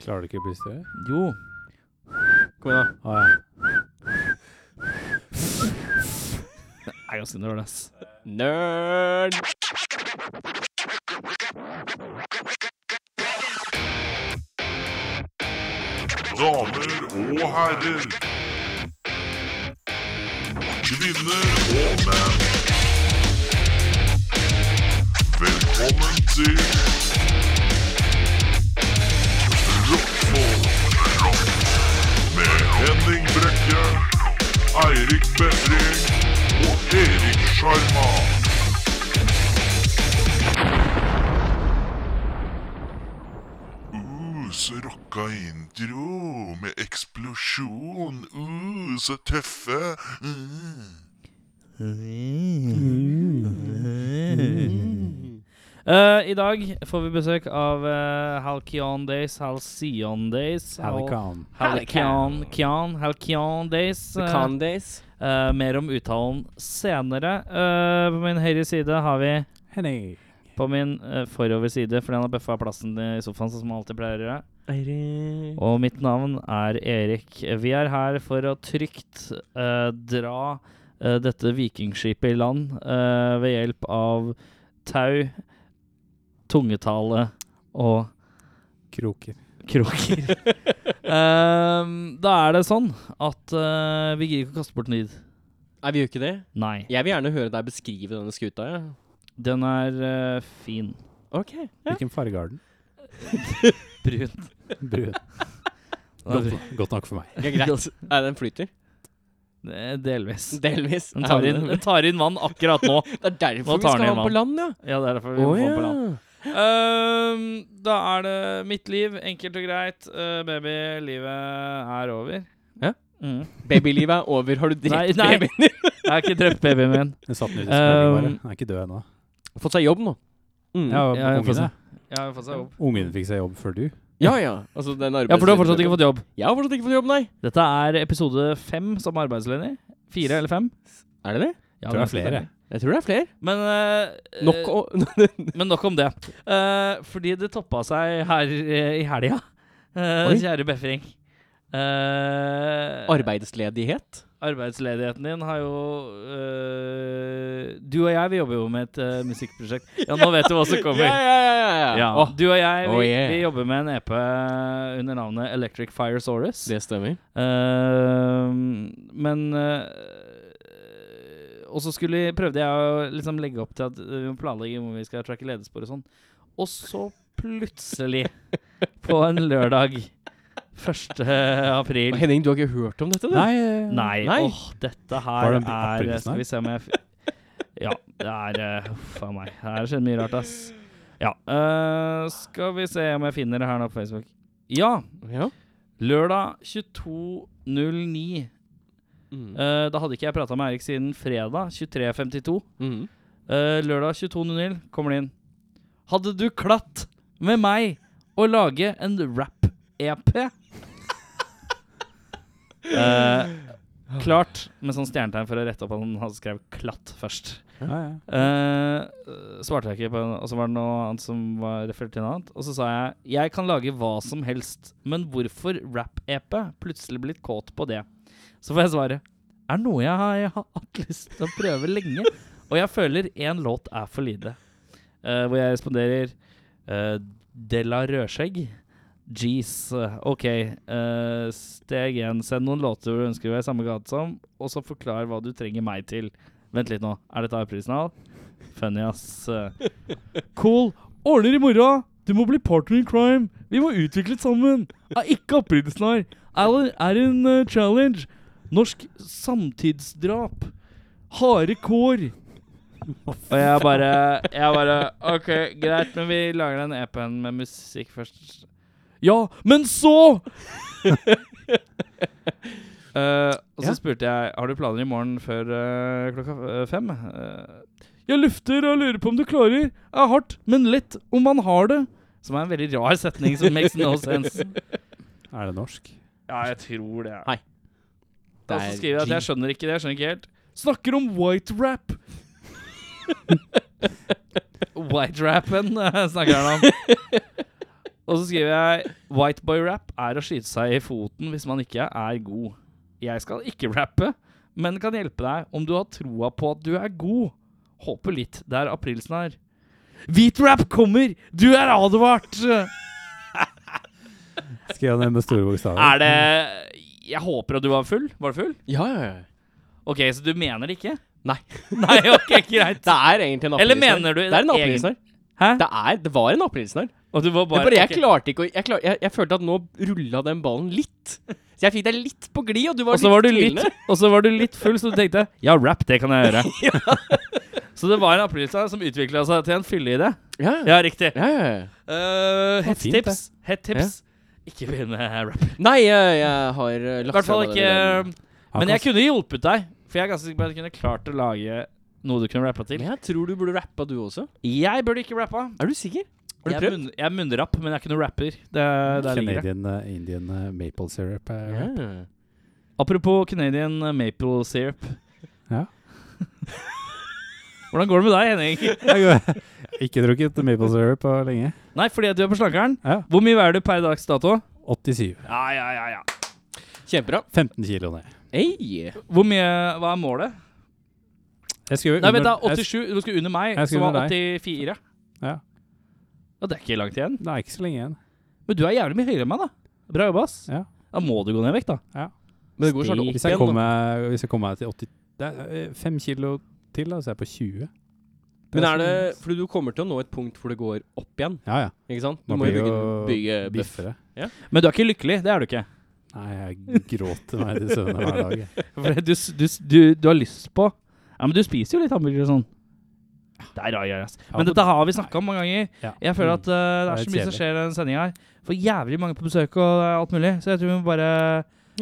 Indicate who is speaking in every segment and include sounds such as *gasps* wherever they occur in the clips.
Speaker 1: Klarer du ikke å bli større?
Speaker 2: Jo.
Speaker 3: Kom igjen,
Speaker 1: Ah, ja.
Speaker 2: Jeg er ganske nerd, ass. Nerd!
Speaker 4: Damer og herrer. Kvinner og menn. Velkommen til Rockfolk med Henning Brekke, Eirik Bedring og Erik Sjarma. Uh, så rocka intro med eksplosjon. Uh, så tøffe. Mm.
Speaker 5: Mm.
Speaker 2: Mm. Eh, I dag får vi besøk av eh, Halcyon Days, Halcyon Days Hal-
Speaker 1: Halikan.
Speaker 2: Halcyon Kian, Halcyon Days.
Speaker 3: The
Speaker 2: eh,
Speaker 3: Con Days.
Speaker 2: eh, mer om uttalen senere. Eh, på min høyre side har vi
Speaker 1: Henning.
Speaker 2: På min uh, forover side, fordi han har bøffa plassen i sofaen, sånn som han alltid pleier å gjøre.
Speaker 3: Eirik.
Speaker 2: Og mitt navn er Erik. Vi er her for å trygt eh, dra eh, dette vikingskipet i land eh, ved hjelp av tau, tungetale og
Speaker 1: Kroker. *laughs*
Speaker 2: kroker. Ehm, da er det sånn at eh, vi gidder ikke å kaste bort en tid.
Speaker 3: Er vi jo ikke det?
Speaker 2: Nei.
Speaker 3: Jeg vil gjerne høre deg beskrive denne skuta, jeg.
Speaker 2: Den er eh, fin.
Speaker 3: Ok. Ja.
Speaker 1: Hvilken farge har den?
Speaker 2: *laughs* Brun. *laughs*
Speaker 1: Brun. Godt, godt nok for meg.
Speaker 3: Ja, greit. Nei, den flyter.
Speaker 2: Eh, Delvis.
Speaker 3: Delvis.
Speaker 2: Den tar, inn, den tar inn vann akkurat nå.
Speaker 3: *laughs* Det er
Speaker 2: Nå
Speaker 3: derfor vi
Speaker 2: tar
Speaker 3: skal ha
Speaker 2: den i
Speaker 3: den på land, ja.
Speaker 2: Ja, det er derfor vi må få på land. Ehm, da er det mitt liv. Enkelt og greit. Eh, baby, livet er over.
Speaker 3: Ja.
Speaker 2: Mm.
Speaker 3: Babylivet er over. Har du
Speaker 2: Nei,
Speaker 3: drept
Speaker 2: nei.
Speaker 3: babyen din?
Speaker 2: *laughs* Jeg har ikke drept babyen min.
Speaker 1: Den satt den ut i spilling, bare.
Speaker 2: Um,
Speaker 1: Den er ikke død ennå.
Speaker 3: Fått seg jobb nå. Mm.
Speaker 1: Ja,
Speaker 2: ja, jeg får
Speaker 1: ungene.
Speaker 2: Jeg har fått seg jobb.
Speaker 1: Ungene fikk seg jobb før du.
Speaker 3: ja. ja. Altså, den
Speaker 2: Ja, for du har fortsatt ikke fått jobb.
Speaker 3: Jeg har fortsatt ikke fått jobb, nei.
Speaker 2: Dette er episode fem som arbeidsledig. Fire eller fem?
Speaker 3: Er det det?
Speaker 2: Ja,
Speaker 1: Tror det er flere.
Speaker 3: Jeg tror det er flere.
Speaker 2: Men, eh,
Speaker 3: Nok
Speaker 2: eh,
Speaker 3: å
Speaker 2: *laughs* men nok om det. Eh, fordi det toppa seg her eh, i helga, eh,
Speaker 3: Oi.
Speaker 2: kjære Befring. Eh,
Speaker 3: Arbeidsledighet.
Speaker 2: Arbeidsledigheten din har jo øh, Du og jeg, vi jobber jo med et øh,
Speaker 3: *laughs*
Speaker 2: musikkprosjekt. Ja, nå vet du hva som kommer.
Speaker 3: Ja, ja, ja. ja.
Speaker 2: Ja,
Speaker 3: Åh,
Speaker 2: Du og jeg, vi,
Speaker 3: Oh, yeah.
Speaker 2: vi jobber med en EP under navnet Electric Fire Saurus.
Speaker 3: det stemmer.
Speaker 2: men øh, Og så skulle, prøvde jeg å liksom legge opp til at vi må planlegge hvor vi skal tracke ledespor og sånn. Og så plutselig, på en lørdag 1. april
Speaker 3: Og Henning, du har ikke hørt om dette? du?
Speaker 1: Nei, eh,
Speaker 2: Nei,
Speaker 3: Nei.
Speaker 2: åh, dette
Speaker 1: Var
Speaker 2: her
Speaker 1: det en
Speaker 2: er
Speaker 1: aprilsnarr?
Speaker 2: Skal vi se om jeg f *laughs* Ja, det er eh, Huff a meg. Her skjer mye rart, ass. Ja. eh, skal vi se om jeg finner det her nå på Facebook. Ja!
Speaker 3: Ja.
Speaker 2: Lørdag 22.09.
Speaker 3: Mm.
Speaker 2: Eh, da hadde ikke jeg prata med Eirik siden fredag 23.52.
Speaker 3: Mm.
Speaker 2: Eh, lørdag 22.00 kommer det inn. Hadde du klatt med meg å lage en
Speaker 3: *laughs*
Speaker 2: rap-EP? Eh, klart, med sånn stjernetegn for å rette opp at han hadde skrevet 'klatt' først.
Speaker 1: Ja, ja.
Speaker 2: Eh, svarte jeg ikke på Og så var det noe annet som var referert til noe annet. Og så sa jeg jeg kan lage hva som helst, men hvorfor rap-EP? Plutselig blitt kåt på det. Så får jeg svaret er noe jeg har, jeg har hatt lyst til å prøve lenge, og jeg føler én låt er for lite. Eh, hvor jeg responderer eh, Della Rødskjegg. Jeez. eh, OK. eh, steg én. Send noen låter du ønsker å være i samme gate som, og så forklar hva du trenger meg til. Vent litt nå. Er dette aprilsnarr? Funny, ass. Cool. Ordner i morgen. Du må bli partner in crime. Vi må utvikle det sammen. Er ikke aprilsnarr. Alan er en eh, challenge. Norsk samtidsdrap. Harde kår. Og jeg bare Jeg bare OK, greit, men vi lager den EP-en med musikk *laughs* først. Ja, men så
Speaker 1: *laughs*
Speaker 2: Eh, og så
Speaker 3: Ja.
Speaker 2: spurte jeg Har du planer i morgen før eh, klokka eh, fem. Eh, jeg lufter og lurer på om du klarer. Er hardt, men lett om man har det. Som er en veldig rar setning som makes no sense.
Speaker 1: *laughs* Er det norsk?
Speaker 2: *laughs* Ja, jeg tror det.
Speaker 3: Hei.
Speaker 2: Og så skriver jeg at jeg skjønner ikke det. Jeg skjønner ikke helt. Snakker om white rap. *laughs* white rappen eh, snakker han om. Og så skriver jeg Whiteboy-rap er å skyte seg i foten hvis man ikke er god. Jeg skal ikke rappe, men kan hjelpe deg om du har troa på at du er god. Håper litt det er aprilsnarr. Hvit rap kommer! Du er advart!
Speaker 1: Skrev han det med store bokstaver?
Speaker 2: Er det Jeg håper at du var full? Var du full?
Speaker 3: Ja, ja, ja.
Speaker 2: OK, så du mener det ikke?
Speaker 3: Nei.
Speaker 2: Nei, OK, greit.
Speaker 3: *laughs* Det er egentlig en aprilsnarr.
Speaker 2: Eller mener du
Speaker 3: Det er en
Speaker 2: egen-
Speaker 3: aprilsnarr.
Speaker 2: Hæ?
Speaker 3: Det, er- det var en aprilsnarr.
Speaker 2: Og du var
Speaker 3: Det er
Speaker 2: bare,
Speaker 3: Bare, jeg
Speaker 2: ok.
Speaker 3: klarte ikke å jeg, klar, jeg, jeg følte at nå rulla den ballen litt. Så jeg fikk deg litt på glid, og du var
Speaker 2: Og så var, du
Speaker 3: litt
Speaker 2: litt,
Speaker 3: tvilende.
Speaker 2: *laughs* og så var du litt full, så du tenkte Ja, rap, det kan jeg gjøre.
Speaker 3: *laughs*
Speaker 2: *laughs* Så det var en aprilsnarr som utvikla seg til en fylleidé.
Speaker 3: Ja, ja.
Speaker 2: Ja, riktig.
Speaker 3: ja, ja, ja.
Speaker 2: Uh,
Speaker 1: var fint,
Speaker 2: Hetttips. Hetttips. Ikke begynn med rap.
Speaker 3: Nei, jeg, jeg har eh,
Speaker 2: I
Speaker 3: lagt
Speaker 2: hvert fall
Speaker 3: fra meg
Speaker 2: ikke
Speaker 3: den ideen.
Speaker 1: Han
Speaker 2: Men
Speaker 1: kan
Speaker 2: jeg kunne hjulpet deg, for jeg er ganske sikker på at jeg kunne klart å lage noe du kunne rappa til.
Speaker 3: Men jeg tror du burde rappa, du også.
Speaker 2: Jeg burde ikke rappa.
Speaker 3: Er du sikker? Har du
Speaker 2: Jeg er,
Speaker 3: prøvd?
Speaker 2: munn, jeg er munnrapp, men jeg er ikke noen rapper. Det, det ligger det.
Speaker 1: Canadian eh, Indian eh, maple syrup. eh,
Speaker 3: Ja.
Speaker 1: rap.
Speaker 2: Apropos Canadian uh, maple syrup.
Speaker 1: Ja.
Speaker 2: *laughs* Hvordan går det med deg, Henning?
Speaker 1: *laughs* Jeg har Ikke drukket maple syrup på lenge.
Speaker 2: Nei, fordi at du er på slankeren.
Speaker 1: Ja.
Speaker 2: Hvor mye veier du per dags dato?
Speaker 1: 87.
Speaker 2: Ja, ja, ja, ja.
Speaker 3: Kjempebra.
Speaker 1: 15 kilo ned.
Speaker 3: Hey.
Speaker 2: Hvor mye,
Speaker 1: eh,
Speaker 2: Hva er målet?
Speaker 1: Jeg skriver
Speaker 2: Nei, vent da,
Speaker 1: under- jeg
Speaker 2: 87. Du skulle under meg,
Speaker 1: Jeg
Speaker 2: som
Speaker 1: skulle
Speaker 2: var
Speaker 1: under
Speaker 2: 84.
Speaker 1: Ja.
Speaker 2: Og det er ikke langt igjen.
Speaker 1: sk- Det er ikke så lenge igjen.
Speaker 2: Men du er jævlig mye høyere enn meg, da. Bra jobba, ass.
Speaker 1: Ja.
Speaker 2: Da må du gå ned i vekt, da.
Speaker 3: Men det går snart opp
Speaker 1: Hvis jeg
Speaker 3: igjen. da.
Speaker 1: kommer, hvis jeg kommer meg til 80 Det er 5 kilo til, da, så er jeg på 20.
Speaker 3: Men er
Speaker 1: så-
Speaker 3: det Fordi du kommer til å nå et punkt hvor det går opp igjen,
Speaker 1: sånn- Ja, ja.
Speaker 3: ikke sant? Du
Speaker 1: Man
Speaker 3: må jo
Speaker 1: blir
Speaker 3: bygge,
Speaker 1: jo
Speaker 3: bygge buff.
Speaker 1: Biffere.
Speaker 2: Men du er ikke lykkelig. Det er du ikke.
Speaker 1: Nei, jeg gråter meg til søvne hver dag. jeg.
Speaker 2: *laughs* For du, s- du, s- du, du har lyst på Ja, men du spiser jo litt hamburger og sånn. Det er rar, ass. Men
Speaker 1: Ja,
Speaker 2: dette har vi snakka om mange ganger.
Speaker 1: ja. Mm.
Speaker 2: Jeg føler at eh, det er
Speaker 1: Det er
Speaker 2: så mye som
Speaker 1: kjedelig.
Speaker 2: skjer i denne sendinga her. For jævlig mange på besøk og eh, alt mulig. Så jeg tror vi må bare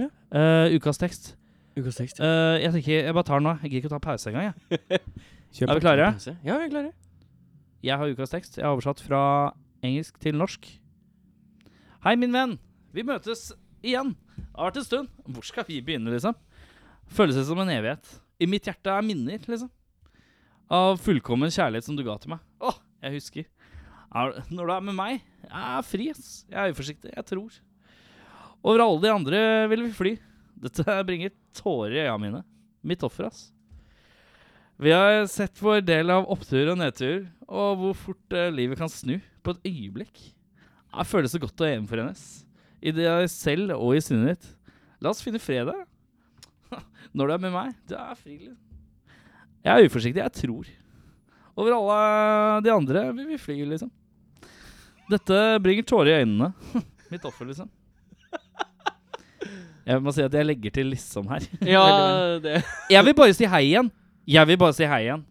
Speaker 3: Ja.
Speaker 2: eh, Ukas tekst.
Speaker 3: Ukas tekst.
Speaker 2: Eh, jeg tenker, jeg bare tar den nå. Jeg gidder ikke å ta pause engang. Jeg.
Speaker 1: *laughs* Kjøp.
Speaker 2: Er vi klare?
Speaker 3: Pause. Ja, vi er klare.
Speaker 2: Jeg har ukas tekst. Jeg har oversatt fra engelsk til norsk. Hei, min venn. Vi møtes igjen. Det har vært en stund. Hvor skal vi begynne, liksom? Føles det som en evighet. I mitt hjerte er minner, liksom. Av fullkommen kjærlighet som du ga til meg. Åh, jeg husker. Er, når du er med meg, jeg er fri, ass. Jeg er uforsiktig. Jeg tror. Over alle de andre vil vi fly. Dette bringer tårer i øya mine. Mitt offer, ass. Vi har sett vår del av opptur og nedtur, og hvor fort eh, livet kan snu på et øyeblikk. Det føles så godt å gjenforenes, i deg selv og i sinnet ditt. La oss finne fredag. *laughs* Når du er med meg, du er fri. liksom. Jeg er uforsiktig, jeg tror. Over alle de andre vil vi fly, liksom. Dette bringer tårer i øynene. Mitt offer, liksom. Jeg må si at jeg legger til 'liksom' her.
Speaker 3: *laughs* Ja,
Speaker 2: Veldig
Speaker 3: det
Speaker 2: Jeg vil bare si hei igjen. Jeg vil bare si hei igjen.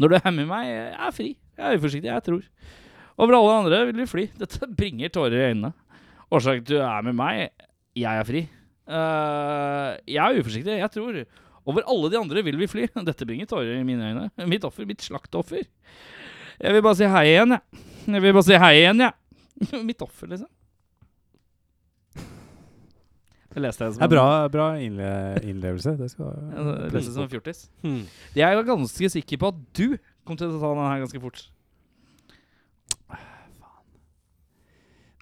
Speaker 2: Når du er med meg, jeg er fri. Jeg er uforsiktig, jeg tror. Over alle andre vil du fly. Dette bringer tårer i øynene. Årsaken til at du er med meg, jeg er fri. Eh, jeg er uforsiktig, jeg tror. Over alle de andre vil vi fly. *laughs* Dette bringer tårer i mine øyne. Mitt offer, mitt slakteoffer. Jeg vil bare si hei igjen, jeg. Jeg vil bare si hei igjen, jeg. *laughs* mitt offer, liksom. Det leste jeg som
Speaker 1: Det er bra, bra innle innlevelse. Det skal
Speaker 2: en- Jeg leste
Speaker 1: presses
Speaker 2: det som
Speaker 1: på.
Speaker 2: en fjortis.
Speaker 3: Hmm.
Speaker 2: Jeg var ganske sikker på at du kom til å ta den her ganske fort.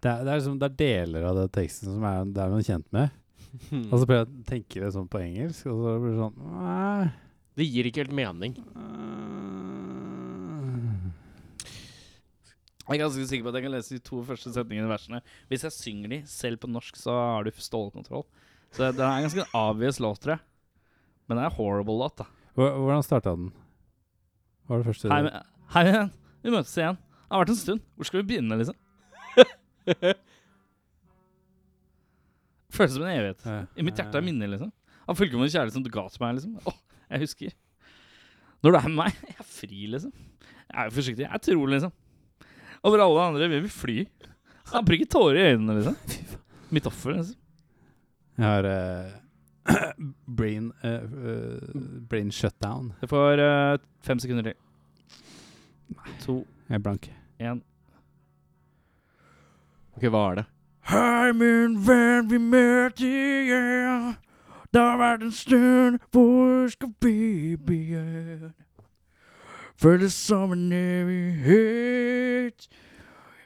Speaker 1: Det er, det, er liksom, det er deler av den teksten som er, det er noen kjent med.
Speaker 2: Hmm.
Speaker 1: Og så prøver jeg å tenke det sånn på engelsk, og så blir det sånn «Nei,
Speaker 3: Det gir ikke helt mening.
Speaker 1: øh».
Speaker 2: Eh, Jeg er ganske sikker på at jeg kan lese de to første setningene i versene. Hvis jeg synger de selv på norsk, så har du stålkontroll. Så den er ganske *laughs* en obvious låt, tror jeg. Men det er horrible låt, da.
Speaker 1: Hvor- Hvordan starta den? Hva var det første?
Speaker 2: Hei, men- hei igjen. Vi møtes igjen. Det har vært en stund. Hvor skal vi begynne,
Speaker 1: *laughs*
Speaker 2: liksom? Føles som en evighet.
Speaker 1: Ja.
Speaker 2: I mitt hjerte er minner, liksom. Av fullkommen kjærlighet som du ga til meg, liksom. Åh, jeg husker. Når du er med meg, *laughs* jeg er fri, liksom. Jeg er jo forsiktig. Jeg tror, liksom. Over alle andre vil vi fly. Han brygger tårer i øynene, liksom. Mitt offer, liksom.
Speaker 1: Jeg har eh, brain, eh, eh, brain shutdown.
Speaker 2: Du får eh, fem sekunder til. To,
Speaker 1: Jeg er blank.
Speaker 2: én.
Speaker 3: Ok, hva er det?
Speaker 2: Hei, min venn, vi møter igjen. Det har vært en stund, hvor skal vi begynne? Føles som en evighet.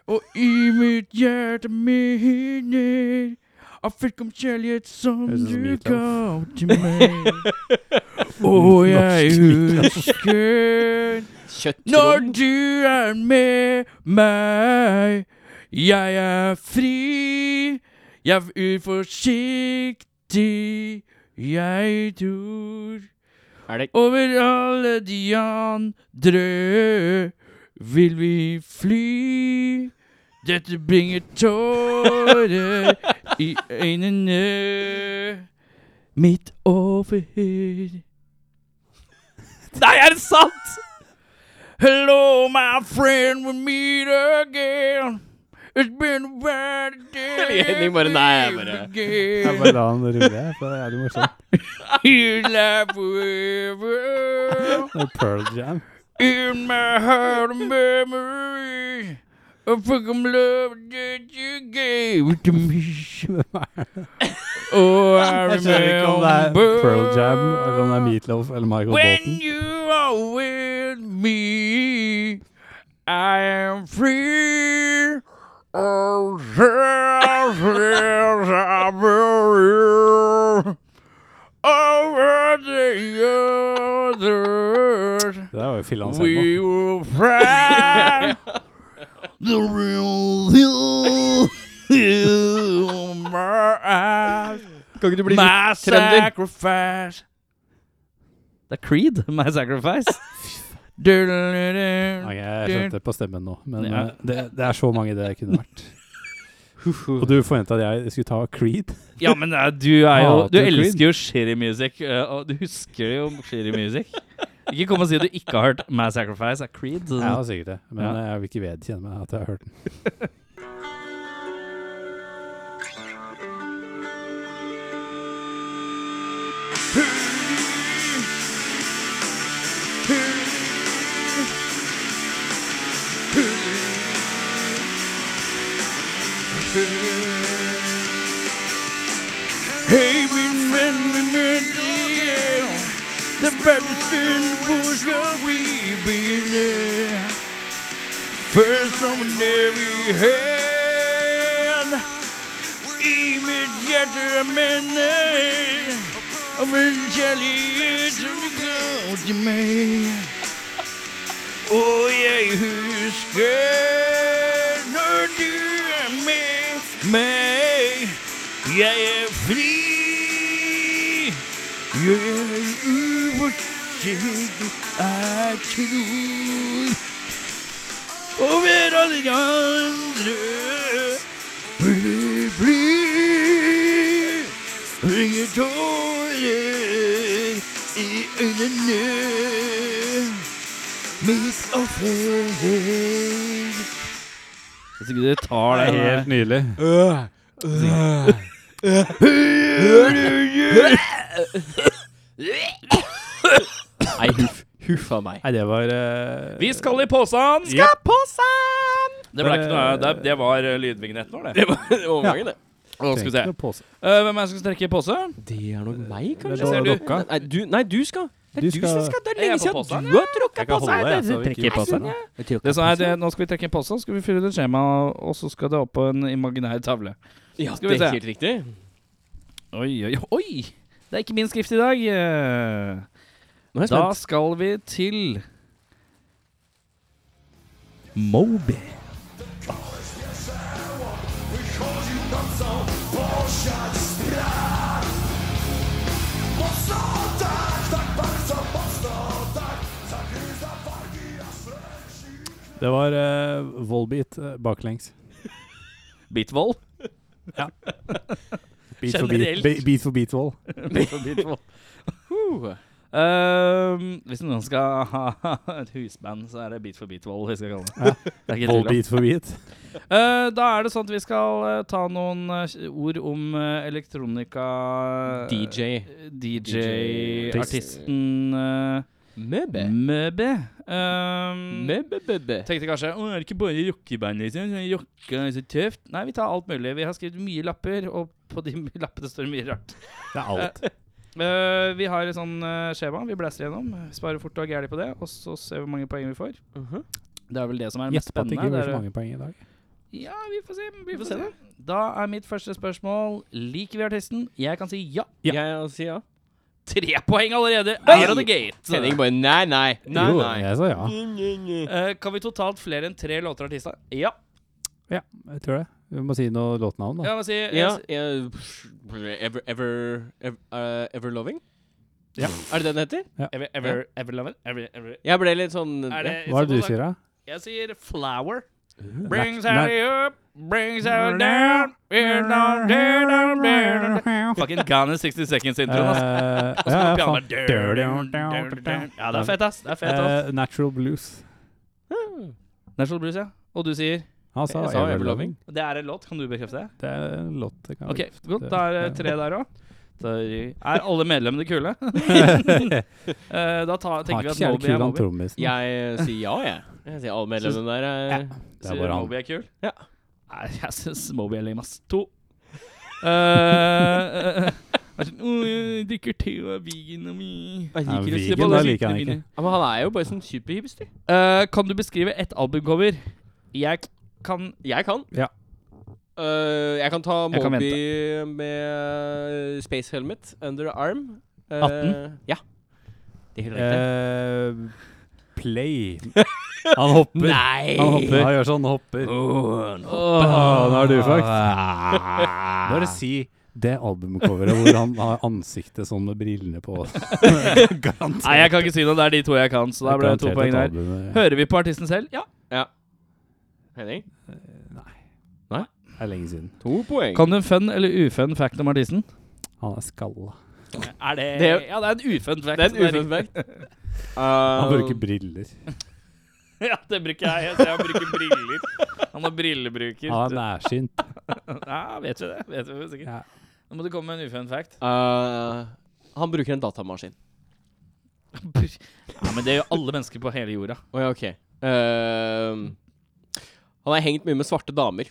Speaker 5: Og i mitt hjerte minner av fullkommen kjærlighet som
Speaker 1: Høres ut som
Speaker 5: du
Speaker 1: Meatloaf.
Speaker 5: ga til meg.
Speaker 1: *laughs*
Speaker 5: Og jeg husker når
Speaker 2: Kjøttkron.
Speaker 5: du er med meg. Jeg er fri, jeg er uforsiktig, jeg tror
Speaker 2: Er det
Speaker 5: over alle de andre vil vi fly. Dette bringer tårer i øynene midt over.
Speaker 2: Nei, er det sant?!
Speaker 5: Hello, my friend, we meet again. It's been a bad day.
Speaker 2: Henning bare, nei, jeg bare-
Speaker 1: Jeg bare la han rulle, jeg, for det er jævlig morsomt.
Speaker 5: You laugh forever.
Speaker 1: Det er Pearl Jam.
Speaker 5: In my heart, a memory of fucking love that you gave to
Speaker 1: *laughs*
Speaker 5: me.
Speaker 1: Hvem er det?
Speaker 5: Oh, I
Speaker 1: Jeg skjønner ikke om det er
Speaker 5: remember
Speaker 1: Pearl Jam, eller om det er Meatloaf eller Michael
Speaker 5: When
Speaker 1: Bolton.
Speaker 5: you are with me, I am free. Oh, yes, yes, I'm free. Over the others.
Speaker 1: Det der var jo filla hans
Speaker 5: We will fly the real hill in my eyes.
Speaker 2: Kan ikke du bli
Speaker 5: My
Speaker 2: litt trønder?
Speaker 5: sacrifice. Det er Creed. *laughs* My sacrifice. Du-du-du-du.
Speaker 1: Jeg skjønte på stemmen nå, men
Speaker 5: Ja.
Speaker 1: eh, det, det er så mange det kunne
Speaker 5: *laughs*
Speaker 1: vært. Og du forventa at jeg skulle ta Creed?
Speaker 5: Ja, men eh, du er jo
Speaker 1: Hater
Speaker 5: Du
Speaker 1: Creed.
Speaker 5: elsker jo shitty music, eh, og du husker jo shitty music. Ikke kom og si at du ikke har hørt My Sacrifice av Creed.
Speaker 1: Jeg har sikkert det, men
Speaker 5: Ja.
Speaker 1: eh, jeg vil ikke vedkjenne meg at jeg har hørt den.
Speaker 5: Hey, we met me met yeah. The brightest in the bush will we be there. First from every hand. Immediate a minute. I'm in jelly, it's a gold to me. Oh, yeah, you scared. No, dear me, me. Jeg er fri. Jeg er uforsiktig, jeg tror. Over alle de andre blir bli. Bringer tårer i øynene. Mitt offer. Hvis ikke du tar
Speaker 1: nydelig.
Speaker 2: Nei, huff. Huff a meg.
Speaker 1: Nei, det var eh,
Speaker 5: Vi skal i posen!
Speaker 1: Skal
Speaker 5: på posen! Det ble ikke noe
Speaker 1: Eh.
Speaker 5: Det, det var lydvignetten vår, det.
Speaker 2: Det var overgangen, det.
Speaker 5: Å, skal vi se.
Speaker 1: tenkte på pose.
Speaker 5: Eh, hvem er det som skal strekke i pose?
Speaker 2: Det er nok meg,
Speaker 1: Det
Speaker 2: kanskje.
Speaker 1: var
Speaker 5: ser du-
Speaker 1: dokka.
Speaker 2: Nei, du, nei, du skal. Det er
Speaker 1: Du
Speaker 2: du,
Speaker 1: skal-
Speaker 2: som skal. Det er
Speaker 5: Jeg er
Speaker 2: lenge
Speaker 5: på
Speaker 2: siden
Speaker 5: posen,
Speaker 2: du har tråkka
Speaker 1: Jeg kan holde, jeg, så vi ikke
Speaker 2: posen.
Speaker 1: Nei,
Speaker 5: Det som er, det, nå skal vi trekke en pose, så skal vi fylle ut et skjema, og så skal det opp på en imaginær tavle.
Speaker 3: eh,
Speaker 2: Ja,
Speaker 5: Skal vi
Speaker 2: det er
Speaker 5: se.
Speaker 2: helt riktig.
Speaker 5: Oi, oi, oi! Det er ikke min skrift i dag. Eh,
Speaker 2: Nå er jeg
Speaker 5: Da
Speaker 2: spent.
Speaker 5: skal vi til Moby.
Speaker 6: tak,
Speaker 1: Det var eh, Volbeat eh,
Speaker 5: *laughs*
Speaker 1: baklengs.
Speaker 5: Bitvoll.
Speaker 1: *laughs* Beat for beat,
Speaker 2: Generelt.
Speaker 1: be- beat for beat
Speaker 5: *laughs*
Speaker 1: wall.
Speaker 2: Uh,
Speaker 5: Ehm, hvis noen skal ha et husband, så er det Beat for beat-voll. vi skal kalle det. *laughs* Det er ikke tvil om.
Speaker 1: Volbeat for beat.
Speaker 5: *laughs* Eh, da er det sånn at vi skal eh, ta noen eh, ord om eh, elektronika eh,
Speaker 2: DJ.
Speaker 5: DJ-artisten
Speaker 2: Eh, Møbe.
Speaker 5: Møbe. Um,
Speaker 2: Møbe-bøbe.
Speaker 5: tenkte kanskje Å, er det ikke bare rockeband, liksom? Sånn Rocka er så tøft. Nei, vi tar alt mulig. Vi har skrevet mye lapper, og på de *laughs* lappene står det mye rart.
Speaker 1: Det er alt.
Speaker 5: Eh, vi har et sånn eh, skjema vi blæser gjennom. Sparer fort og er gærlig på det, og så ser vi hvor mange poeng vi får.
Speaker 2: Mhm.
Speaker 5: Det er vel det som er det mest
Speaker 1: Gjett på at det
Speaker 5: spennende.
Speaker 1: ikke blir
Speaker 5: det
Speaker 1: så
Speaker 5: er-
Speaker 1: mange poeng i dag.
Speaker 2: Ja, vi får se. Vi
Speaker 3: får
Speaker 2: får
Speaker 3: se
Speaker 2: se. Da er mitt første spørsmål Liker vi artisten? Jeg kan si ja.
Speaker 3: Ja. Jeg sier ja.
Speaker 2: Tre poeng allerede!
Speaker 3: Nei!
Speaker 2: Out of the gate.
Speaker 3: Henning bare nei, nei. Nei,
Speaker 1: jo,
Speaker 3: nei.
Speaker 1: jeg sa ja.
Speaker 2: Eh, kan vi totalt flere enn tre låter av artisten? Ja.
Speaker 1: Ja, jeg tror det. Vi må si noe låtnavn, da.
Speaker 2: Jeg må si
Speaker 3: Ja, jeg- ever, ever, ever, eh, ever Loving?
Speaker 1: Ja.
Speaker 3: Er det det den heter?
Speaker 2: Ever, ever, ever, love it? ever, ever.
Speaker 3: Jeg ble litt sånn
Speaker 2: Er det,
Speaker 1: Hva er det du sier, da?
Speaker 2: Jeg sier Flower.
Speaker 3: Uh.
Speaker 1: Nei,
Speaker 2: Brings
Speaker 1: nei.
Speaker 2: her up, brings her down, we're not dead, I'm dead. Fucking Gone in 60 Seconds-introen, altså.
Speaker 1: Eh,
Speaker 2: Og så
Speaker 1: ja,
Speaker 2: kommer pianoet
Speaker 1: ja,
Speaker 2: der,
Speaker 1: faen.
Speaker 2: der, der, der. Ja, det er fett, ass. Det er fett, ass.
Speaker 1: Eh, Natural Blues.
Speaker 2: National Blues, ja. Og du sier
Speaker 1: Han
Speaker 3: Jeg
Speaker 1: sa
Speaker 3: sa
Speaker 1: Ever
Speaker 3: Ever
Speaker 1: Loving.
Speaker 2: Det er en låt, kan du bekrefte det?
Speaker 1: Det er en låt. det kan
Speaker 2: Ok,
Speaker 1: jeg
Speaker 2: godt.
Speaker 1: det-
Speaker 2: Da er det
Speaker 1: det-
Speaker 2: tre der òg. Er alle medlemmene
Speaker 1: *laughs*
Speaker 2: kule? Eh, da ta,
Speaker 1: Han
Speaker 2: tenker
Speaker 1: er
Speaker 2: vi
Speaker 1: ikke
Speaker 2: at
Speaker 1: så jævlig
Speaker 2: Moby
Speaker 1: kul,
Speaker 2: er
Speaker 1: han
Speaker 2: Moby.
Speaker 1: trommisen.
Speaker 3: Jeg sier ja, jeg. Jeg sier alle medlemmene der. er-
Speaker 1: Det er
Speaker 2: Sier
Speaker 1: bare han.
Speaker 2: Moby er kul?
Speaker 3: Ja.
Speaker 2: Nei, *laughs* jeg syns Moby er lame, ass. To. Eh, eh, eh, jeg er sånn, «Åh, jeg drikker te og er vegan og mi.
Speaker 3: Jeg
Speaker 1: Ja,
Speaker 3: liker det.
Speaker 1: vegan,
Speaker 2: på
Speaker 1: da
Speaker 2: det
Speaker 1: liker han
Speaker 2: syke
Speaker 1: ikke.
Speaker 3: Ja, men han er jo bare sånn superhipster.
Speaker 2: Eh, kan du beskrive ett albumcover? Jeg kan
Speaker 3: Jeg kan.
Speaker 1: Ja.
Speaker 3: Øh, jeg kan ta
Speaker 2: Jeg kan
Speaker 3: Moby med Space Helmet under arm. Øh,
Speaker 2: 18?
Speaker 3: Ja. Det er helt riktig.
Speaker 1: Eh,
Speaker 2: *laughs*
Speaker 1: play. Han hopper.
Speaker 3: Nei!
Speaker 1: Han hopper. Han gjør sånn, han hopper. Åh, nå er du fucked.
Speaker 2: Ah.
Speaker 1: Bare si det albumcoveret hvor han har ansiktet sånn med
Speaker 2: *laughs*
Speaker 1: brillene på. Garantert.
Speaker 2: Nei, jeg kan ikke si noe. Det er de to jeg kan, så da ble det to
Speaker 1: Garantert
Speaker 2: poeng
Speaker 1: et
Speaker 2: der.
Speaker 1: album, eh,
Speaker 2: Hører vi på artisten selv? Ja.
Speaker 3: Henning,
Speaker 1: Eh, er lenge siden.
Speaker 3: to poeng.
Speaker 2: Kan du en fun eller ufun fact om artisten?
Speaker 1: Han
Speaker 3: *laughs*
Speaker 1: er skalla.
Speaker 2: Er det,
Speaker 3: Det-
Speaker 2: Ja, det er en ufun
Speaker 3: det
Speaker 2: fact.
Speaker 3: er en ufun fact.
Speaker 2: *laughs*
Speaker 1: Han bruker
Speaker 3: Um,
Speaker 1: briller.
Speaker 2: ja, det bruker jeg. Jeg, jeg bruker briller. Han er brillebruker.
Speaker 1: Han
Speaker 3: *laughs*
Speaker 1: er nærsynt.
Speaker 2: Ja, vet du det? Vet du det sikkert.
Speaker 1: Ja.
Speaker 2: Nå må du komme med en ufun fact.
Speaker 3: Øh, han bruker en datamaskin.
Speaker 2: ja, men det gjør alle mennesker på hele jorda.
Speaker 3: Å ja, OK. Øh, han er hengt mye med svarte damer.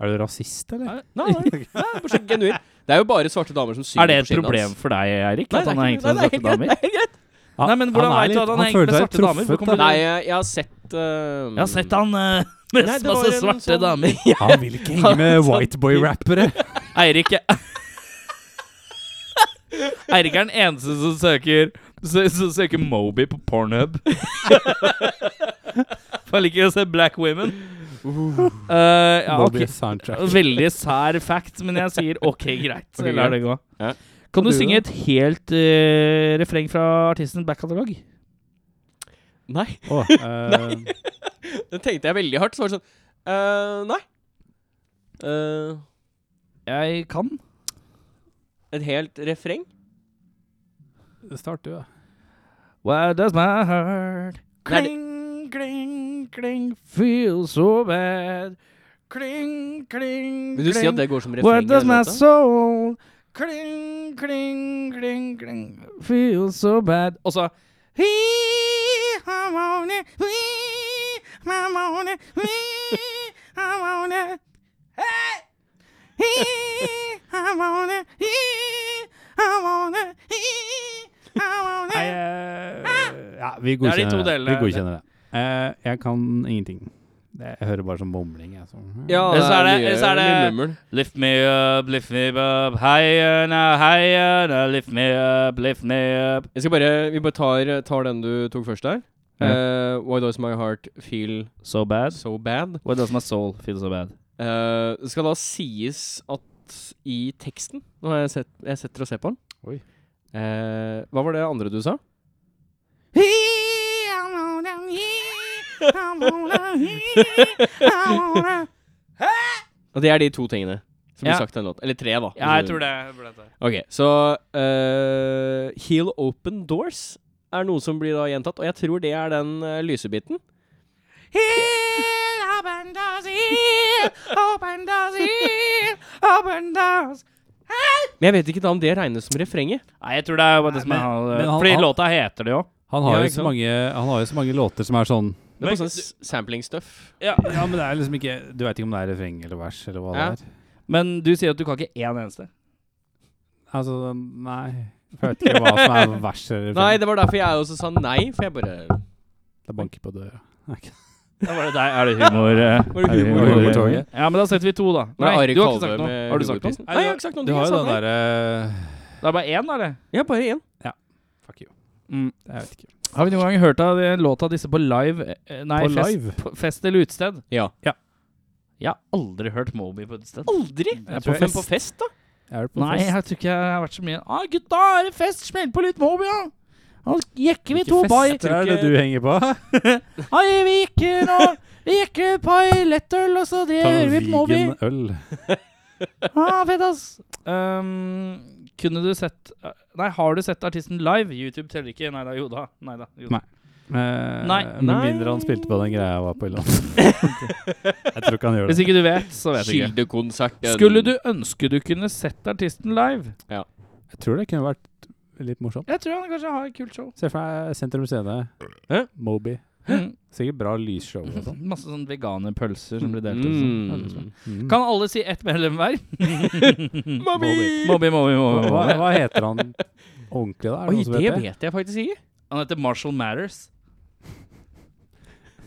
Speaker 1: Er du rasist, eller?
Speaker 3: Nei, nei, nei bare så genuin. Det er jo bare svarte damer som synger
Speaker 2: Er det
Speaker 3: på
Speaker 2: et
Speaker 3: skinnet
Speaker 2: problem
Speaker 3: hans.
Speaker 2: for deg, Eirik?
Speaker 3: Nei,
Speaker 2: At
Speaker 3: det er
Speaker 2: han har
Speaker 3: ikke- nei, det
Speaker 2: hengt med
Speaker 3: er
Speaker 2: svarte
Speaker 3: helt greit,
Speaker 2: damer?
Speaker 3: det er helt greit.
Speaker 1: Han-
Speaker 2: Nei, men hvordan
Speaker 1: han er
Speaker 2: vet du
Speaker 1: litt-
Speaker 2: at han henger
Speaker 1: føler
Speaker 2: med
Speaker 1: seg
Speaker 2: svarte damer? Hvor
Speaker 1: truffet,
Speaker 2: kommer
Speaker 1: da.
Speaker 3: Nei, jeg, jeg har sett øh,
Speaker 2: Jeg har sett han eh, *laughs* med
Speaker 3: Nei, det var
Speaker 2: masse
Speaker 3: en
Speaker 2: svarte
Speaker 3: sånn-
Speaker 1: *laughs*
Speaker 2: damer. sånn-
Speaker 1: Han vil ikke henge
Speaker 3: *laughs*
Speaker 1: med whiteboy-rappere.
Speaker 2: *laughs* Eirik er- Eirik er den eneste som søker Som, som søker Moby på Pornhub. *laughs* For han liker å se black women. Eh, ja, ok.
Speaker 1: Uh, Moby soundtrack.
Speaker 2: Veldig sær fact, men jeg sier OK,
Speaker 1: *laughs*
Speaker 2: greit. Så
Speaker 3: Ok,
Speaker 2: jeg lar det gå.
Speaker 3: Ja.
Speaker 2: Kan
Speaker 1: Og
Speaker 2: du
Speaker 1: du,
Speaker 2: synge
Speaker 1: da?
Speaker 2: et helt eh, refreng fra artistens backkatalog?
Speaker 3: Nei. *laughs*
Speaker 1: Å, eh,
Speaker 3: *laughs* Det tenkte jeg veldig hardt. Så var det sånn eh, Nei. Eh,
Speaker 2: Jeg kan.
Speaker 3: et helt refreng?
Speaker 1: start du, da.
Speaker 2: Why does my heart
Speaker 3: Nei, det-
Speaker 2: Kling, kling, kling Feel so bad Kling, kling,
Speaker 3: Vil du si at
Speaker 2: kling
Speaker 3: det går som
Speaker 2: Why
Speaker 3: refreng? i
Speaker 2: does
Speaker 3: den
Speaker 2: my
Speaker 3: låta?
Speaker 2: soul Kling, kling, kling, kling Feel so bad Og så He, I'm on it We, I'm on it We, I'm on it Hey He, I'm on it He, I'm on it He, I'm on it
Speaker 1: Nei, eh, ja, vi
Speaker 2: er de
Speaker 1: godkjenner
Speaker 2: to
Speaker 1: det.
Speaker 2: delene.
Speaker 1: Vi godkjenner det. Eh, jeg kan ingenting. Det, jeg hører bare sånn mumling. Jeg, sånn.
Speaker 3: Ja,
Speaker 2: Eller så er det-
Speaker 3: mye-
Speaker 2: eller så er
Speaker 3: mye
Speaker 2: det-
Speaker 3: mummel.
Speaker 2: Lift me up, lift me up, higher now, higher now, lift me up, lift me up.
Speaker 3: Jeg skal bare Vi bare tar, tar den du tok først der.
Speaker 1: Ja.
Speaker 3: Eh, why does my heart feel
Speaker 2: So bad?
Speaker 3: so bad?
Speaker 2: Why does my soul feel so bad?
Speaker 3: Eh, det skal da sies at i teksten Nå har jeg sett Jeg setter og ser på den.
Speaker 1: Oi.
Speaker 3: Eh, hva var det andre du sa? Og det er de to tingene som blir
Speaker 2: Ja.
Speaker 3: sagt i en låt. Eller tre, da.
Speaker 2: Ja, jeg tror det.
Speaker 3: Ok, så eh, Heal Open Doors er noe som blir da gjentatt, og jeg tror det er den eh, lysebiten.
Speaker 2: Here, open doors, here, open doors, here, open doors.
Speaker 3: Men jeg vet ikke da om det regnes som refrenget.
Speaker 2: Nei, jeg tror det er What does my
Speaker 1: Men-
Speaker 2: heart
Speaker 1: men han-
Speaker 2: Fordi
Speaker 1: han-
Speaker 2: låta heter det jo.
Speaker 1: Han, har
Speaker 3: Ja,
Speaker 1: jo
Speaker 3: ikke
Speaker 1: så
Speaker 3: sant?
Speaker 1: mange, han har jo så mange låter som er sånn
Speaker 3: Det er
Speaker 2: Men-
Speaker 3: bare sånn s- sampling stuff.
Speaker 2: Ja.
Speaker 1: Ja, men det er liksom ikke Du veit ikke om det er refreng eller vers eller hva
Speaker 3: Ja.
Speaker 1: det er.
Speaker 2: Men du sier at du kan ikke én eneste.
Speaker 1: Altså, nei. Jeg vet ikke hva som er vers
Speaker 3: Nei,
Speaker 1: eller refreng.
Speaker 3: det var derfor jeg også sa nei, for jeg bare
Speaker 1: Det banker på døra. *laughs*
Speaker 2: Da var det deg. Er det humor?
Speaker 3: Var
Speaker 2: eh?
Speaker 3: det
Speaker 1: Er det
Speaker 3: humor?
Speaker 1: humor?
Speaker 3: Humor?
Speaker 1: Humortoget?
Speaker 2: Ja, men da setter vi to, da.
Speaker 3: Nei, Ari
Speaker 2: du har ikke
Speaker 3: Kalve
Speaker 2: sagt noe.
Speaker 3: med
Speaker 2: Har du sagt noe?
Speaker 3: humorprisen. Nei, jeg har ikke sagt noe.
Speaker 1: Du har jo den
Speaker 3: der
Speaker 1: derre
Speaker 2: Det er bare én, er det?
Speaker 3: Ja, bare én.
Speaker 1: *laughs* Fuck you.
Speaker 2: Mm.
Speaker 1: Jeg vet ikke.
Speaker 2: Har vi noen gang hørt av de- låta disse på live? eh, Nei,
Speaker 1: På
Speaker 2: fest,
Speaker 1: live?
Speaker 2: på fest eller utested?
Speaker 3: Ja.
Speaker 2: Jeg har aldri hørt Moby på utested.
Speaker 3: Aldri!
Speaker 1: Jeg
Speaker 2: tror
Speaker 1: tror
Speaker 2: jeg-
Speaker 3: Men på fest, da?
Speaker 1: Jeg er på
Speaker 2: Nei,
Speaker 1: fest.
Speaker 2: jeg tror ikke jeg har vært så mye ah, 'Gutta, er det fest? Smell på litt Moby, da!' Nå jekker vi
Speaker 1: Hvilke
Speaker 2: to pai.
Speaker 1: fester er det du henger på?
Speaker 2: Ai, vi jekker nå Vi jekker et par lettøl, og så det hører vi på Moby.
Speaker 1: Vigen øl.
Speaker 2: Ah, fett, ass! Um, kunne du sett eh, Nei, har du sett artisten live? YouTube teller ikke. Nei da, jo da. Nei da. Jo. da.
Speaker 1: Nei. Eh,
Speaker 2: Nei.
Speaker 1: Med
Speaker 3: Nei.
Speaker 1: mindre han spilte på den greia jeg var på i land.
Speaker 2: *laughs*
Speaker 1: jeg tror ikke han gjør
Speaker 2: Hvis
Speaker 1: det.
Speaker 2: ikke du vet, så vet jeg ikke.
Speaker 3: Kildekonserten.
Speaker 2: Skulle du ønske du kunne sett artisten live?
Speaker 1: Jeg tror det kunne vært litt morsomt.
Speaker 2: Jeg tror han kanskje har et kult show.
Speaker 1: Se for deg Sentrum Scene.
Speaker 3: Hæ?
Speaker 1: Moby.
Speaker 2: Mm.
Speaker 1: Sikkert bra lysshow og
Speaker 2: *laughs*
Speaker 1: sånn.
Speaker 2: Masse sånn vegane pølser som blir delt. ut og sånn.
Speaker 3: Mm.
Speaker 1: Mm.
Speaker 2: Kan alle si ett medlem
Speaker 3: *laughs*
Speaker 2: hver?
Speaker 3: Mami!
Speaker 2: Moby, Moby, Moby.
Speaker 1: Hva,
Speaker 2: Moby.
Speaker 1: hva heter han ordentlig, da? Er det
Speaker 3: Oi,
Speaker 1: noen som
Speaker 3: det
Speaker 1: vet det?
Speaker 3: vet jeg faktisk ikke.
Speaker 2: Han heter Marshall Matters.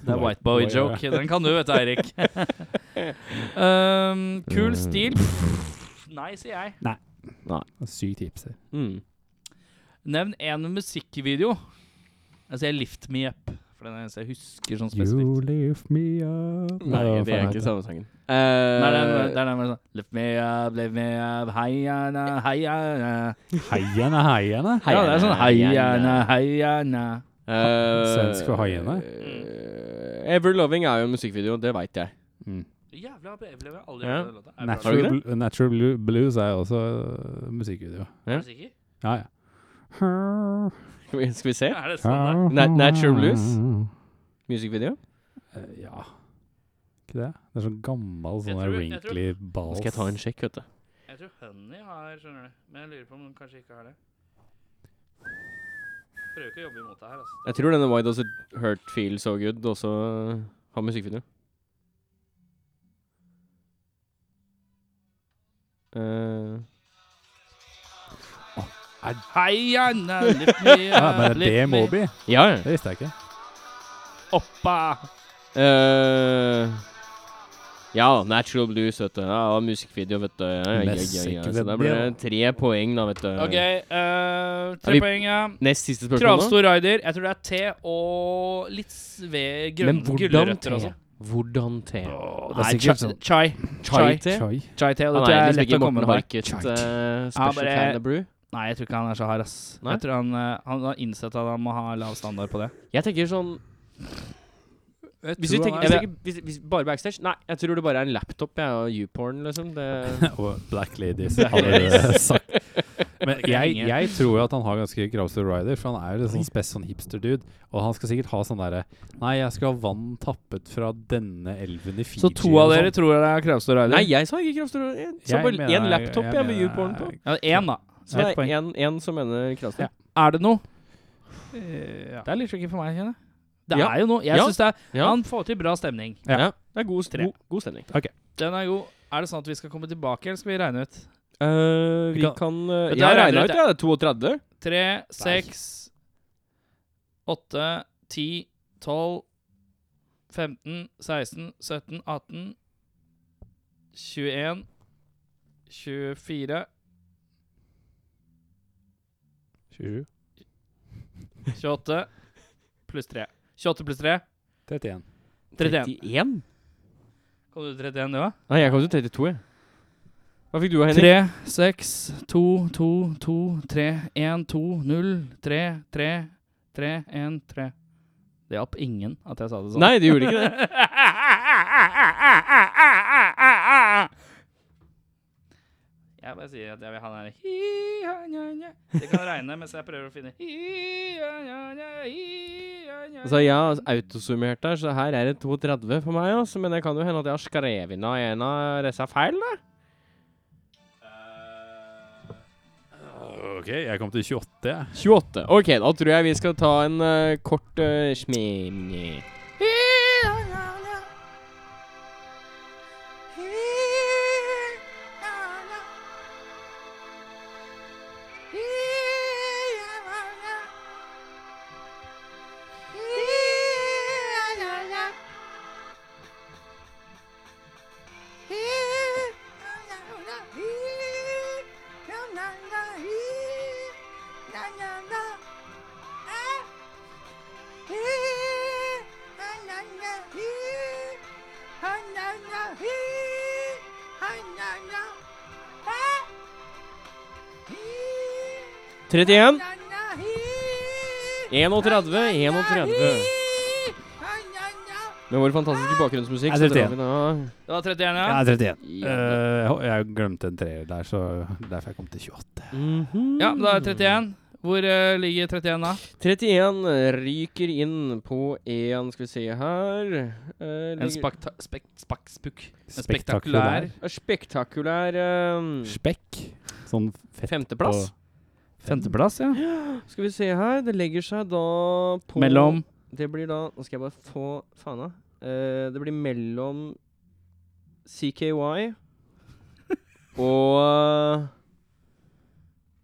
Speaker 2: Det er
Speaker 1: White
Speaker 2: white boy
Speaker 1: boy,
Speaker 2: joke. Den kan du, vet du, Eirik. um, kul stil. Nei, sier jeg.
Speaker 1: Sykt tipser.
Speaker 2: Hmm.
Speaker 3: Mm.
Speaker 2: Nevn én musikkvideo. Jeg sier Lift Me Up. For den er den eneste jeg husker sånn
Speaker 1: You
Speaker 2: spesifikt.
Speaker 1: lift me up
Speaker 3: Nei,
Speaker 1: hva
Speaker 3: det er
Speaker 1: faen
Speaker 3: ikke
Speaker 1: heter det?
Speaker 3: samme sangen.
Speaker 2: Nei, det er den- det er den med sånn Lift me up, lift me up, heiana, heiana.
Speaker 1: Heiene, heiene.
Speaker 2: Ja, det er sånn heiana,
Speaker 3: Heiana.
Speaker 2: heiana.
Speaker 1: Svensk for haiene.
Speaker 3: eh, Ever Loving er jo en musikkvideo, det veit jeg.
Speaker 1: Mm.
Speaker 2: Jævla BB, jeg har aldri
Speaker 3: Ja.
Speaker 2: hørt den låta. Er det
Speaker 3: Natural. Har du
Speaker 2: bra?
Speaker 1: Natural,
Speaker 3: ikke
Speaker 1: Bl- Natural Blue- Blues er jo også øh, musikkvideo.
Speaker 2: Er du sikker?
Speaker 1: Ja, ja. Sånn
Speaker 3: Skal vi, skal vi se?
Speaker 2: Er det sånn det
Speaker 1: Ah.
Speaker 2: er?
Speaker 3: Na- Natural Blues? Musikkvideo?
Speaker 1: Eh, Ja. Ikke det? Det er sånn
Speaker 2: Jeg
Speaker 1: gammel sånn
Speaker 2: tror-
Speaker 1: der
Speaker 2: jeg tror-
Speaker 1: wrinkly
Speaker 3: Nå
Speaker 1: balls.
Speaker 3: skal jeg ta en sjekk, vet du.
Speaker 2: Jeg tror Honey har, skjønner du. Men jeg lurer på om hun kanskje ikke har det. Prøver ikke å jobbe imot det her, altså.
Speaker 3: Jeg tror denne Why Does It Hurt Feel So Good også har musikkvideo. Eh,
Speaker 2: Heia, na, lift me
Speaker 1: Ja,
Speaker 3: *laughs*
Speaker 2: up,
Speaker 1: men er det
Speaker 2: lift me
Speaker 1: Moby?
Speaker 3: ja, ja.
Speaker 1: Det visste jeg ikke.
Speaker 2: oppa.
Speaker 3: Eh, ja, Natural Blues, vet du. Ja, og musikkvideo, vet du. Ja, ja, ja, ja, ja. Så da blir det tre poeng, da, vet du.
Speaker 2: Ok, eh,
Speaker 3: Er
Speaker 2: tre
Speaker 3: vi-
Speaker 2: poeng, ja.
Speaker 3: Nest siste spørsmål. nå.
Speaker 2: Kravstor rider. Jeg tror det er te og litt sved
Speaker 3: Men
Speaker 2: grønne
Speaker 3: hvordan
Speaker 2: gulrøtter
Speaker 3: te?
Speaker 2: også.
Speaker 3: Hvordan te?
Speaker 2: Åh,
Speaker 1: Det er
Speaker 2: Nei,
Speaker 1: sikkert
Speaker 2: chai,
Speaker 1: sånn-
Speaker 2: chai. Chai.
Speaker 3: Chai-te?
Speaker 1: Chai.
Speaker 2: Chai te,
Speaker 3: Han
Speaker 2: og det tror jeg
Speaker 3: er
Speaker 2: er
Speaker 3: liksom
Speaker 2: lett
Speaker 3: ikke
Speaker 2: å komme
Speaker 3: Morten
Speaker 2: på.
Speaker 3: Harket
Speaker 1: Chai-te.
Speaker 3: eh,
Speaker 2: Ja,
Speaker 3: Special
Speaker 2: bare-
Speaker 3: Kind of Brew.
Speaker 2: Nei, jeg tror ikke han er så hard, ass.
Speaker 3: Nei?
Speaker 2: Jeg tror han, eh, han har innsett at han må ha lav standard på det.
Speaker 3: Jeg tenker sånn Hvis du
Speaker 1: tror
Speaker 3: tenker,
Speaker 1: han
Speaker 3: jeg
Speaker 1: er-
Speaker 3: tenker hvis, hvis Bare backstage? Nei, jeg tror det bare er en laptop jeg, og YouPorn, liksom. Det,
Speaker 1: *laughs* Og
Speaker 3: *laughs*
Speaker 1: Black Ladies allerede *laughs* sagt. Men jeg, jeg tror jo at han har ganske kravstor rider, for han er jo litt sånn spes sånn hipster-dude. Og han skal sikkert ha sånn derre Nei, jeg skal ha vann tappet fra denne elven i Fiji.
Speaker 2: Så to av
Speaker 1: og
Speaker 2: dere
Speaker 1: sånn.
Speaker 2: tror det er Kravstor rider?
Speaker 3: nei, jeg sa ikke Kravstor. Jeg sa bare
Speaker 1: Jeg mener-
Speaker 3: én laptop jeg, med
Speaker 1: mener-
Speaker 3: YouPorn på.
Speaker 2: Ja, én, da.
Speaker 3: Så det
Speaker 2: Ett poeng.
Speaker 3: er én- én som mener Kravstor.
Speaker 1: Ja.
Speaker 2: Er det noe?
Speaker 1: Eh, ja.
Speaker 2: Det er litt tricky for meg, kjenner jeg. Det
Speaker 3: Ja.
Speaker 2: er jo noe. Jeg
Speaker 3: Ja.
Speaker 2: synes det er
Speaker 3: Ja.
Speaker 2: Han får til bra stemning.
Speaker 1: Ja.
Speaker 3: Ja. Det er god,
Speaker 2: Tre.
Speaker 3: god, god stemning.
Speaker 2: Den er god. Er det sånn at vi skal komme tilbake, eller skal vi regne ut?
Speaker 3: Eh, vi
Speaker 1: Kan-
Speaker 3: kan eh,
Speaker 2: Dette
Speaker 3: Jeg
Speaker 2: er
Speaker 3: regna
Speaker 2: regnet
Speaker 3: ut,
Speaker 2: ut,
Speaker 3: jeg. Det er 32.
Speaker 2: Tre, seks, åtte, ti, tolv, 15, 16, 17, 18, 21, 24,
Speaker 1: 27.
Speaker 2: 28 pluss 3. 28 pluss 3.
Speaker 1: 31.
Speaker 2: 31.
Speaker 3: 31?
Speaker 2: Kom du 31, du òg?
Speaker 3: Nei, jeg kom til 32, jeg. Hva fikk du av Henrik?
Speaker 2: 3, 6, 2, 2, 2, 3, 1, 2, 0, 3, 3, 3, 1, 3. Det hjalp ingen at jeg sa det sånn.
Speaker 3: Nei, det gjorde ikke det.
Speaker 2: *laughs* Jeg bare sier at jeg vil ha den her hi-ha-nja-nja. Det kan regne mens jeg prøver å finne hi-ha-nja-nja, hi-ha-nja-nja.
Speaker 3: Altså, jeg har autosummert der, så her er det 32 for meg, altså. Men det kan jo hende at jeg har skrevet inn av en av disse feil, da.
Speaker 1: Eh, OK, jeg kom til 28, jeg.
Speaker 3: 28. OK, da tror jeg vi skal ta en eh, kort uh, smimni.
Speaker 7: Yeah.
Speaker 3: 31. 31, 31. Med vår fantastiske bakgrunnsmusikk.
Speaker 1: Jeg
Speaker 3: så
Speaker 1: tror
Speaker 3: drar
Speaker 1: det.
Speaker 3: vi den
Speaker 2: Det var 31, ja?
Speaker 1: Jeg er 31.
Speaker 3: av.
Speaker 1: Eh, jeg- jeg glemte en treer der, så derfor jeg kom til 28.
Speaker 3: Mhm.
Speaker 2: Ja, da er det 31. Hvor eh, ligger 31 da?
Speaker 3: 31 ryker inn på én, skal vi se her Eh,
Speaker 2: En
Speaker 3: ligger-
Speaker 2: spakta... Spek, spakk- spukk. En spektakulær
Speaker 3: Eh, Spektakulær eh,
Speaker 1: Spekk. Sånn fett
Speaker 3: femteplass.
Speaker 1: på-
Speaker 2: Femteplass, ja.
Speaker 3: *gasps* Skal vi se her. Det legger seg da på
Speaker 2: Mellom
Speaker 3: Det blir da Nå skal jeg bare få fana. Eh, det blir mellom
Speaker 2: *laughs*
Speaker 3: CKY og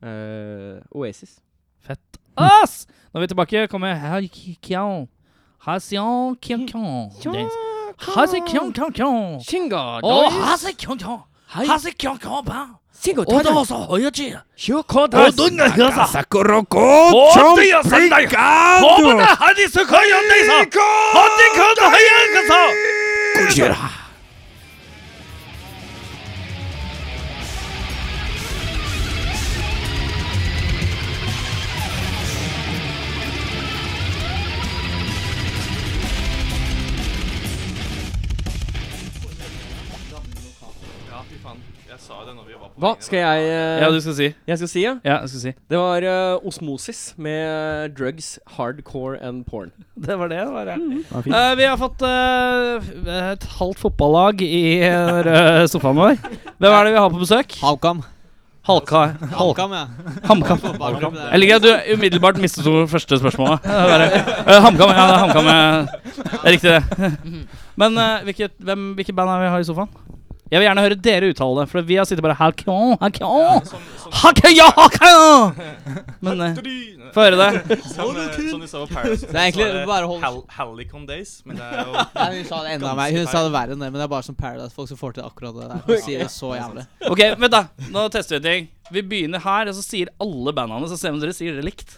Speaker 3: eh, Oasis.
Speaker 2: Fett ass! Nå er vi tilbake. Kommer Haikikiao. Hasian Kiankian. Hasikian Kiankian.
Speaker 3: Shinga,
Speaker 2: Og
Speaker 3: guys.
Speaker 2: Hasikiankian.
Speaker 3: Hei.
Speaker 2: Hasikiankian Pan.
Speaker 3: Shinga,
Speaker 2: Og det
Speaker 3: ta
Speaker 2: var
Speaker 3: det.
Speaker 2: så høye tid.
Speaker 3: Shoko, ta
Speaker 5: 어,
Speaker 2: Og
Speaker 3: det.
Speaker 2: du nøkker seg.
Speaker 3: Hva skal jeg eh,
Speaker 2: Ja, du skal si.
Speaker 3: Jeg skal si, ja.
Speaker 2: Ja, jeg skal si.
Speaker 3: Det var eh, Osmosis med drugs, hardcore and porn.
Speaker 2: Det var det. det var det.
Speaker 1: var fint.
Speaker 2: Eh, vi har fått eh, et halvt fotballag i eh, rød sofaen vår. Hvem er det vi har på besøk?
Speaker 7: Halvkam.
Speaker 2: Halka. Halka.
Speaker 7: Halvkam, ja. *laughs*
Speaker 2: HamKam.
Speaker 7: Fotballklubb, det er-
Speaker 2: Jeg liker at du umiddelbart mistet to første spørsmålet. Det er bare, eh, HamKam, ja. Det er HamKam. Ja. Det er riktig, det.
Speaker 7: *laughs*
Speaker 2: Men eh, hvilket, hvem, hvilket band er vi har i sofaen? Jeg vil gjerne høre dere uttale det, for vi har sittet bare Halkan, Halkan,
Speaker 7: sånn-
Speaker 2: Halkan, ja, Halkan! Men eh, få høre det.
Speaker 8: Som, eh, som de sa på Paris
Speaker 7: Det er egentlig bare å holde-
Speaker 8: Hal Halicon Days, men det er jo
Speaker 7: Nei, hun sa det enda mer. Hun sa det verre enn det, men det er bare som Paradise-folk som får til akkurat det *laughs* der. Og sier det så jævlig.
Speaker 2: Ok, vent da. Nå tester vi en ting. Vi begynner her, og så sier alle bandene, så ser vi om dere sier det likt.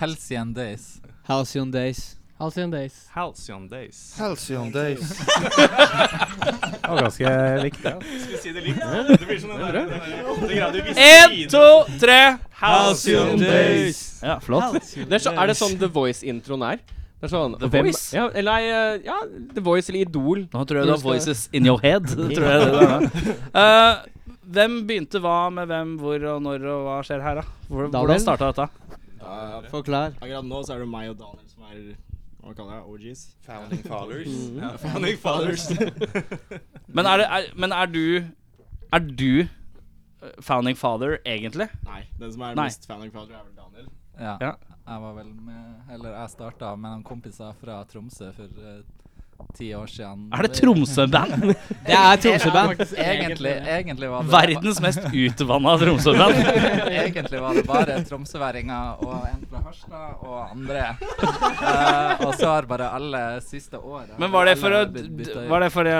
Speaker 9: Halcyon Days.
Speaker 7: Halcyon Days. Halcyon Days.
Speaker 8: Halcyon Days.
Speaker 9: Halcyon Days.
Speaker 1: Det var ganske likt, det.
Speaker 8: Skal vi si det likt? Det blir sånn den der- den der åtte grader visse
Speaker 2: En,
Speaker 8: siden.
Speaker 2: to, tre.
Speaker 8: Halcyon Days.
Speaker 2: Ja, flott.
Speaker 3: Det er, så, er det sånn The Voice-introen er? Det er sånn
Speaker 2: The
Speaker 3: hvem-
Speaker 2: Voice?
Speaker 3: Ja, eller nei, eh, ja, The Voice eller Idol.
Speaker 2: Nå tror jeg du har voices in your
Speaker 3: *laughs*
Speaker 2: head. Det tror jeg det er. Eh, hvem begynte hva med hvem, hvor og når og hva skjer her, da? Hvor,
Speaker 7: Daniel?
Speaker 2: hvordan starta dette?
Speaker 7: Forklar.
Speaker 10: Akkurat nå så er det meg og Daniel som er hva kaller jeg det? OGs?
Speaker 8: Founding Fathers.
Speaker 10: *laughs*
Speaker 8: *laughs*
Speaker 10: Mm.
Speaker 8: Ja.
Speaker 10: Founding Fathers.
Speaker 2: *laughs* Men er, det, er, men er du Er du eh, founding father, egentlig?
Speaker 10: Nei, den som er
Speaker 2: Nei.
Speaker 10: mest founding father, er vel Daniel.
Speaker 9: Ja.
Speaker 2: Ja.
Speaker 9: Jeg var vel med Eller jeg starta med noen kompiser fra Tromsø for eh, ti år siden.
Speaker 2: Er det
Speaker 9: *laughs*
Speaker 2: Tromsø-band?
Speaker 7: Det er Tromsø-band.
Speaker 9: Egentlig, egentlig var det
Speaker 2: Verdens mest utvanna Tromsø-band.
Speaker 9: *laughs* Egentlig var det bare tromsøværinger og en fra Harstad og andre. Eh, og så har bare alle siste året
Speaker 2: Men var det for å
Speaker 9: alle blitt byttet ut.
Speaker 2: Var det for å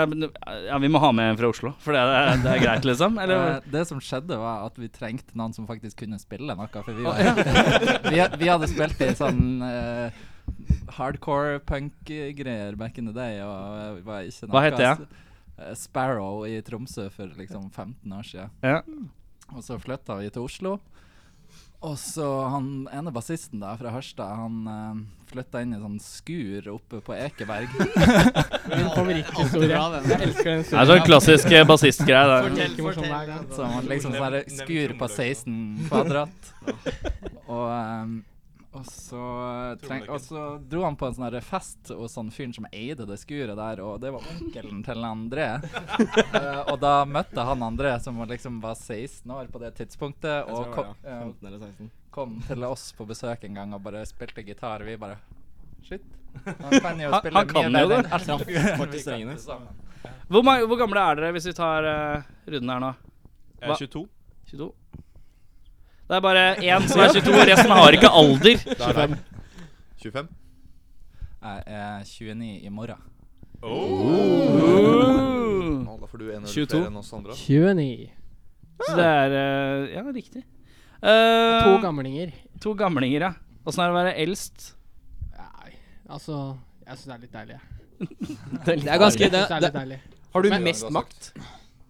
Speaker 2: Ja, vi må ha med en fra Oslo, for det, er- det er greit, liksom?
Speaker 9: Eh,
Speaker 2: Eller?
Speaker 9: det som skjedde, var at vi trengte noen som faktisk kunne spille noe. For vi, var, *laughs* vi, vi hadde spilt i sånn eh, hardcore punk-greier back in the day. Og eh, var ikke noe
Speaker 2: Hva heter jeg?
Speaker 9: Eh, Sparrow i Tromsø for liksom 15 år siden.
Speaker 2: Ja.
Speaker 9: Og så flytta vi til Oslo. Og så han ene bassisten da, fra Harstad, han uh, flytta inn i sånn skur oppe på
Speaker 2: *laughs*
Speaker 9: Ekeberg. *laughs*
Speaker 7: Min favoritthistorie. Jeg elsker den
Speaker 2: Det er sånn klassisk eh, bassistgreie. det.
Speaker 9: Så han liksom sånn her
Speaker 8: Nevn- nevn
Speaker 9: skur på
Speaker 8: trommeløk, da.
Speaker 9: 16 kvadrat. Og, ehm, og, så treng, og så dro han på en sånn her fest hos han fyren som eide det skuret der, og det var onkelen til André. Eh, og da møtte han André, som var liksom var 16 år på det tidspunktet,
Speaker 10: Jeg tror
Speaker 9: og
Speaker 10: det
Speaker 9: kom,
Speaker 10: var det, ja.
Speaker 9: eh,
Speaker 10: 15 eller 16.
Speaker 9: kom til oss på besøk en gang og bare spilte gitar. Vi bare Shit. Han kan jo
Speaker 2: Han-
Speaker 9: spille
Speaker 2: han kan jo det. *laughs*
Speaker 9: enn alt vi
Speaker 10: Faktisk
Speaker 9: kan
Speaker 10: strengene.
Speaker 9: til sammen.
Speaker 2: Hvor, ma- hvor gamle er dere hvis vi tar eh, runden her nå?
Speaker 8: Jeg
Speaker 2: Hva?
Speaker 8: er 22.
Speaker 2: 22? Det er
Speaker 8: *laughs*
Speaker 2: bare én som er 22, resten har ikke alder.
Speaker 8: 25. 25?
Speaker 9: Jeg er 29 eh, i morgen.
Speaker 2: Oh!
Speaker 8: Nå, da får du en øl
Speaker 2: 22.
Speaker 8: flere enn oss andre.
Speaker 11: 29.
Speaker 2: Så det er eh, Ja, riktig. Eh,
Speaker 11: To gamlinger.
Speaker 2: to gamlinger, ja. Åssen er det å være eldst?
Speaker 11: Nei, altså Jeg syns det er litt deilig. jeg.
Speaker 7: Det er ganske
Speaker 11: Jeg synes
Speaker 7: det,
Speaker 11: det er
Speaker 7: det,
Speaker 11: litt deilig.
Speaker 3: Har du
Speaker 11: Men-
Speaker 3: mest makt?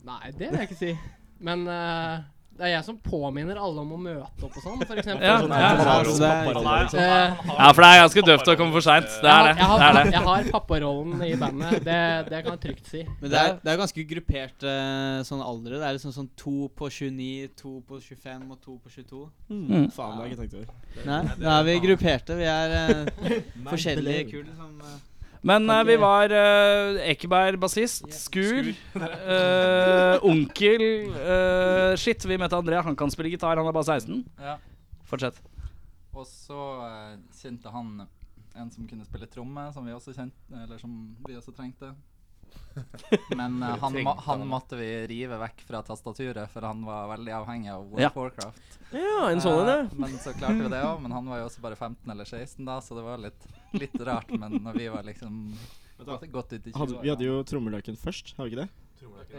Speaker 11: Nei, det vil jeg ikke si. Men eh, Det er jeg som påminner alle om å møte opp og sånn, for eksempel.
Speaker 2: Ja,
Speaker 11: Sånn,
Speaker 2: ja.
Speaker 11: eh,
Speaker 7: så det er-
Speaker 11: eh,
Speaker 2: Ja, for det er ganske døvt å komme for seint. Det
Speaker 11: jeg har- Jeg
Speaker 2: er det. det,
Speaker 11: har,
Speaker 2: er det.
Speaker 11: jeg har papparollen i bandet. Det, det kan jeg trygt si.
Speaker 7: Men det er, det er ganske gruppert eh, sånn aldre. Det er liksom sånn to på 29, to på 25 og to på 22.
Speaker 10: Faen, det har jeg ikke tenkt over.
Speaker 7: Nei, da Mm. er vi grupperte. Vi er *laughs*
Speaker 11: *laughs*
Speaker 7: eh, forskjellige kull. Liksom, eh.
Speaker 2: Men eh, vi var eh, Ekeberg bassist, Skur,
Speaker 10: *laughs*
Speaker 2: eh, Onkel eh, Shit, vi møtte André. Han kan spille gitar, han er bare 16.
Speaker 9: Ja.
Speaker 2: Fortsett.
Speaker 9: Og så eh, kjente han en som kunne spille tromme, som vi også kjente Eller som vi også trengte. Men
Speaker 3: *laughs*
Speaker 9: eh, han, må, han måtte vi rive vekk fra tastaturet, for han var veldig avhengig av World
Speaker 2: Ja.
Speaker 9: of Warcraft.
Speaker 3: Ja, en sånn en, ja.
Speaker 9: Eh, Men så klarte vi det òg. Men han var jo også bare 15 eller 16 da, så det var litt, litt rart. Men når vi var liksom gått, gått ut i 20
Speaker 10: Hadde, vi hadde jo trommeløken først, har vi ikke det?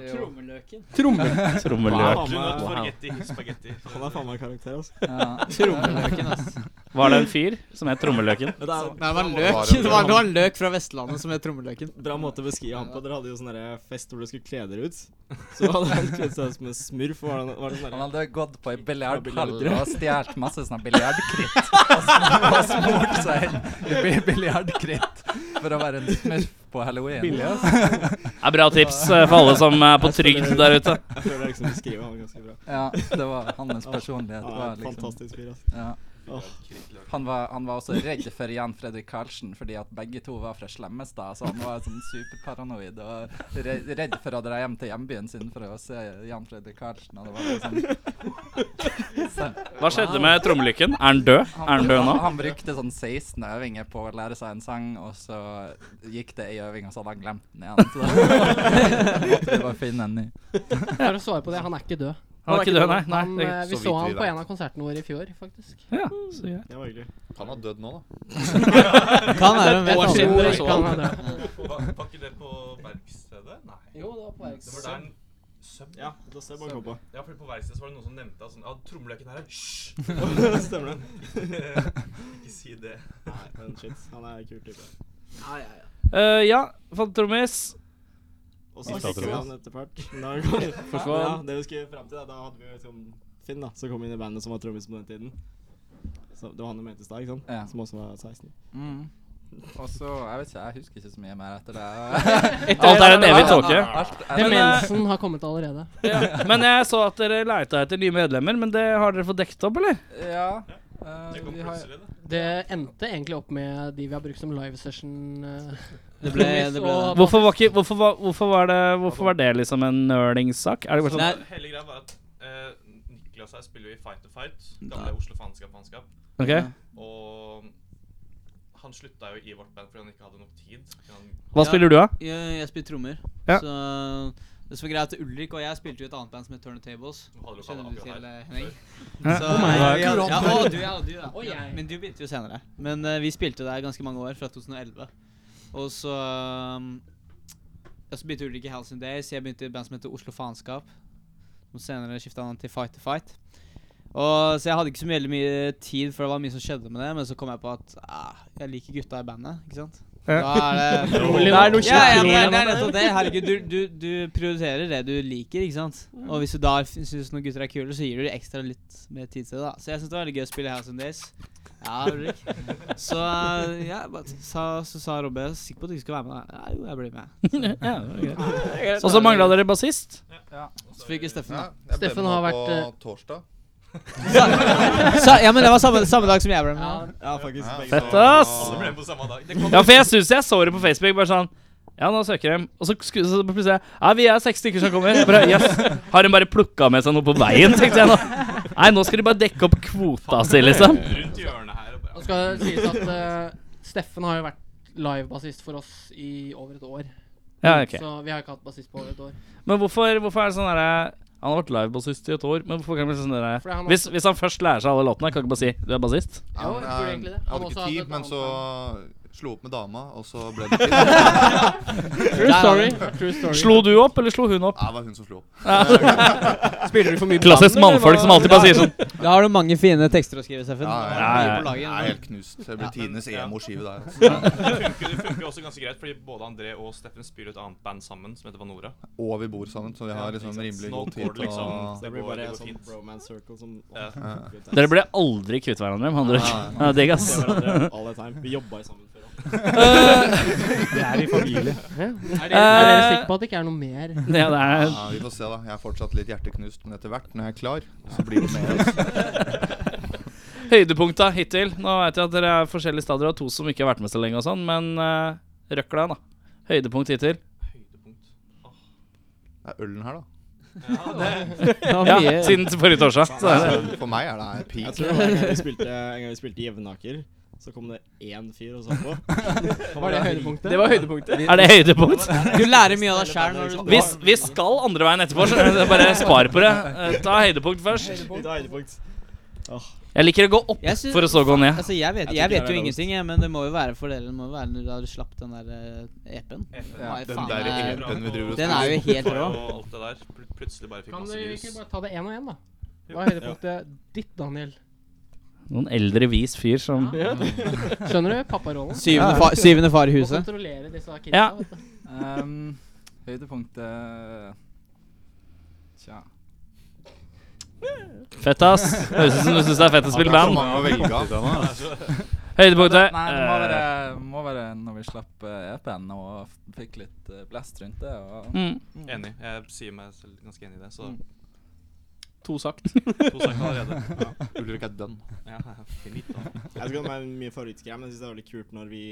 Speaker 9: jo
Speaker 10: *laughs*
Speaker 2: Trommeløk.
Speaker 8: Peanut, forgetti, spagetti.
Speaker 10: Han er faen meg karakter, altså. *laughs*
Speaker 9: ja.
Speaker 7: Trommeløken, ass.
Speaker 2: Var det en fyr som het Trommeløken?
Speaker 10: Men *laughs* det er
Speaker 7: Nei, det var løk. Det var, det var en løk fra Vestlandet som het Trommeløken.
Speaker 10: en bra måte å beskrive han på. Dere hadde jo sånn derre fest hvor dere skulle kle dere ut. Så hadde han kledd seg ut som en smurf. og Var det, var det sånn
Speaker 9: Han
Speaker 10: derre-
Speaker 9: hadde gått på ei biljardhall og stjålet masse sånne biljardkritt. Og smurt seg inn i bi- biljardkritt for å være en smurf på halloween.
Speaker 2: Det er bra tips eh, for alle som er på trygd der ute.
Speaker 10: Jeg føler jeg liksom beskriver han ganske bra.
Speaker 9: Ja, det var hans personlighet.
Speaker 10: Han
Speaker 9: Var
Speaker 10: er en
Speaker 9: liksom,
Speaker 10: fantastisk fyr, altså.
Speaker 9: ja. han, var, han var også redd for Jan Fredrik Karlsen, fordi at begge to var fra Slemmestad. Så han var sånn superparanoid og re- redd for å dra hjem til hjembyen sin for å se Jan Fredrik Karlsen. Og det var liksom,
Speaker 2: Hva skjedde med Trommelykken? Er han død? Er han død nå?
Speaker 9: han, han brukte sånn 16 øvinger på å lære seg en sang, og så gikk det ei øving, og så hadde han glemt den igjen. Så da *laughs* måtte vi bare finne en ny.
Speaker 11: For å svare på det, han er ikke død.
Speaker 2: Han er ikke død, nei. nei.
Speaker 11: Han,
Speaker 2: det
Speaker 11: eh,
Speaker 2: er
Speaker 11: vi
Speaker 8: Så
Speaker 11: så
Speaker 8: vidt vi
Speaker 11: han på
Speaker 8: vet.
Speaker 11: en av konsertene våre i fjor, faktisk.
Speaker 2: greit. Ja, så greit.
Speaker 10: Det var hyggelig.
Speaker 8: Han har dødd nå, da.
Speaker 7: *laughs* Kan være hun vet
Speaker 11: År siden
Speaker 7: aldri.
Speaker 11: dere så
Speaker 2: sånn.
Speaker 11: han *laughs* er død.
Speaker 8: Var, var ikke det på verkstedet? Nei.
Speaker 11: Jo, det var på
Speaker 8: Det var der Søm?
Speaker 10: Ja, da ser jeg bare på.
Speaker 8: Ja, fordi på verkstedet så var det noen som nevnte at sånn Ja, trommeløken her er Hysj!
Speaker 10: *laughs*
Speaker 8: *laughs*
Speaker 10: Stemmer det.
Speaker 8: Ikke si det.
Speaker 10: Nei, men shit. Han er en kul type.
Speaker 2: Eh, ja, fant trommis.
Speaker 10: Og så fikk vi han etter *laughs* hvert. Da kom-
Speaker 3: Forsvann.
Speaker 10: Ja, det vi skulle fram til, da, da hadde vi jo liksom Finn, da, som kom inn i bandet som var trommis på den tiden. Så det var han du mente i stad, ikke sant?
Speaker 9: Ja.
Speaker 10: Som også var 16.
Speaker 9: Mm. *laughs* Og så, jeg vet ikke, jeg husker ikke så mye mer etter det.
Speaker 2: Alt er en evig tåke.
Speaker 9: Alt, alt,
Speaker 11: Demensen har kommet allerede.
Speaker 2: Ja. Men jeg så at dere leita etter nye medlemmer, men det har dere fått dekket opp, eller?
Speaker 9: ja. eh,
Speaker 8: Det kom
Speaker 9: vi har,
Speaker 8: plutselig, det.
Speaker 11: Det endte egentlig opp med de vi har brukt som live session. eh,
Speaker 7: Det
Speaker 11: *laughs*
Speaker 7: ble, det ble det.
Speaker 2: Hvorfor var, ikke, hvorfor var, hvorfor var, det, hvorfor var det liksom en nerdingssak? Er det bare sånn
Speaker 7: Nei.
Speaker 8: Hele greia var at eh, Niklas her spiller jo i Fight to Fight. Gamle Oslo Faenskap Faenskap.
Speaker 2: Ok,
Speaker 8: Og han slutta jo i vårt band fordi han ikke hadde nok tid. Fordi Han,
Speaker 2: Hva
Speaker 7: Ja.
Speaker 2: spiller du, da?
Speaker 7: Jeg, jeg spiller trommer.
Speaker 2: Ja.
Speaker 7: Så det som er greit, Ulrik og jeg spilte jo i et annet band som het Turntables.
Speaker 8: han hadde
Speaker 7: Kjenner
Speaker 8: lokalet
Speaker 7: du
Speaker 8: akkurat
Speaker 7: til
Speaker 8: her.
Speaker 7: eh, Henning?
Speaker 2: Hæ?
Speaker 7: Så,
Speaker 11: my
Speaker 7: ja,
Speaker 11: God.
Speaker 7: ja, å, du, ja, du, ja.
Speaker 11: Å, jeg.
Speaker 7: Men du begynte jo senere. Men eh, vi spilte der ganske mange år, fra 2011. Og så um, ja, Så begynte Ulrik i Halcyon Days. Jeg begynte i et band som heter Oslo Faenskap. Som senere skifta navn til Fight to Fight. Og, så jeg hadde ikke så veldig mye tid, for det var mye som skjedde med det. Men så kom jeg på at ah, jeg liker gutta i bandet, ikke sant. Da er det
Speaker 11: Rolig
Speaker 7: Det er
Speaker 11: nå.
Speaker 7: noe ja, ja, men
Speaker 11: Rolig
Speaker 7: det, er nettopp det. Herregud, du, du, du prioriterer det du liker, ikke sant. Og hvis du da syns noen gutter er kule, så gir du dem ekstra litt mer tid til det. da Så jeg syns det var veldig gøy å spille House and Days. Ja, Ulrik. Så eh, ja, bare sa, så sa Robbe Jeg er sikker på at du ikke skal være med. da. Ja, jo, jeg blir med.
Speaker 2: *laughs* Ja, det var greit. Og så mangla dere bassist.
Speaker 7: Så fikk vi Steffen, da.
Speaker 11: Steffen har vært, eh,
Speaker 7: *laughs*
Speaker 12: torsdag.
Speaker 7: Så, ja, men det var samme, samme dag som jeg ble med.
Speaker 11: Ja,
Speaker 7: da.
Speaker 10: Ja, faktisk. begge
Speaker 2: Fett,
Speaker 10: to.
Speaker 2: ass!
Speaker 8: Alle ble med på samme dag. Det kom
Speaker 2: Ja, for jeg syns jeg så det på Facebook. Bare sånn Ja, nå søker de. Og så, sku- så plutselig Ja, vi er seks stykker som kommer. Jeg Bare, yes. Har de bare plukka med seg noe på veien, tenkte jeg nå. Nei, nå skal de bare dekke opp kvota si, liksom.
Speaker 8: rundt hjørnet her. Og
Speaker 11: Nå
Speaker 8: bare,
Speaker 11: skal det sies at eh, Steffen har jo vært livebassist for oss i over et år.
Speaker 2: Ja, ok
Speaker 11: Så vi har ikke hatt bassist på over et år.
Speaker 2: Men hvorfor, hvorfor er det sånn derre Han har vært livebassist i et år, men hvorfor kan det bli sånn derre
Speaker 11: Fordi han har-
Speaker 2: hvis, hvis han først lærer seg alle låtene, kan han ikke bare si 'du er bassist'?
Speaker 11: Ja, jeg tror egentlig det. Han
Speaker 12: eh, hadde
Speaker 11: også
Speaker 12: ikke
Speaker 11: hadde et
Speaker 12: tid, men
Speaker 11: annet
Speaker 12: så Slo opp med dama, og så
Speaker 11: *laughs*
Speaker 12: ble det ikke det.
Speaker 11: True story. True story.
Speaker 2: Slo du opp, eller slo hun opp?
Speaker 12: Ja, det var hun som slo opp. *laughs*
Speaker 3: Spiller du for mye band,
Speaker 2: Klassisk
Speaker 3: eller
Speaker 2: mannfolk
Speaker 3: hva?
Speaker 2: som alltid bare sier sånn.
Speaker 7: Da har du mange fine tekster å skrive, Steffen.
Speaker 12: Ja, ja,
Speaker 2: ja.
Speaker 12: Jeg
Speaker 7: Mye på
Speaker 12: er
Speaker 7: laget.
Speaker 12: helt knust. Det blir tidenes
Speaker 8: ja.
Speaker 12: emo-skive der. Altså.
Speaker 8: Det funker, det
Speaker 7: *laughs*
Speaker 8: funker også ganske greit, fordi både André og Steffen spiller et annet band sammen, som heter Vanora.
Speaker 12: Og vi bor sammen, så vi har liksom rimelig
Speaker 8: Nå
Speaker 12: god tid.
Speaker 8: går det
Speaker 12: til
Speaker 8: liksom
Speaker 12: å-
Speaker 8: Det
Speaker 10: Det blir
Speaker 8: går,
Speaker 10: bare
Speaker 8: det
Speaker 10: en
Speaker 8: går
Speaker 10: sånn
Speaker 8: fint.
Speaker 10: bromance circle som *laughs*
Speaker 8: Ja.
Speaker 2: Dere ble aldri kvitt hverandre med andre ord. Ja, Digg, ass.
Speaker 10: Ser hverandre all the time. Vi jobba jo sammen før. da.
Speaker 2: *laughs*
Speaker 9: Det er i familie.
Speaker 11: Er dere, er dere sikre på at det ikke er noe mer?
Speaker 2: Ja, det er
Speaker 12: Ja, vi får se, da. Jeg er fortsatt litt hjerteknust, men etter hvert, når jeg er klar, så blir det mer. Altså.
Speaker 2: Høydepunkta hittil. Nå vet jeg at dere er forskjellige stadier og to som ikke har vært med så lenge og sånn, men uh, røkla, da. Høydepunkt hittil.
Speaker 8: Høydepunkt.
Speaker 12: Det er ølen her, da.
Speaker 2: Ja, siden forrige torsdag. Så er det.
Speaker 12: Så for meg er det
Speaker 10: altså. Jeg
Speaker 12: peak.
Speaker 10: tror det var en gang vi spilte, en gang vi spilte i Jevnaker, så kom det én fyr og så på.
Speaker 11: Var det høydepunktet?
Speaker 3: Det var høydepunktet.
Speaker 2: Er det høydepunkt?
Speaker 7: Du lærer mye av deg sjæl når
Speaker 10: liksom.
Speaker 7: du
Speaker 2: Hvis vi skal andre veien etterpå, så så bare spar på det. Eh, Ta høydepunkt først.
Speaker 10: Litt høydepunkt.
Speaker 2: Jeg liker å gå opp
Speaker 7: Jeg synes-
Speaker 2: for å så gå ned.
Speaker 7: Altså, jeg vet, jeg vet jo ingenting, jeg, men det må jo være for dere. Det må jo være når dere slapp den der eh, epen. Ja,
Speaker 12: Den der epen vi driver og
Speaker 7: Den er jo helt rå.
Speaker 8: Og alt det der. Pl- Plutselig bare fikk
Speaker 11: Kan
Speaker 8: masse
Speaker 11: dere
Speaker 8: views.
Speaker 11: ikke bare ta det én og én, da? Hva er høydepunktet ditt, Daniel?
Speaker 2: Noen eldre, vis fyr som *laughs*
Speaker 11: Skjønner du papparollen?
Speaker 7: Syvende, far, syvende far i
Speaker 11: Å
Speaker 7: huset.
Speaker 11: kontrollere disse kidsa.
Speaker 2: Ja.
Speaker 11: vet du.
Speaker 9: Um, høydepunktet Tja.
Speaker 2: Fett, ass. Høres ut som du syns det er fett å spille
Speaker 12: Det er
Speaker 2: band.
Speaker 12: så mange å velge av.
Speaker 9: Det,
Speaker 2: *laughs* Høydepunktet
Speaker 9: nei, det må være,
Speaker 2: eh,
Speaker 9: må være når vi slapp eh, EP-en og f- fikk litt eh, blast rundt det. Og
Speaker 2: mm.
Speaker 8: Enig.
Speaker 9: *laughs*
Speaker 8: Jeg sier meg selv ganske enig i det. Så
Speaker 10: Mm.
Speaker 2: To sagt.
Speaker 8: to
Speaker 3: *laughs*
Speaker 8: saker allerede.
Speaker 12: Ulrik er dønn.
Speaker 8: Ja, finito.
Speaker 10: Jeg skal ha meg mye favorittgreier, men jeg synes det er veldig kult når vi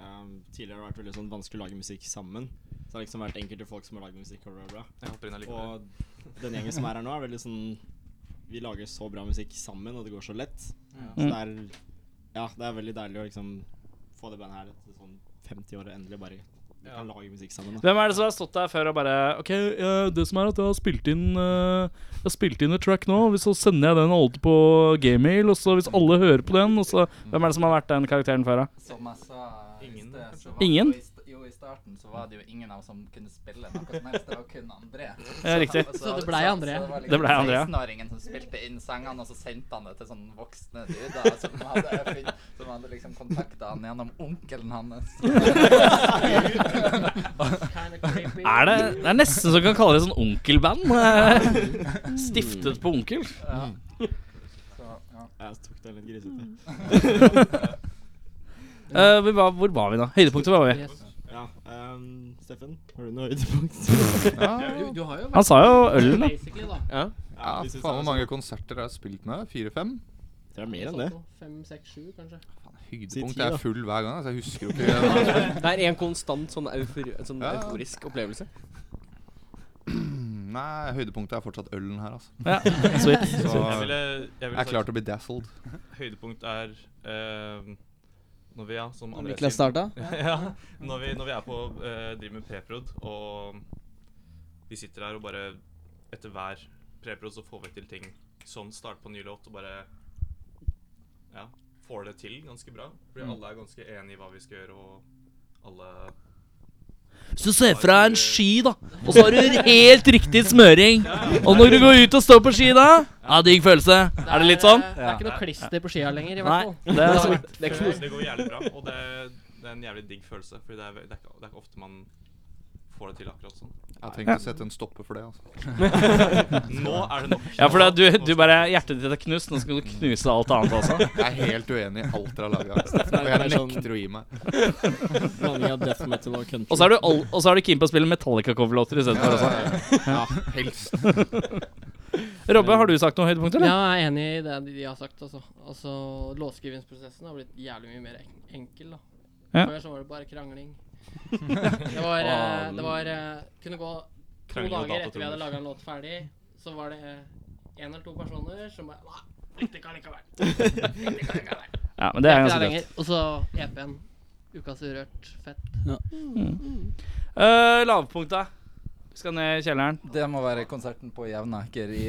Speaker 10: ehm, tidligere har vært veldig sånn vanskelig å lage musikk sammen. Så det har liksom vært enkelte folk som har lagd musikk og bla, bla. bla.
Speaker 8: Jeg hopper inn allikevel.
Speaker 10: Og den gjengen som er her nå, er veldig sånn Vi lager så bra musikk sammen, og det går så lett. Så
Speaker 12: Mm.
Speaker 10: det er Ja, det er veldig deilig å liksom få det bandet her etter sånn 50 år og endelig bare vi kan lage musikk sammen. da.
Speaker 2: Hvem er det som har stått der før og bare OK, eh, det som er at jeg har spilt inn eh, Jeg har spilt inn et track nå, og så sender jeg den alt på gmail, og så hvis alle hører på den, og så Hvem er det som har vært den karakteren før, da?
Speaker 9: som jeg sa i
Speaker 8: Ingen,
Speaker 9: sted, så var
Speaker 2: Ingen?
Speaker 9: eh, det jo i st- Jo, i starten så var det jo ingen av oss som kunne spille noe som helst. Det var kun André.
Speaker 2: *laughs* Ja, riktig.
Speaker 11: Så det blei André.
Speaker 9: Så, så var
Speaker 2: Det blei André, ja.
Speaker 9: 16-åringen som spilte inn sangene, og så sendte han det til sånne voksne duder som hadde, funn- som hadde liksom kontakta han gjennom onkelen
Speaker 2: *laughs*
Speaker 9: hans.
Speaker 11: Kinda creepy.
Speaker 2: Er det Det er nesten så vi kan kalle det sånn onkelband. eh, *laughs* Stiftet på onkel.
Speaker 11: Mm.
Speaker 9: så, ja.
Speaker 10: Jeg tok den litt grisete. *laughs*
Speaker 2: Eh, vi var, hvor var vi, da? Høydepunktet var vi.
Speaker 11: Mm. Yes.
Speaker 10: Ja, ehm, Steffen, har du noe
Speaker 11: *laughs*
Speaker 10: høydepunkt? *laughs*
Speaker 11: Du, du har jo
Speaker 2: Han sa jo ølen, da.
Speaker 11: basically, da.
Speaker 12: Ja,
Speaker 10: vi
Speaker 12: faen
Speaker 10: synes
Speaker 12: hvor
Speaker 10: det er
Speaker 12: mange konserter har jeg spilt med? Fire-fem?
Speaker 10: sånn- Det er mer enn det.
Speaker 11: Sånn, Fem, seks, sju, kanskje.
Speaker 12: Høydepunkt.
Speaker 10: ti,
Speaker 12: Jeg
Speaker 10: da.
Speaker 12: er full hver gang, så jeg husker jo ikke. altså.
Speaker 3: Det er en konstant sånn, eufor, sånn
Speaker 12: Ja, ja.
Speaker 3: euforisk opplevelse.
Speaker 12: Nei, høydepunktet er fortsatt ølen her, altså.
Speaker 2: Ja,
Speaker 12: *laughs*
Speaker 2: sweet.
Speaker 12: Så
Speaker 8: Jeg
Speaker 12: jeg
Speaker 8: ville, jeg ville
Speaker 12: er klar
Speaker 8: sagt
Speaker 12: til å bli dazzled.
Speaker 8: høydepunkt er eh, når vi, ja, som André
Speaker 7: Mikkel har
Speaker 8: sier-
Speaker 7: starta.
Speaker 8: *laughs* ja, når, vi, når vi er på eh, driver med preprod, og vi sitter her og bare Etter hver preprod så får vi til ting. Sånn start på ny låt og bare Ja, får det til ganske bra. Fordi alle er ganske enige i hva vi skal gjøre, og alle
Speaker 2: Hvis du ser fra en sky, da, og så har du helt riktig smøring, og når du går ut og står på ski da Ja, digg følelse. Er det litt sånn?
Speaker 11: Det er ikke noe klister på skia lenger, i
Speaker 2: Nei.
Speaker 11: hvert fall.
Speaker 2: Det er sweet.
Speaker 3: Det er
Speaker 8: Det,
Speaker 3: knust.
Speaker 8: det går jævlig bra, og det, det er en jævlig digg følelse. Fordi det er, ve- det, er ikke, det er ikke ofte man får det til akkurat sånn.
Speaker 12: Jeg har tenkt å sette en stopper for det. altså.
Speaker 8: *laughs* Nå er det nok.
Speaker 2: Ja, for da, du, du bare Hjertet ditt er knust, nå skal du knuse alt annet også.
Speaker 12: Jeg er helt uenig i alt dere har laga. Og
Speaker 10: Nei,
Speaker 12: jeg
Speaker 10: det er sånn-
Speaker 12: nekter å gi meg.
Speaker 10: Blanding av death metal og country.
Speaker 2: Og så er du, all- og så er du keen på å spille Metallica-coverlåter istedenfor også.
Speaker 12: Ja, helst.
Speaker 2: Robbe, har du sagt noe høydepunkt,
Speaker 11: Ja,
Speaker 2: eller?
Speaker 11: jeg er enig i det de- de har sagt. Altså, altså Låtskrivingsprosessen har blitt jævlig mye mer en- enkel. da
Speaker 2: Ja.
Speaker 11: Før så var det bare krangling. Det var, eh, det var eh, Kunne gå to
Speaker 8: Krangling og
Speaker 11: dager etter vi
Speaker 8: datatroner.
Speaker 11: hadde laga en låt ferdig, så var det én eller to personer som bare Nei, dette kan ikke være. Dette kan ikke være.
Speaker 3: *laughs*
Speaker 2: Ja, men det er
Speaker 11: Ikke
Speaker 2: ganske
Speaker 11: der
Speaker 2: dødt.
Speaker 11: lenger. Og så EP-en. Ukas urørt fett.
Speaker 2: Uh, Lavpunktet. Vi skal ned i kjelleren.
Speaker 9: Det må være konserten på Jevnaker i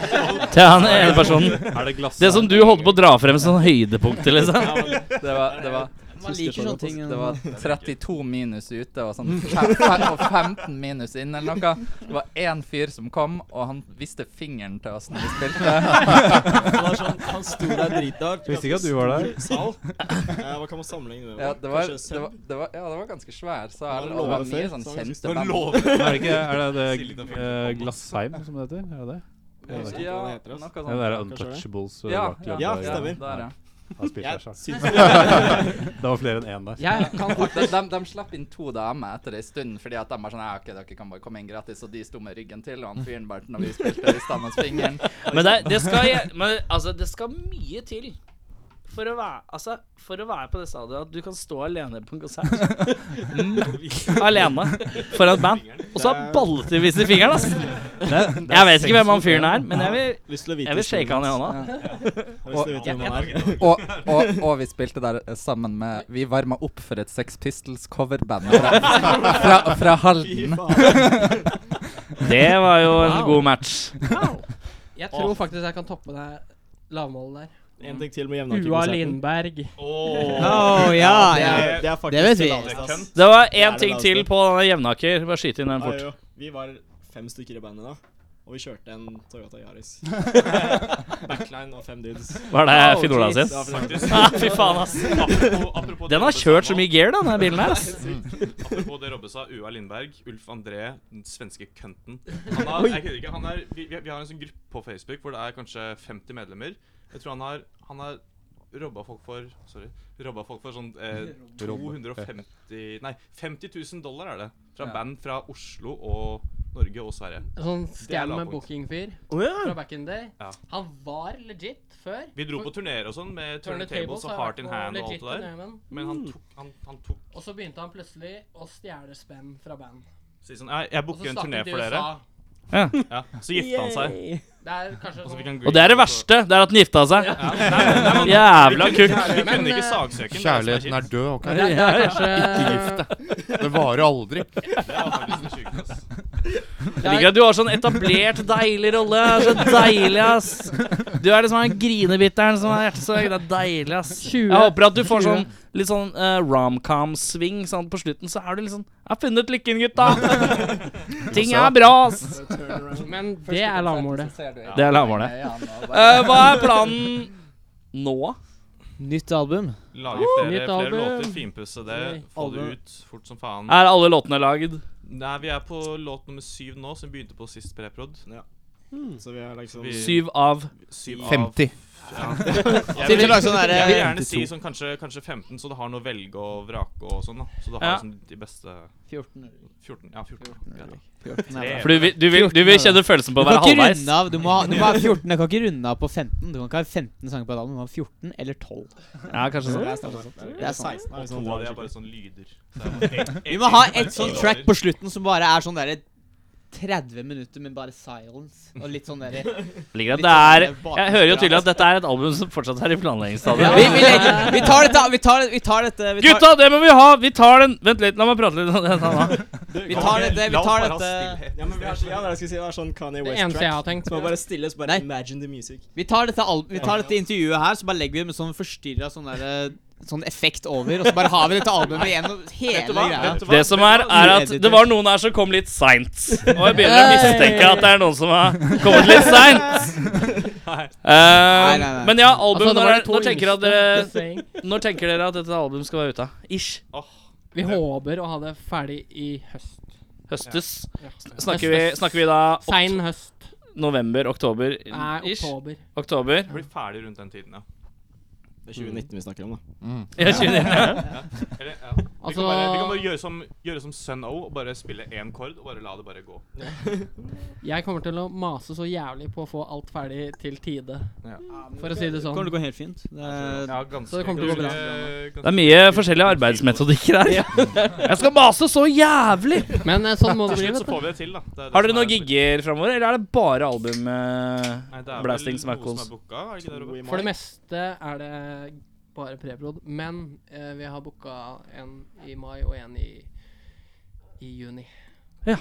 Speaker 2: *laughs* Til han ene personen. sånn
Speaker 1: Er det glass?
Speaker 2: Det som du holdt på å dra frem som høydepunktet, sånn liksom.
Speaker 9: Det var, det var
Speaker 7: Man liker sånne ting.
Speaker 9: Det var 32 minus ute og sånn fem- fem- og 15 minus inne eller noe. Det var én fyr som kom, og han viste fingeren til oss når vi *laughs* spilte.
Speaker 10: Det var sånn, han sto der drithardt.
Speaker 1: Visste ikke at du var der. *laughs*
Speaker 10: ganske stor Sal. Eh, hva kan man sammenligne det med?
Speaker 9: Ja, det var,
Speaker 10: Kanskje
Speaker 9: det var, det var, ja, det var ganske svær sal. Og det
Speaker 10: Det var
Speaker 9: var
Speaker 10: låve
Speaker 9: mye
Speaker 10: før,
Speaker 9: sånn
Speaker 10: så det var ganske
Speaker 9: kjente band.
Speaker 10: låve.
Speaker 1: Men Er det ikke er det, det eh, Glassheim som det heter? Er det det?
Speaker 10: Jeg husker ikke
Speaker 9: Ja,
Speaker 10: hva det heter, ass.
Speaker 9: noe
Speaker 1: Det der
Speaker 9: sånt.
Speaker 1: Untouchables eh,
Speaker 9: Ja,
Speaker 1: rockklubb,
Speaker 10: ja,
Speaker 1: eh,
Speaker 10: stemmer.
Speaker 1: ja.
Speaker 9: Der, ja.
Speaker 1: Da spilte jeg
Speaker 10: Jeg
Speaker 1: sjakk.
Speaker 10: syns
Speaker 1: *laughs* Det var flere enn én der.
Speaker 9: Jeg kan de, de, de slapp inn to damer etter ei stund, fordi at de var sånn «Ja, OK, dere kan bare komme inn gratis. Og de sto med ryggen til, og han fyren bare når vi spilte, viste han oss fingeren.
Speaker 2: *laughs* Men det, det, skal, jeg- men, altså, det skal mye til for å være, altså, for å være på det stadiet at du kan stå alene på en
Speaker 10: *laughs*
Speaker 2: konsert. Mm. alene foran et band. Og så har balletivvis i fingeren, ass. Jeg vet ikke hvem han fyren er, men jeg vil,
Speaker 10: Lyst til å vite
Speaker 2: jeg vil shake han i hånda.
Speaker 10: historien hans. Lyst til å vite hvem han er. *laughs*
Speaker 9: Og, og, og vi spilte der eh, sammen med Vi varma opp for et Sex Pistols coverband fra, fra, fra Halden. *laughs*
Speaker 2: Det var jo en god match.
Speaker 11: Jeg tror faktisk jeg kan toppe det her lavmålet der.
Speaker 10: En ting til med
Speaker 11: Ua
Speaker 10: Jevnaker-konserten.
Speaker 11: Lindberg.
Speaker 7: Oh, ja, ja.
Speaker 10: Det er- det er faktisk
Speaker 7: vet vi.
Speaker 10: laveste, ass.
Speaker 8: Kønt.
Speaker 2: Det var
Speaker 10: Det er
Speaker 2: én
Speaker 10: det
Speaker 2: ting
Speaker 10: laveste.
Speaker 2: til på denne Jevnaker. Bare skyte inn den
Speaker 10: Ja,
Speaker 2: fort.
Speaker 10: jo. Vi var fem stykker i bandet da, og vi kjørte en Toyota Yaris.
Speaker 11: *laughs*
Speaker 10: Backline og fem dudes.
Speaker 2: Var det Finn Olav
Speaker 10: Det var
Speaker 2: sin?
Speaker 10: for
Speaker 2: *laughs*
Speaker 10: eksempel-
Speaker 2: Ah, fy faen,
Speaker 10: *laughs*
Speaker 2: ass.
Speaker 8: Apropos, apropos
Speaker 2: Den har
Speaker 8: det
Speaker 2: kjørt så
Speaker 8: Robbe
Speaker 2: mye gear, da, den her bilen her. ass.
Speaker 8: sa- *laughs* Apropos det Robbe sa, Ua Lindberg, Ulf André, den svenske kønten. Han har, jeg kødder ikke, han er, vi, vi vi har en sånn gruppe på Facebook hvor det er kanskje 50 medlemmer. Jeg tror han har, han har robba folk for Sorry. Robba folk for sånn eh, 250 Nei, 50 000 dollar er det. Fra
Speaker 9: Ja.
Speaker 8: band fra Oslo og Norge og Sverige.
Speaker 11: Sånn scam med
Speaker 8: lavpunkt.
Speaker 11: bookingfyr fra back in day.
Speaker 8: Ja.
Speaker 11: Han var legit før.
Speaker 8: Vi dro på turneer og sånn med Turn Tables og
Speaker 11: har
Speaker 8: Heart
Speaker 11: vært
Speaker 8: in
Speaker 11: på
Speaker 8: Hand og
Speaker 11: legit
Speaker 8: alt det der.
Speaker 11: turnémen.
Speaker 8: Men han tok, han, han tok
Speaker 11: Og så begynte han plutselig å stjele spenn fra band.
Speaker 8: si sånn Jeg,
Speaker 11: Og
Speaker 8: jeg
Speaker 11: så
Speaker 8: booker en
Speaker 11: stakk
Speaker 8: turné
Speaker 11: han til
Speaker 8: for dere.
Speaker 11: USA.
Speaker 8: Ja, så gifta han seg.
Speaker 11: Det er kanskje
Speaker 8: Og så
Speaker 11: sånn
Speaker 8: fikk han
Speaker 2: Og det er det
Speaker 8: green card
Speaker 2: verste. Det er at den gifta seg.
Speaker 8: Nei, men- nei, men-
Speaker 2: *laughs* Jævla kukk.
Speaker 8: Vi
Speaker 11: Men,
Speaker 8: kunne ikke
Speaker 11: eh,
Speaker 8: saksøke den.
Speaker 12: Kjærligheten er død, *laughs* ok?
Speaker 11: Det er kanskje
Speaker 12: *laughs* Det varer aldri.
Speaker 2: Jeg liker at du har sånn etablert, deilig rolle. Det er Så deilig, ass. Du er liksom den grinebitteren som er hjertesorg. Det er deilig, ass.
Speaker 11: 20.
Speaker 2: Jeg håper at du får sånn litt sånn eh, romcom-sving. Sånn på slutten så er du liksom Jeg har funnet lykken, gutta. Ting er bra, ass.
Speaker 11: Men det er lavmålet.
Speaker 2: Det er lavmålet. Eh, hva er planen nå?
Speaker 7: Nytt album.
Speaker 8: Lage flere,
Speaker 11: Nytt
Speaker 8: flere
Speaker 11: album.
Speaker 8: låter, finpusse det, få det
Speaker 7: Album.
Speaker 8: ut fort som faen.
Speaker 2: Er alle låtene lagd?
Speaker 8: Nei, vi er på låt nummer syv nå, som vi begynte på sist preprod.
Speaker 11: Hmm.
Speaker 10: Så vi har liksom
Speaker 8: Vi-
Speaker 2: Syv av
Speaker 8: Syv av-
Speaker 12: 50.
Speaker 7: *laughs*
Speaker 8: Ja.
Speaker 7: Til
Speaker 8: Jeg
Speaker 7: vi
Speaker 8: vil,
Speaker 7: lager sånn der,
Speaker 8: jeg vil
Speaker 7: eh,
Speaker 8: gjerne si sånn kanskje, kanskje 15, så du har noe å velge og vrake og sånn, da. Så du har
Speaker 2: Ja.
Speaker 8: liksom de beste
Speaker 7: 14.
Speaker 8: 14. Ja, 14. greit da.
Speaker 7: 14 er bra.
Speaker 2: For du, vil- du, vil, du vil kjenne følelsen på å
Speaker 7: Du kan
Speaker 2: være
Speaker 7: ikke
Speaker 2: halvveis?
Speaker 7: runde av Du må, ha- du må ha 14. Jeg kan ikke runde av på 15. Du kan ikke ha 15 sanger på et album. Du må ha 14 eller 12.
Speaker 2: Ja, kanskje sånn.
Speaker 7: Det er sant.
Speaker 10: 16 er
Speaker 8: To
Speaker 10: liksom
Speaker 8: av de er bare sånn lyder. Så det er
Speaker 7: *laughs*
Speaker 8: bare-
Speaker 7: Vi må ha et sånn track på slutten som bare er sånn derre 30 minutter med bare silence. Og litt sånn derre sånn
Speaker 2: Ligger at det er
Speaker 7: eh,
Speaker 2: Jeg hører jo tydelig at dette er et album som fortsatt er i planleggingsstadiet.
Speaker 7: vi, vi, legger, vi tar dette. Vi tar, vi tar dette vi
Speaker 2: *laughs*
Speaker 7: tar,
Speaker 2: Gutta, det må vi ha! Vi tar den Vent litt, la meg prate litt om det. da, da.
Speaker 7: *laughs* Vi tar dette. Vi tar
Speaker 8: La oss bare ha
Speaker 7: dette,
Speaker 8: stillhet.
Speaker 10: Ja, men vi har, ja, det er det jeg skulle si, det er sånn Kanye
Speaker 11: Det eneste jeg har
Speaker 10: West-track.
Speaker 11: tenkt.
Speaker 10: Som er bare stille, så bare
Speaker 7: Nei.
Speaker 10: imagine the music.
Speaker 7: vi tar dette, al- vi tar dette intervjuet her, så bare legger vi med sånn forstyrra sånn derre Sånn effekt over, og så bare har vi dette albumet igjennom hele greia.
Speaker 8: Vet du hva?
Speaker 2: Det som er, er at det var noen her som kom litt seint. Og jeg begynner å mistenke at det er noen som har kommet litt seint.
Speaker 7: Nei,
Speaker 2: Uh,
Speaker 7: nei, nei.
Speaker 2: men ja, album
Speaker 11: Altså, det var de
Speaker 2: når,
Speaker 11: to
Speaker 2: når, tenker dere at
Speaker 11: yngste,
Speaker 2: dere,
Speaker 11: just saying.
Speaker 2: når tenker dere at dette albumet skal være ute? Ish.
Speaker 11: Vi håper å ha det ferdig i høst.
Speaker 2: Høstes.
Speaker 11: Ja.
Speaker 2: Snakker vi, snakker vi da
Speaker 11: Sein høst.
Speaker 2: november-oktober?
Speaker 11: Nei,
Speaker 2: Ish.
Speaker 11: oktober.
Speaker 2: Oktober.
Speaker 8: Blir ferdig rundt den tiden, ja.
Speaker 10: Det er 2019 vi snakker om, da.
Speaker 2: Ja, 29.
Speaker 8: Eller, ja. Vi
Speaker 11: Altså-
Speaker 8: kan bare, vi kan bare gjøre som, gjøre som Sun O og bare spille én kord og bare la det bare gå.
Speaker 11: Jeg kommer til å mase så jævlig på å få alt ferdig til tide. For å si det
Speaker 7: Kommer
Speaker 11: sånn.
Speaker 7: til å gå helt fint. Det er,
Speaker 8: Ja, ganske,
Speaker 11: Så det kommer til å gå bra.
Speaker 8: ganske-
Speaker 2: Det er mye forskjellige arbeidsmetodikker
Speaker 8: *laughs*
Speaker 2: her. Jeg skal mase så jævlig!
Speaker 11: Men eh, sånn må det
Speaker 8: Til
Speaker 11: bli.
Speaker 8: slutt så
Speaker 11: vet du.
Speaker 8: får vi det til, da. Det er det
Speaker 2: Har dere
Speaker 8: som er-
Speaker 2: noen gigger framover, eller er det bare albumblasting
Speaker 8: Nei, det er vel
Speaker 2: som er
Speaker 8: noe
Speaker 2: kons?
Speaker 8: som er booka, er det ikke det,
Speaker 10: To i
Speaker 8: Robert?
Speaker 10: mai.
Speaker 11: For det meste er det bare preprod, men eh, vi har booka en i mai og en i, i juni.
Speaker 2: Ja.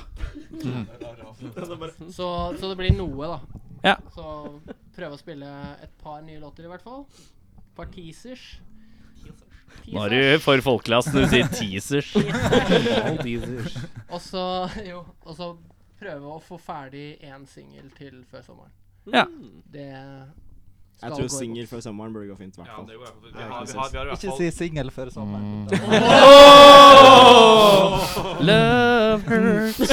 Speaker 10: Mm.
Speaker 8: *laughs*
Speaker 11: Så, så det blir noe, da.
Speaker 2: Ja.
Speaker 11: Så prøve å spille et par nye låter, i hvert fall. Et par teasers.
Speaker 2: Nå er du for folkeklassen når du sier
Speaker 11: *laughs*
Speaker 2: teasers.
Speaker 11: Og så jo, og så prøve å få ferdig én singel til før sommeren.
Speaker 2: Ja.
Speaker 11: Det
Speaker 10: Jeg
Speaker 11: gå i
Speaker 10: tror singel
Speaker 11: boks.
Speaker 10: før sommeren burde gå fint, i hvert
Speaker 8: Ja,
Speaker 10: fall.
Speaker 8: det går i hvert fall. Vi
Speaker 10: Ja,
Speaker 8: har,
Speaker 10: ikke
Speaker 8: vi har, vi har i hvert
Speaker 9: Ikke
Speaker 8: fall
Speaker 9: si singel før sommeren.
Speaker 2: Mm.
Speaker 9: *laughs* 어.
Speaker 2: Love *laughs* hurts.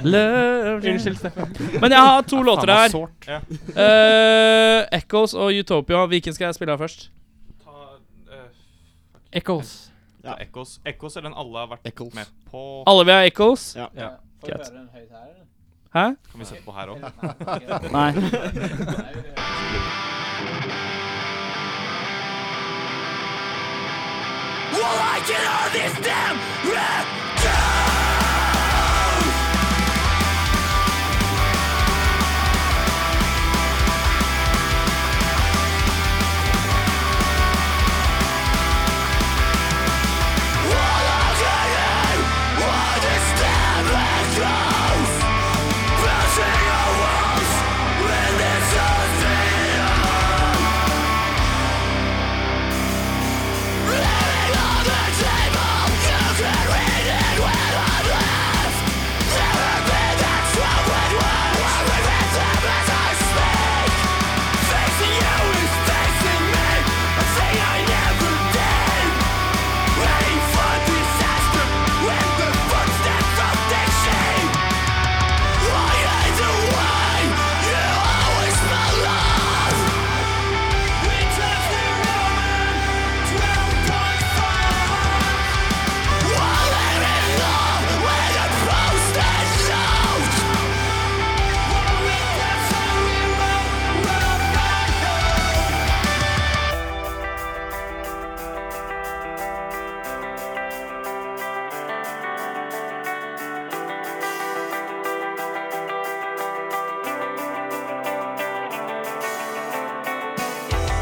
Speaker 2: Love Unnskyld, Steffen. Men jeg har to låter her. Eh, Echoes og Utopia. Hvilken skal jeg spille av først?
Speaker 8: ta eh,
Speaker 11: Echoes.
Speaker 8: ta Echoes. Echoes er den alle har vært
Speaker 12: Eccles.
Speaker 8: med på.
Speaker 2: Alle vil ha Echoes?
Speaker 10: Ja.
Speaker 7: Får
Speaker 2: Greit.
Speaker 7: vi høre den høyt her, eller?
Speaker 2: Hæ?
Speaker 8: Kan vi sette på her òg?
Speaker 2: Nei.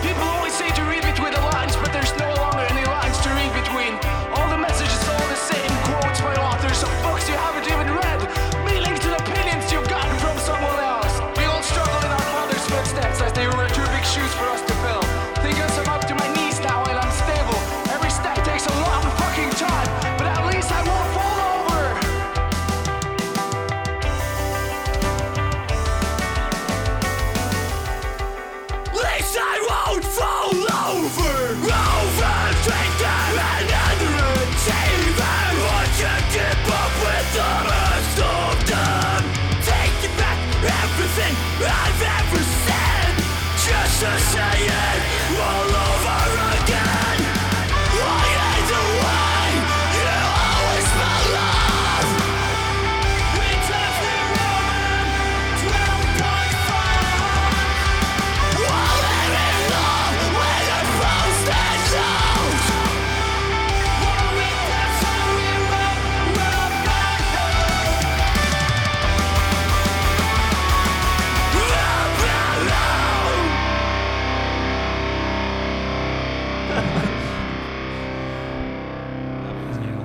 Speaker 6: People always say to read between the lines, but there's no longer any lines to read between. All the messages all the same, quotes by authors of books you haven't even read, meanings and opinions you've gotten from someone else. We all struggle in our mother's footsteps as they were too big shoes for us to fill. Think I'm up to my knees now and I'm stable. Every step takes a long fucking time, but at least I won't fall over. least I won't fall over. Overthink them and underachieve them. What you keep up with the rest of them. Taking back everything I've ever said. Just to say it all over again. Why either way, you always smell love. We took the Roman 12.5.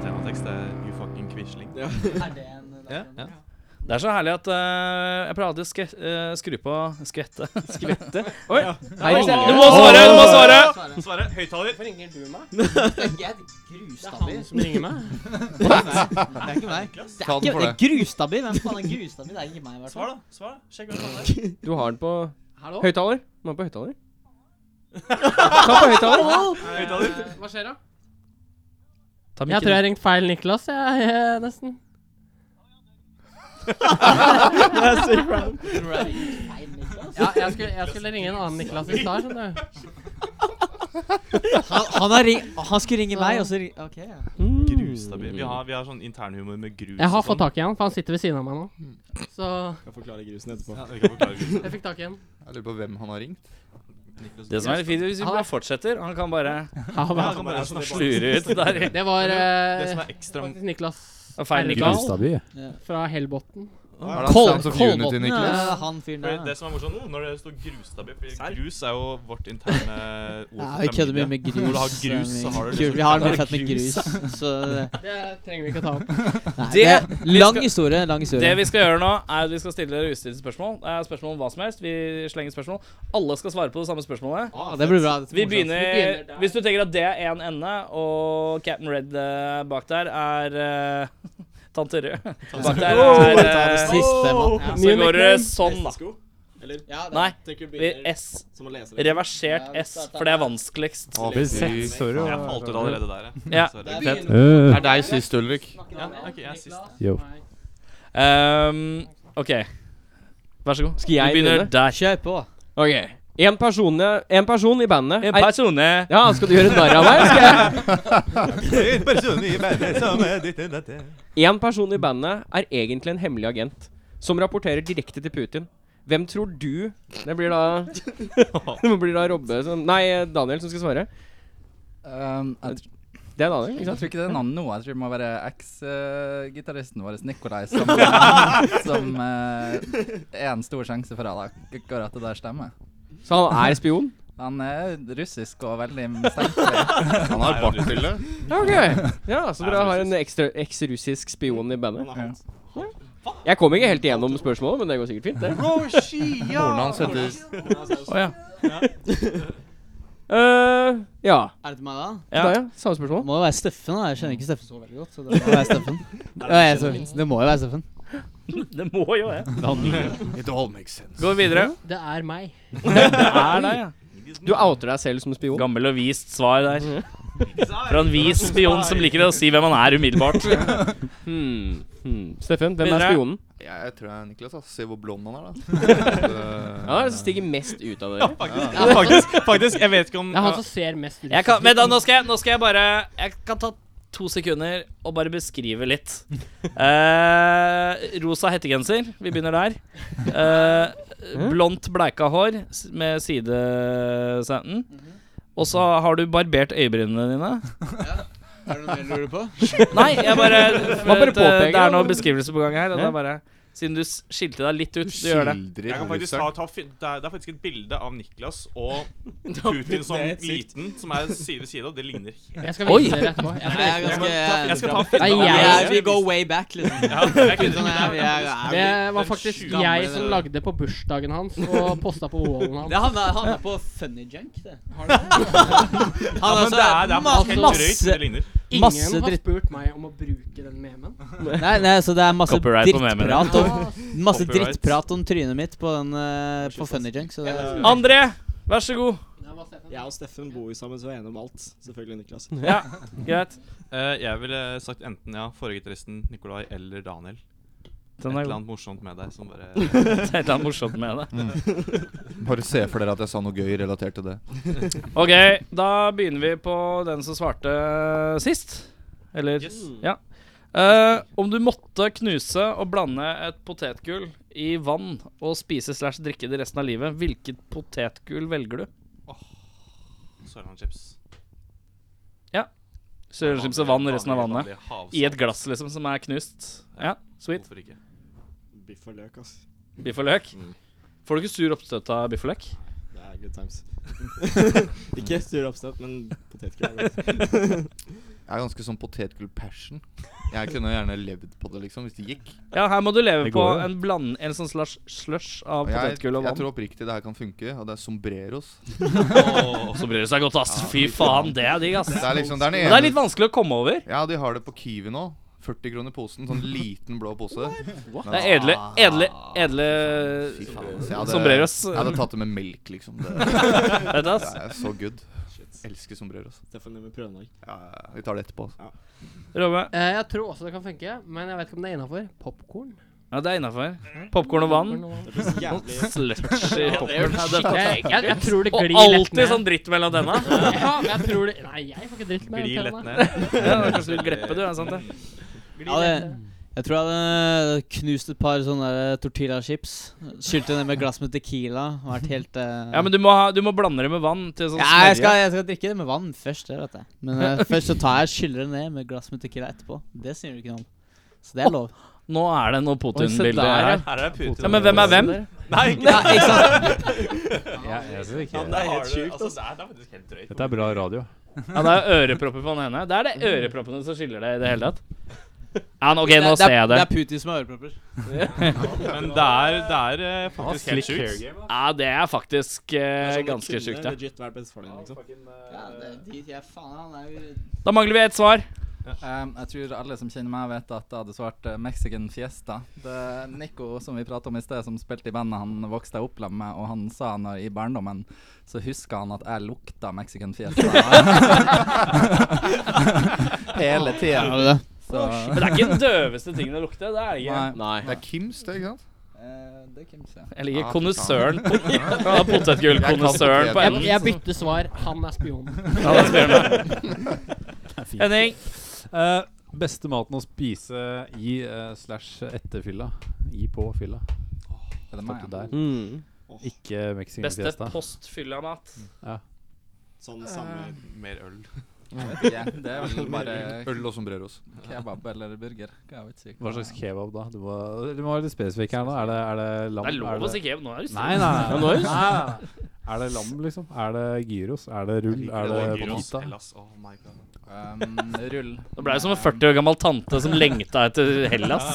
Speaker 8: Tema-tekst er You fucking quisling.
Speaker 7: Er det en
Speaker 8: Ja, ja.
Speaker 2: Det er så herlig at eh, jeg pleier aldri å ske eh, skru på
Speaker 11: *laughs*
Speaker 2: skvette. Skvette? Oi.
Speaker 3: Hei,
Speaker 2: Du må svare! Du må svare!
Speaker 8: Svare høyttaler.
Speaker 11: Hvorfor ringer du meg?
Speaker 8: *laughs*
Speaker 7: *laughs* Jeg grustabbi.
Speaker 11: som ringer
Speaker 7: *laughs*
Speaker 11: meg.
Speaker 7: Det er ikke meg. Det
Speaker 12: Ta den
Speaker 7: er ikke
Speaker 12: for
Speaker 7: det
Speaker 12: det.
Speaker 7: er grustabbi. Hvem faen er grustabbi? Det er ikke meg, i hvert
Speaker 8: Svar,
Speaker 7: fall.
Speaker 8: da. Svar, da. Sjekk hvem det er.
Speaker 3: Du har den på
Speaker 11: Hallo?
Speaker 3: høyttaler? Du har den på høyttaler? Ta på høyttaler.
Speaker 8: Høyttaler.
Speaker 11: Eh, Hva skjer da?
Speaker 2: Ta
Speaker 11: Jeg
Speaker 2: mikken.
Speaker 11: tror jeg har ringt feil Niklas, *laughs* jeg, jeg nesten. Ja, jeg skulle, jeg skulle ringe en annen Niklas i stad, skjønner du.
Speaker 7: Han, han, har ring, han skulle ringe meg, og så ring, Ok, ja.
Speaker 8: Grustabil. Vi har, vi har sånn internhumor med grus.
Speaker 11: Jeg har
Speaker 8: og
Speaker 11: fått
Speaker 8: sånn.
Speaker 11: tak i han, for han sitter ved siden av meg nå. Så
Speaker 10: Skal forklare grusen etterpå.
Speaker 8: Ja, vi kan forklare grus.
Speaker 11: jeg fikk tak i han.
Speaker 12: Jeg lurer på hvem han har ringt.
Speaker 2: Det som er litt fint, hvis vi bare fortsetter Han kan bare
Speaker 11: Ja,
Speaker 8: Ja,
Speaker 11: hva-
Speaker 8: kan bare slure.
Speaker 2: slure ut der. i-
Speaker 11: det var eh,
Speaker 8: Det som er ekstra
Speaker 11: faktisk Niklas
Speaker 2: Og feil
Speaker 11: Erikdal
Speaker 2: Niklas.
Speaker 1: Grustadby.
Speaker 11: fra Hellbotn.
Speaker 12: Er
Speaker 8: Å
Speaker 12: det han som flyr under til
Speaker 7: Ja,
Speaker 12: Niklas?
Speaker 7: han fyren
Speaker 8: Fordi
Speaker 7: der.
Speaker 8: det som er morsomt nå, når det står grustabbe fordi Grus er jo vårt
Speaker 7: *laughs*
Speaker 8: interne ord
Speaker 7: Ja,
Speaker 8: for
Speaker 7: vi kødder mye
Speaker 8: klamydia.
Speaker 7: med grus.
Speaker 8: Når du har grus, så har du
Speaker 7: Kul,
Speaker 8: liksom
Speaker 7: Vi har
Speaker 8: Da er
Speaker 7: mye
Speaker 8: det
Speaker 7: fett med grus,
Speaker 8: *laughs*
Speaker 7: så
Speaker 11: Det trenger vi ikke ta opp.
Speaker 7: Nei, det,
Speaker 2: Det-
Speaker 7: er
Speaker 2: vi
Speaker 7: lang
Speaker 2: skal-
Speaker 7: historie. lang historie
Speaker 2: Det vi skal gjøre nå, er at vi skal stille dere ustilte spørsmål. Det er spørsmål om hva som helst. Vi slenger spørsmål. Alle skal svare på det samme spørsmålet.
Speaker 7: Ja, Ah, det blir bra. Dette
Speaker 2: Vi
Speaker 7: blir morsomt.
Speaker 2: begynner Hvis du tenker at det er én ende, og Captain Red eh, bak der er eh, *laughs* Tante Rød bak der
Speaker 7: Åh,
Speaker 2: er
Speaker 7: ta det
Speaker 2: eh,
Speaker 7: siste,
Speaker 2: ja,
Speaker 7: mann. Ja.
Speaker 2: Så går det sånn, da.
Speaker 10: Hestesko? Eller?
Speaker 7: Ja, det-
Speaker 2: Nei,
Speaker 10: Tenker du
Speaker 2: vi-
Speaker 10: begynner
Speaker 2: S.
Speaker 10: som å lese det?
Speaker 2: Reversert
Speaker 7: Ja, vi
Speaker 2: S,
Speaker 7: starter
Speaker 2: for det er
Speaker 7: der.
Speaker 2: vanskeligst.
Speaker 12: Å, fy søren.
Speaker 8: Jeg falt ut allerede der, jeg.
Speaker 2: Ja.
Speaker 8: Sorry.
Speaker 7: Det er
Speaker 8: Fett.
Speaker 7: begynner-
Speaker 12: Det er deg sist, Ulrik.
Speaker 8: Ja, ok, jeg er sist.
Speaker 1: Yo.
Speaker 2: Ehm, OK. Vær så god.
Speaker 3: Skal jeg
Speaker 2: du begynner
Speaker 3: begynne?
Speaker 2: der.
Speaker 7: Kjør på.
Speaker 3: OK. En person, eh, en person i bandet
Speaker 2: En
Speaker 3: er-
Speaker 2: persone
Speaker 3: Ja, skal du gjøre narr av meg? Skal jeg? En person i bandet er egentlig en hemmelig agent som rapporterer direkte til Putin. Hvem tror du Det blir da *laughs* Det blir da Robbe som Nei, Daniel som skal svare.
Speaker 9: Um, jeg, tr-
Speaker 3: Det er Daniel, ikke
Speaker 9: jeg
Speaker 3: sant?
Speaker 9: tror ikke det er navnet nå. Jeg tror det må være eks-gitaristen vår, Nikolai, som, eh, som eh, er en stor sjanse for at akkurat det der stemmer.
Speaker 3: Så han er spion?
Speaker 9: Han er russisk og veldig mistenkelig.
Speaker 12: Han har bart til det.
Speaker 3: Ja, *laughs* ok. Ja, Så dere har en ekstra- eks-russisk spion i bandet? Jeg kom ikke helt igjennom spørsmålet, men det går sikkert fint, det.
Speaker 12: Moren hans heter
Speaker 2: Å ja.
Speaker 3: *laughs* Eh, ja.
Speaker 7: Er det til meg, da?
Speaker 3: Da, ja. Samme spørsmål.
Speaker 7: Det må jo være Steffen. da Jeg kjenner ikke Steffen så veldig godt. Så Det må jo være Steffen Ja, jeg er så fint. Det må jo være Steffen.
Speaker 2: *laughs* Det må jo det.
Speaker 12: It all makes sense.
Speaker 2: Gå videre.
Speaker 11: Det er *laughs* meg.
Speaker 2: Det er deg, ja.
Speaker 3: Du outer deg selv som spion.
Speaker 2: Gammel og vist svar der. Fra en vis spion som liker å si hvem han er umiddelbart.
Speaker 3: *laughs* Hmm. Hmm. Steffen, hvem er
Speaker 2: Videre.
Speaker 3: spionen?
Speaker 12: Ja, jeg tror det er Niklas. ass. Se hvor blond han er, da. eh,
Speaker 3: Ja, det er den som stiger mest ut av dere.
Speaker 8: Ja, faktisk, faktisk, jeg vet ikke om
Speaker 11: Det er han som ser mest
Speaker 2: Jeg kan, men da, nå, skal jeg, nå skal jeg bare Jeg kan ta to sekunder og bare beskrive litt. Eh, rosa hettegenser. Vi begynner der. Eh, blondt, bleika hår s- med sidesenten. Og så har du barbert øyebrynene dine.
Speaker 7: Er det noe mer du lurer på?
Speaker 2: Nei, jeg bare,
Speaker 8: *laughs*
Speaker 3: bare
Speaker 2: det, det
Speaker 3: påpeker
Speaker 2: er noe
Speaker 3: det.
Speaker 2: beskrivelse på gang her. Og det
Speaker 3: Ja.
Speaker 2: er bare, siden du s- skilte deg litt ut, du gjør det.
Speaker 12: Skildrer
Speaker 8: Jeg kan faktisk ta,
Speaker 12: russeren.
Speaker 8: ta, fi- det, er, det er faktisk et bilde av Niklas
Speaker 7: *laughs*
Speaker 8: og Putin som liten, som er side ved side, og det ligner helt
Speaker 11: Jeg skal vise dere etterpå. Jeg
Speaker 7: Jeg
Speaker 11: skal
Speaker 7: er
Speaker 11: vise dere.
Speaker 8: Jeg
Speaker 7: ganske
Speaker 8: skal ta
Speaker 11: Nei,
Speaker 8: finne
Speaker 11: jeg-
Speaker 7: Ja, Vi go way back, liksom.
Speaker 8: Ja, jeg kunne-
Speaker 7: Sånn er vi, jeg er-
Speaker 11: Det var faktisk
Speaker 7: sjuke gamle-
Speaker 11: jeg som lagde på bursdagen hans og posta på wallen hans.
Speaker 7: Det havna,
Speaker 2: *laughs*
Speaker 7: havna på funny junk, det.
Speaker 8: *laughs*
Speaker 7: Har du det? Han
Speaker 8: Ja,
Speaker 7: har
Speaker 8: men det er, det er
Speaker 7: Altså, masse-
Speaker 8: helt drøyt, men det ligner.
Speaker 7: masse
Speaker 11: Ingen har
Speaker 7: dritt-
Speaker 11: spurt meg om å bruke den
Speaker 2: *laughs*
Speaker 11: memen.
Speaker 7: Nei, nei, så det er masse
Speaker 2: Copyright på memen.
Speaker 7: drittprat om Masse
Speaker 8: Copyright.
Speaker 7: drittprat om trynet mitt på den eh, På funny junk, så det
Speaker 2: André, vær så god.
Speaker 10: Eh, Jeg og Steffen bor jo sammen, så vi er enige om alt.
Speaker 8: *laughs*
Speaker 10: Selvfølgelig, Niklas.
Speaker 2: Ja, greit.
Speaker 8: Eh, jeg ville sagt enten ja, forrige gitaristen Nikolai eller Daniel. Et
Speaker 2: Den er
Speaker 8: eller
Speaker 2: god.
Speaker 8: annet morsomt med deg som bare *laughs*
Speaker 2: Det er *laughs* et eller annet morsomt med det.
Speaker 12: *laughs* Bare se for dere at jeg sa noe gøy relatert til det.
Speaker 2: *laughs* Ok, da begynner vi på den som svarte sist. Eller
Speaker 8: Yes.
Speaker 2: Ja. Eh, om du måtte knuse og blande et potetgull i vann og spise slash drikke det resten av livet, hvilket potetgull velger du?
Speaker 8: Sørlandschips.
Speaker 2: Sørlandschips og vann resten av vannet.
Speaker 8: Vanlig havsalt.
Speaker 2: I et glass, liksom, som er knust. Ja, sweet.
Speaker 8: Hvorfor ikke?
Speaker 10: Biff og løk, ass.
Speaker 2: Biff og løk.
Speaker 8: Mm.
Speaker 2: Får du ikke sur oppstøt av biff og løk?
Speaker 10: Det er good times. *laughs* Ikke sur oppstøt, men potetgull
Speaker 8: *laughs*
Speaker 10: er godt.
Speaker 12: Jeg er ganske sånn potetgull-passion. Jeg kunne gjerne levd på det, liksom, hvis det gikk.
Speaker 2: Ja, her må du leve
Speaker 1: Det
Speaker 2: på
Speaker 1: går jo.
Speaker 2: en, bland, en sånn slash slush av
Speaker 12: Og jeg,
Speaker 2: potetgull og
Speaker 12: jeg
Speaker 2: vann.
Speaker 12: tror oppriktig det her kan funke, og det er
Speaker 2: *laughs*
Speaker 12: sombreros.
Speaker 2: Og så bryr det seg godt, ass. Fy faen, det er digg, ass.
Speaker 12: Det er liksom, det er
Speaker 2: Men det er
Speaker 12: den
Speaker 2: litt
Speaker 12: ene
Speaker 2: vanskelig å komme over.
Speaker 12: Ja, de har det på Kiwi nå. 40 kroner posen. Sånn liten blå pose. Ah,
Speaker 2: Det er edle, edle, edle
Speaker 12: Fy faen, ass. Jeg hadde-
Speaker 2: sombreros.
Speaker 12: Jeg hadde tatt det med melk,
Speaker 2: *laughs*
Speaker 12: liksom. Det,
Speaker 2: Vet du,
Speaker 12: det
Speaker 2: ass.
Speaker 12: er så good. Elsker sombreros.
Speaker 10: Steffen, du må prøve noe.
Speaker 12: Ja, ja, vi tar det etterpå. altså.
Speaker 2: Robbe.
Speaker 11: Eh, jeg tror også det kan funke, men jeg vet ikke om det er innafor. Popkorn.
Speaker 2: Ja, det er innafor. Popkorn og vann.
Speaker 10: Det blir så jævlig
Speaker 2: Slushy popkorn.
Speaker 11: Jeg, jeg, jeg tror det
Speaker 2: Og
Speaker 11: glir lett
Speaker 2: alltid
Speaker 11: ned.
Speaker 2: sånn dritt mellom tenna.
Speaker 11: Ja, men jeg tror det Nei, jeg får ikke dritt med
Speaker 8: Gli lett
Speaker 11: tennene.
Speaker 8: ned.
Speaker 2: Ja, det er kanskje du glepper, du. Er det sant, det?
Speaker 7: Ja, det jeg tror jeg hadde knust et par sånne der tortillachips. Skylte ned med glass med tequila. Vært helt eh,
Speaker 2: Ja, men du må, ha, du må blande det med vann til sånn
Speaker 7: Ja, jeg skal, jeg skal drikke det med vann først, det vet jeg.
Speaker 2: *laughs*
Speaker 7: Men eh, først så tar jeg skyller det ned med glass med tequila etterpå. Det sier du ikke noe om. Så det er lov.
Speaker 2: Nå er det noe
Speaker 3: Oi, se
Speaker 2: Putin-bilde
Speaker 3: der, ja.
Speaker 2: her.
Speaker 3: Her er det Putin.
Speaker 2: Ja, Men hvem er hvem?
Speaker 3: Nei, ikke- Nei, ikke sant.
Speaker 1: *laughs* Ja, jeg synes ikke-
Speaker 2: Ja,
Speaker 1: Det er
Speaker 8: Har
Speaker 1: helt
Speaker 8: du-
Speaker 1: sjukt,
Speaker 8: altså, det er- det er faktisk helt drøyt.
Speaker 1: Dette er bra radio.
Speaker 2: Ja, det er ørepropper på den ene. Det er det øreproppene som skiller det i det hele tatt. Ja, nå- ok,
Speaker 7: Det-
Speaker 2: nå
Speaker 7: det er-
Speaker 2: ser jeg det.
Speaker 7: det er Putin som har ørepropper.
Speaker 8: Men det er, det er eh, faktisk helt sjukt.
Speaker 2: Ja, det er faktisk eh, ganske sjukt, ja.
Speaker 10: sånn Legit vært best for deg, liksom.
Speaker 8: eh,
Speaker 7: Ja, det er dit jeg faen han er jo
Speaker 2: Da mangler vi et svar.
Speaker 9: Um, jeg tror alle som kjenner meg, vet at jeg hadde svart eh, Mexican Fiesta. Det er Nico som vi pratet om i sted, som spilte i bandet han vokste opp sammen med, og han sa når, i barndommen så huska han at jeg lukta Mexican Fiesta *laughs* hele tida.
Speaker 7: Ja, det er det.
Speaker 2: Men det er ikke den døveste tingen å lukte. Det er det ikke.
Speaker 12: Nei. Det er Kims, det, ikke sant?
Speaker 9: Eh, det er Kims, ja.
Speaker 2: Jeg liker
Speaker 12: Ah, fy
Speaker 2: kondisøren
Speaker 12: faen.
Speaker 2: på- Ja, potetgullkondisøren
Speaker 12: Jeg kan
Speaker 2: på
Speaker 12: potet.
Speaker 11: Jeg,
Speaker 2: enden.
Speaker 11: jeg bytter svar. *laughs* Han er spion.
Speaker 2: Ja, det spør jeg om. Henning.
Speaker 1: Eh, beste maten å spise i eh, slash etter fylla. I på fylla.
Speaker 9: Er det meg?
Speaker 1: Stoppet der.
Speaker 3: Mm.
Speaker 1: Ikke Mexican
Speaker 2: Beste
Speaker 1: Fiesta.
Speaker 2: postfylla-mat.
Speaker 1: Ja.
Speaker 10: Sånn samme
Speaker 8: Eh, Mer øl.
Speaker 9: Jeg vet ikke. Det er vel bare
Speaker 12: Øl og sombreros.
Speaker 9: kebab eller burger. Jeg vet ikke.
Speaker 1: Hva slags kebab, da? Du må, du må være litt spesifikk her nå. Er det, er det lam?
Speaker 2: Det er lov
Speaker 1: det-
Speaker 2: å si kebab. Nå er det
Speaker 1: Nei,
Speaker 3: Ja,
Speaker 2: stort.
Speaker 1: nei. nei,
Speaker 3: nå er det-
Speaker 1: nei, nei. Er det lam, liksom? Er det gyros? Er det rull? Er
Speaker 8: Og
Speaker 1: det
Speaker 8: gyros,
Speaker 1: pita?
Speaker 8: Hellas, oh my god.
Speaker 9: Um, rull.
Speaker 2: Nå ble jeg som en 40 år gammel tante som lengta etter Hellas.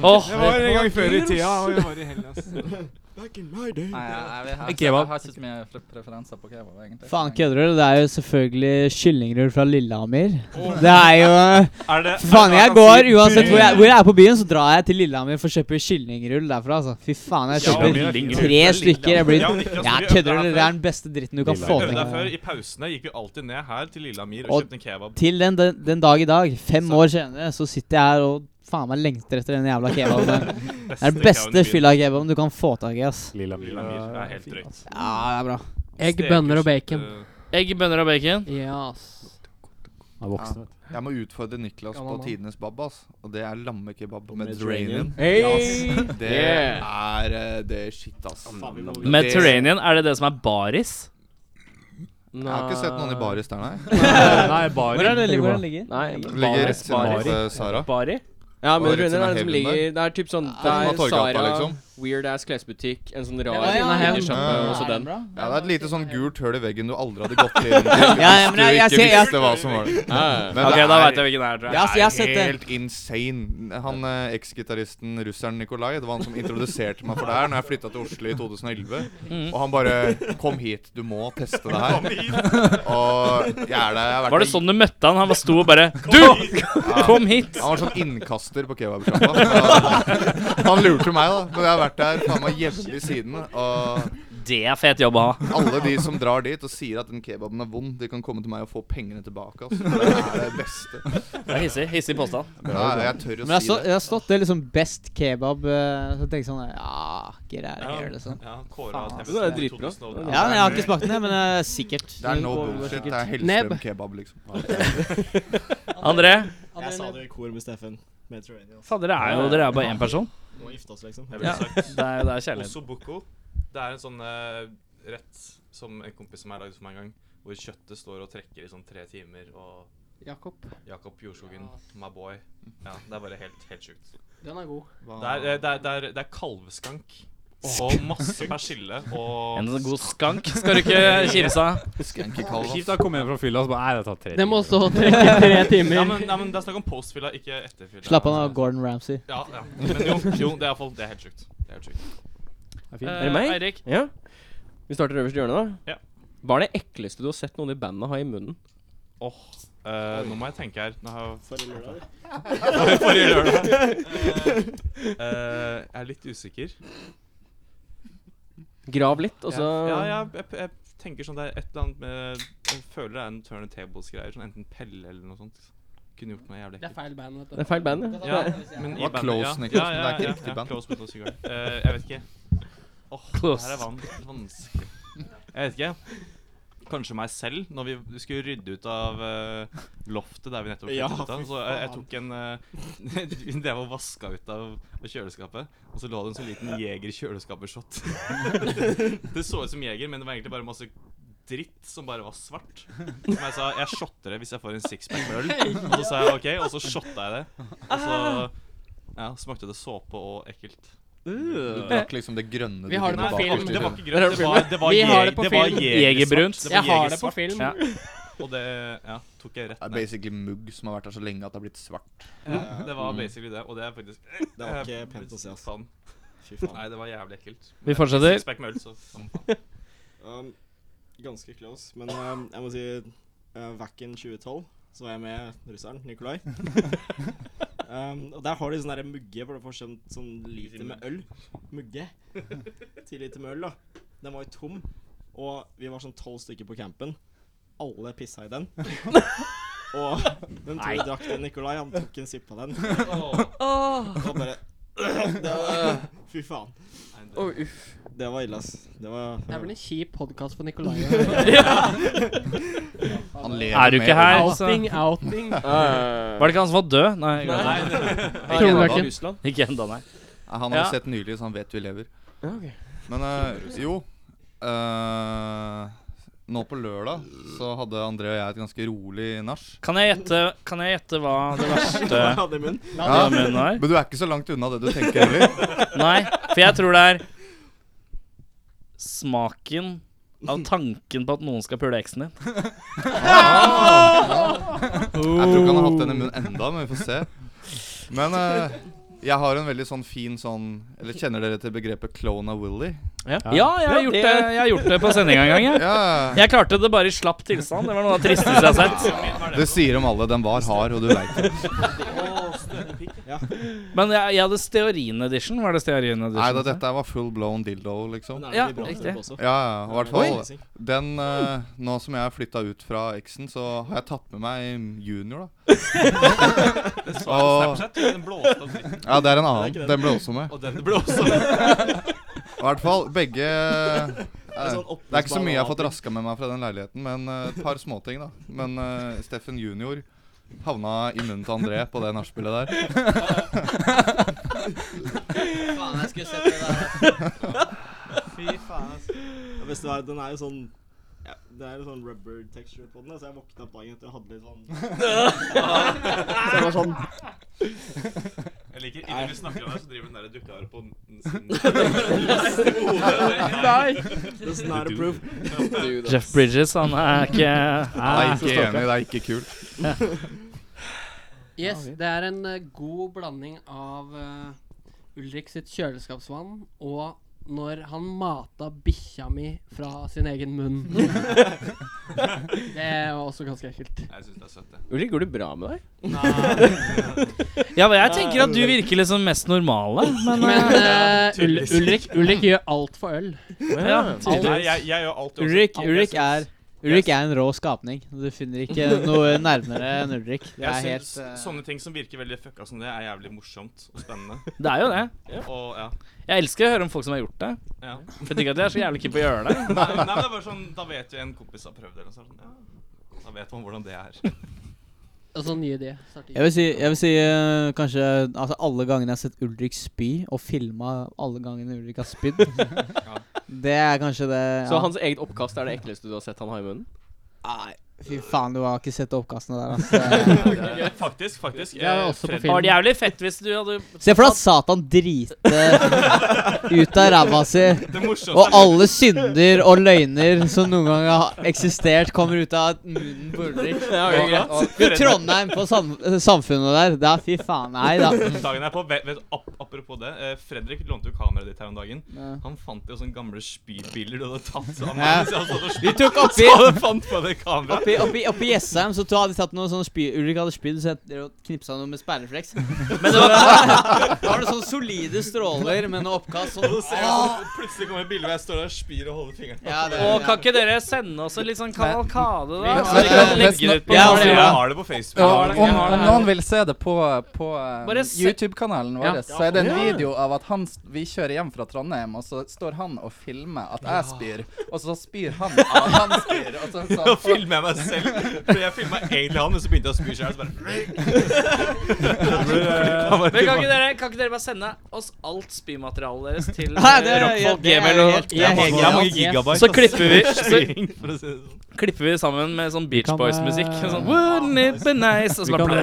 Speaker 2: Åh,
Speaker 13: var en gang før i tida, og vi var i Hellas.
Speaker 10: Back in my day.
Speaker 9: Nei, jeg, jeg, jeg, jeg,
Speaker 1: Kebab.
Speaker 9: har ikke så mye pre- preferanser på kebab, egentlig.
Speaker 7: Faen, kødder du? Det er jo selvfølgelig kyllingrull fra Lillehammer. Det er jo
Speaker 8: Er det,
Speaker 7: Faen, jeg går uansett hvor jeg, hvor jeg er på byen, så drar jeg til Lillehammer for å kjøpe kyllingrull derfra, altså. Fy faen, jeg
Speaker 8: Ja,
Speaker 7: kjøper
Speaker 8: kyllingrull
Speaker 7: tre stykker. Jeg blir
Speaker 8: Ja, Niklas,
Speaker 7: Ja,
Speaker 8: vi øvde
Speaker 7: kødder
Speaker 8: her
Speaker 7: du? Det
Speaker 8: før.
Speaker 7: er den beste dritten du kan få
Speaker 8: Vi
Speaker 7: til.
Speaker 8: øvde her før. I pausene gikk vi alltid ned her til Lillamir og
Speaker 7: Og
Speaker 8: kjøpte en kebab.
Speaker 7: Til den, den, den dag i dag, fem år senere, så sitter jeg her og faen meg lengter etter den jævla kebaben. Det er den beste fylla-kebaben du kan få tak i, ass.
Speaker 1: Lilla
Speaker 8: Lillamir det er helt drøyt.
Speaker 7: Ja, det er bra.
Speaker 11: Egg, bønner og bacon.
Speaker 8: Stekes, eh,
Speaker 2: Egg, bønner og bacon.
Speaker 11: Yes.
Speaker 1: Han er voksen, vet du.
Speaker 12: Jeg må utfordre Niklas
Speaker 11: Gammel
Speaker 12: på
Speaker 11: mann.
Speaker 12: tidenes babbas, og det er lammekebab med
Speaker 10: Mediterranean.
Speaker 12: drainin. Det er eh, det er shit, ass.
Speaker 10: Faen, vi må-
Speaker 12: Det-
Speaker 2: Mediterranean, er det det som er baris?
Speaker 12: Jeg har ikke sett noen i baris der, nei.
Speaker 2: Eh,
Speaker 1: Nei, bare
Speaker 7: Hvor er det
Speaker 1: tenker
Speaker 7: hvor
Speaker 1: på.
Speaker 7: den ligger?
Speaker 3: Nei.
Speaker 12: Det ligger rett siden
Speaker 1: Baris.
Speaker 12: av eh, Sara.
Speaker 2: Bari?
Speaker 3: Ja, men
Speaker 12: Bare rett
Speaker 3: Rune, det
Speaker 12: som
Speaker 3: er
Speaker 12: er
Speaker 3: den som
Speaker 12: Haven
Speaker 3: ligger Det er typ sånn Det
Speaker 12: den
Speaker 3: er
Speaker 12: var Torgata,
Speaker 3: Sara,
Speaker 12: liksom.
Speaker 3: weird ass klesbutikk, en sånn
Speaker 7: Ja, ja,
Speaker 3: rar
Speaker 7: ja.
Speaker 3: kjøttbutikk, eh, og så den.
Speaker 12: Ja, det er et lite sånn gult høl i veggen du aldri hadde gått
Speaker 7: *laughs*
Speaker 12: inn til
Speaker 7: Ja, ja, men jeg- jeg
Speaker 12: hvis du
Speaker 7: ser-
Speaker 12: ikke
Speaker 7: jeg-
Speaker 12: visste hva som var der. Men
Speaker 2: Ok,
Speaker 12: det
Speaker 2: da
Speaker 12: er-
Speaker 2: veit jeg hvilken det er. tror jeg.
Speaker 7: Ja, så jeg har sett den.
Speaker 12: Helt insane. Han eh, eksgitaristen russeren Nikolai, det var han som introduserte meg for det her Når jeg flytta til Oslo i 2011.
Speaker 7: Mm.
Speaker 12: Og han bare 'Kom hit, du må teste det her'. *laughs* Og jeg er der. Jeg har vært
Speaker 2: Var det
Speaker 12: i-
Speaker 2: sånn du møtte han? Han bare sto og bare Du! *laughs* Kom hit!
Speaker 12: Han var sånn innkaster på kebabsjappa. *laughs* så Han lurte meg, da. Men jeg har vært der faen meg jevnlig siden. Og
Speaker 2: Det er fet jobb å ha.
Speaker 12: alle de som drar dit og sier at den kebaben er vond, de kan komme til meg og få pengene tilbake. Altså. Det er det beste.
Speaker 2: Det er hissig. Hissig påstand.
Speaker 12: Ja, jeg tør
Speaker 7: Men
Speaker 12: å
Speaker 7: jeg,
Speaker 12: si
Speaker 7: så,
Speaker 12: det.
Speaker 7: jeg har stått det liksom best kebab eh, Så tenker jeg sånn Ja, get out of here, liksom.
Speaker 8: Ja, Kåra
Speaker 7: Faen,
Speaker 8: til
Speaker 7: det
Speaker 3: er dritbra.
Speaker 7: Ja, men jeg har ikke smakt den, jeg, men eh, sikkert.
Speaker 12: Det er
Speaker 7: Den
Speaker 12: no
Speaker 7: går- går
Speaker 12: bullshit. Det
Speaker 7: sikkert.
Speaker 12: er
Speaker 11: Nebb.
Speaker 12: Hellstrøm liksom. kebab, liksom.
Speaker 7: *laughs*
Speaker 2: André?
Speaker 10: Jeg sa det i kor med Steffen. Mediterranean. ass.
Speaker 2: Faen, dere er jo dere er bare én person.
Speaker 10: Vi Må gifte oss, liksom.
Speaker 8: Jeg
Speaker 2: Ja.
Speaker 8: ville
Speaker 2: *laughs*
Speaker 8: sagt
Speaker 2: Det er, det er kjærlighet.
Speaker 8: Osso buco. Det er en sånn eh, rett som en kompis som jeg lagde for meg en gang, hvor kjøttet står og trekker i sånn tre timer, og
Speaker 11: Jakob,
Speaker 8: Jakob Jordskogen, my boy Ja, det er bare helt, helt sjukt.
Speaker 11: den er god.
Speaker 8: Det er, eh, det er, det er, det er kalveskank. Og masse persille og
Speaker 2: En sånn god skank skal du ikke kimse av.
Speaker 12: Skanky
Speaker 1: Kjipt
Speaker 12: kalv,
Speaker 1: da, kom hjem fra fylla og så bare Nei, det tar tre
Speaker 11: Den må stå og trekke tre
Speaker 8: ja,
Speaker 11: timer.
Speaker 8: men, nei, men Det er snakk om postfylla, ikke etterfylla.
Speaker 7: Slapp av nå, Gordon Ramsay.
Speaker 8: Ja, ja. Men jo, jo det er iallfall Det er helt sjukt. Det er helt sjukt.
Speaker 1: Det er fint.
Speaker 2: Eh,
Speaker 3: det meg?
Speaker 2: Eirik.
Speaker 3: Ja. Vi starter øverst i hjørnet, da.
Speaker 8: Ja.
Speaker 3: Hva er det ekleste du har sett noen i bandet ha i munnen?
Speaker 8: Åh, eh, nå må jeg tenke her. Nå har jeg
Speaker 10: Forrige lørdag.
Speaker 8: *laughs* Forrige lørdag. Eh, eh, jeg er litt usikker.
Speaker 3: Grav litt, og så
Speaker 8: ja, ja, jeg, jeg, jeg tenker sånn det er et eller annet med Jeg føler det er en turn and tables-greier. Sånn enten pelle eller noe sånt. Kunne gjort noe jævlig
Speaker 11: Det er
Speaker 8: ekkelt.
Speaker 11: feil band, vet du.
Speaker 3: Det er feil band, ja.
Speaker 8: Ja, men
Speaker 12: Det var close, Niklas, men det er ikke riktig band.
Speaker 8: Close Band og Cigar. Eh, jeg vet ikke. Åh, det her er van vanskelig. *laughs* Jeg vet ikke. Kanskje meg selv, når vi skulle rydde ut av eh, loftet der vi nettopp
Speaker 10: Ja,
Speaker 8: flyttet ut av.
Speaker 10: fy
Speaker 8: Så jeg, jeg
Speaker 10: faen.
Speaker 8: tok en eh, *laughs* Vi drev og vaska ut av av kjøleskapet, og så lå det en så liten Jeger-kjøleskapet-shot. *laughs* det så ut som Jeger, men det var egentlig bare masse dritt som bare var svart. Som jeg sa, jeg
Speaker 10: Ah.
Speaker 8: shotter det hvis jeg får en sixpack med øl. Og så sa jeg OK, og så shotta jeg det. Og så Ja, Smakte det såpe og ekkelt?
Speaker 2: Uh.
Speaker 12: Du drakk liksom det grønne du kunne bak i
Speaker 8: Det var
Speaker 12: tiden.
Speaker 8: ikke grønt. Det var, det var,
Speaker 12: Vi har
Speaker 8: jeg-
Speaker 12: det på
Speaker 8: det var
Speaker 12: film.
Speaker 8: jegersvart.
Speaker 12: Jeg har det
Speaker 8: jegersvart.
Speaker 12: på film.
Speaker 8: Ja. *laughs* Og det ja, tok jeg rett
Speaker 12: Det er
Speaker 8: ned.
Speaker 12: basically mugg som har vært der så lenge at det har blitt svart.
Speaker 8: Ja, det var
Speaker 12: Mm.
Speaker 8: basically det, og det er faktisk Eh,
Speaker 10: Det var ikke pent å se, ass.
Speaker 8: Faen.
Speaker 10: Fy faen.
Speaker 8: Nei, det var jævlig ekkelt.
Speaker 2: Vi fortsetter.
Speaker 8: Sixpack med øl, så som faen.
Speaker 10: *laughs* Um, ganske close, men um, jeg må si uh, Vakken 2012, så var jeg med russeren
Speaker 2: *laughs*
Speaker 10: Nikolai. um, og der har de sånn derre mugge, for det får sånn, sånn liter med øl.
Speaker 8: *laughs*
Speaker 10: Mugge. Ti liter med øl, da. Den var jo tom, og vi var sånn tolv stykker på campen. Alle
Speaker 2: *laughs*
Speaker 10: pissa i den. og den
Speaker 6: Nei.
Speaker 10: to drakk den. Nikolai, han tok en sipp av
Speaker 2: *laughs*
Speaker 10: den.
Speaker 6: Åh.
Speaker 10: Og bare det var, Fy faen.
Speaker 11: Å, uff.
Speaker 10: Det var ille, ass. Det var
Speaker 11: Det er vel en kjip podkast for Nikolai. *laughs*
Speaker 12: Han
Speaker 2: Er du ikke her, så-
Speaker 11: Outing, outing.
Speaker 2: Var det ikke han som var død? Nei. jeg glemte
Speaker 11: Nei.
Speaker 2: det.
Speaker 11: Nei. Tror du ikke?
Speaker 2: Ikke enda, nei.
Speaker 12: Ja, Han har
Speaker 2: Ja.
Speaker 12: jo sett nylig, så han vet vi lever.
Speaker 11: Ja, ok.
Speaker 12: Men eh, jo eh, Nå på lørdag så hadde André og jeg et ganske rolig nach.
Speaker 2: Kan jeg gjette, kan jeg gjette hva det verste
Speaker 12: Hva hadde i munnen? Ja,
Speaker 2: i munnen var?
Speaker 12: men du er ikke så langt unna det du tenker,
Speaker 2: *laughs*
Speaker 12: heller.
Speaker 2: Nei, for jeg tror det er smaken av tanken på at noen skal pule eksen
Speaker 12: *laughs*
Speaker 2: din.
Speaker 12: Ah. Jeg tror ikke han har hatt den i munnen enda, men vi får se. Men eh, jeg har en veldig sånn fin sånn Eller kjenner dere til begrepet Clone of Willy?
Speaker 2: Ja, jeg, har gjort det, jeg har gjort det på sendinga en gang. Jeg.
Speaker 12: Ja.
Speaker 2: jeg klarte det bare i slapp tilstand. Det var noe av det tristeste jeg har sett.
Speaker 12: Det sier om alle. Den var hard, og du veit det.
Speaker 2: Men jeg, jeg hadde stearin edition. Var det stearin edition?
Speaker 12: Nei da, dette var full blown dildo, liksom.
Speaker 2: Men er det Ja, litt bra riktig. strøm også?
Speaker 12: Ja, ja, i hvert
Speaker 2: Oi.
Speaker 12: fall. Den eh, Nå som jeg har flytta ut fra eksen, så har jeg tatt med meg
Speaker 8: *laughs*
Speaker 12: junior, da.
Speaker 8: Den så jeg på
Speaker 12: Og-
Speaker 8: Snapchat, den blåste opp litt.
Speaker 12: Ja, det er en
Speaker 8: Det er ikke
Speaker 12: annen.
Speaker 8: den.
Speaker 12: Den ble også med.
Speaker 8: Og den ble også med.
Speaker 12: *laughs* I hvert fall begge eh,
Speaker 8: er sånn
Speaker 12: Det er ikke så mye jeg har fått
Speaker 8: oppblåsbar
Speaker 12: raska med meg fra den leiligheten, men eh, et par småting, da. Men eh, Steffen junior havna i munnen til André på det nachspielet
Speaker 8: *laughs*
Speaker 12: der.
Speaker 7: Faen, jeg skulle sett det der. Fy faen, ass.
Speaker 10: Det beste var, den er jo sånn ja, Det er jo sånn rubber texture på den, da, så jeg våkna opp dagen etter og hadde litt sånn Så jeg var sånn
Speaker 8: Jeg liker
Speaker 10: Nei.
Speaker 8: Innen vi snakker om det, så driver den der dukkeharen på
Speaker 10: *laughs*
Speaker 8: den sin
Speaker 10: Nei. This is not a proof.
Speaker 2: Jeff Bridges, han er ikke Ah,
Speaker 12: Nei, ikke
Speaker 2: stalker.
Speaker 12: enig. Det er ikke kult.
Speaker 2: Ja.
Speaker 11: Yes, det er en eh, god blanding av eh, Ulrik sitt kjøleskapsvann og når han mata bikkja mi fra sin egen
Speaker 2: *laughs*
Speaker 11: munn. det er også ganske ekkelt.
Speaker 8: Jeg syns det er søtt, det.
Speaker 3: Ulrik, går det bra med deg?
Speaker 2: *laughs* Ja, men jeg tenker at du virker liksom mest normale, men,
Speaker 11: Men
Speaker 2: eh,
Speaker 11: eh, Ul Ulrik, Ulrik gjør alt for øl.
Speaker 2: Ja, tydeligvis.
Speaker 8: Nei, jeg- jeg gjør alt også. altså.
Speaker 7: Ulrik,
Speaker 8: Alt
Speaker 7: Ulrik,
Speaker 8: jeg
Speaker 7: er,
Speaker 8: synes.
Speaker 7: Ulrik er en rå skapning. Du finner ikke
Speaker 8: *laughs*
Speaker 7: noe nærmere enn Ulrik. Det er
Speaker 8: Jeg
Speaker 7: helt
Speaker 8: synes
Speaker 2: eh,
Speaker 8: Sånne ting som virker veldig fucka som det, er jævlig morsomt og spennende.
Speaker 2: *laughs* Det er jo det.
Speaker 8: Og, ja.
Speaker 2: Jeg elsker å høre om folk som har gjort det.
Speaker 8: Ja.
Speaker 2: For jeg tenker at jeg er så jævlig keen på å gjøre det.
Speaker 8: Nei, nei, men det er bare sånn, Da vet jo en kompis har prøvd det. Eller noe sånt. Ja. Da vet man hvordan det er.
Speaker 11: Altså ny idé. starter.
Speaker 7: Jeg vil si, jeg vil si eh, kanskje altså alle gangene jeg har sett Ulrik spy, og filma alle gangene Ulrik har
Speaker 8: *laughs*
Speaker 7: spydd Det er kanskje det
Speaker 3: Så hans eget oppkast er det ekleste du har sett han har i munnen?
Speaker 2: *laughs*
Speaker 7: Nei, fy faen, du har ikke sett oppkastene der,
Speaker 8: *laughs*
Speaker 7: altså. *laughs*
Speaker 8: Faktisk, faktisk.
Speaker 7: Det er jo også på
Speaker 2: Fred-
Speaker 7: film.
Speaker 2: Var det jævlig fett hvis du hadde
Speaker 7: Se for deg at Satan driter ut av ræva si,
Speaker 2: Det morsomste-
Speaker 7: og alle synder og løgner som noen gang har eksistert, kommer ut av munnen på Ulrik.
Speaker 3: Ja, ok, greit.
Speaker 7: Og- Du, Trondheim på sam samfunnet der. Da, fy faen. Nei da.
Speaker 8: Dagen er på, vet, vet, ap apropos det, eh, Fredrik lånte jo kameraet ditt her om dagen.
Speaker 7: Ja.
Speaker 8: Han fant jo sånne gamle spybiler du hadde tatt. Så han,
Speaker 7: Ja.
Speaker 8: så han satt og spy-
Speaker 7: Vi tok oppi
Speaker 8: *laughs* Så han fant på det kameraet.
Speaker 7: Oppi, oppi, oppi Jessheim så to hadde de tatt noe sånn spy Ulrik hadde spydd, så jeg drev og knipsa noe med
Speaker 8: *laughs*
Speaker 7: sperrefleks. Men det var, da var det sånn solide stråler med noe oppkast.
Speaker 8: Og så ser jeg
Speaker 7: Sånn.
Speaker 8: sånn, plutselig kommer et bilde hvor jeg står der og spyr og holder fingeren
Speaker 7: Ja, det-
Speaker 2: Å, kan ikke dere sende oss en litt sånn kavalkade, da?
Speaker 8: Men-
Speaker 2: Så
Speaker 8: men-
Speaker 2: vi kan
Speaker 8: men-
Speaker 2: legge det ut på
Speaker 8: Ja,
Speaker 2: vår-
Speaker 8: altså, jeg har det på Facebook.
Speaker 2: Ja,
Speaker 8: Jeg har
Speaker 2: om-
Speaker 8: det. Jeg har
Speaker 2: om
Speaker 8: det.
Speaker 2: noen
Speaker 9: Han vil se det på, på eh,
Speaker 2: Bare se-
Speaker 9: YouTube-kanalen vår.
Speaker 2: Ja.
Speaker 9: Så er det en
Speaker 2: Ja.
Speaker 9: video av at han, s- vi kjører hjem fra Trondheim, og så står han og filmer at jeg spyr, og så spyr han av at han spyr. Og så,
Speaker 8: *laughs* Nå filmer jeg meg selv. Fordi jeg filma egentlig han, men så begynte jeg å spy
Speaker 7: *laughs*
Speaker 8: sjøl.
Speaker 7: eh,
Speaker 2: Men kan ikke, dere, kan ikke dere bare sende oss alt spymaterialet deres til
Speaker 7: Nei, det-
Speaker 2: eh, Rockfolk
Speaker 7: ja, det er
Speaker 2: Gmail og-
Speaker 7: helt- det sånn. er helt-
Speaker 2: Så klipper vi så, klipper vi sammen med sånn Beach
Speaker 1: kan,
Speaker 2: Boys-musikk.
Speaker 1: eh,
Speaker 2: Sånn, Wouldn't it be nice? Og så
Speaker 1: Vi
Speaker 2: bare
Speaker 1: kan,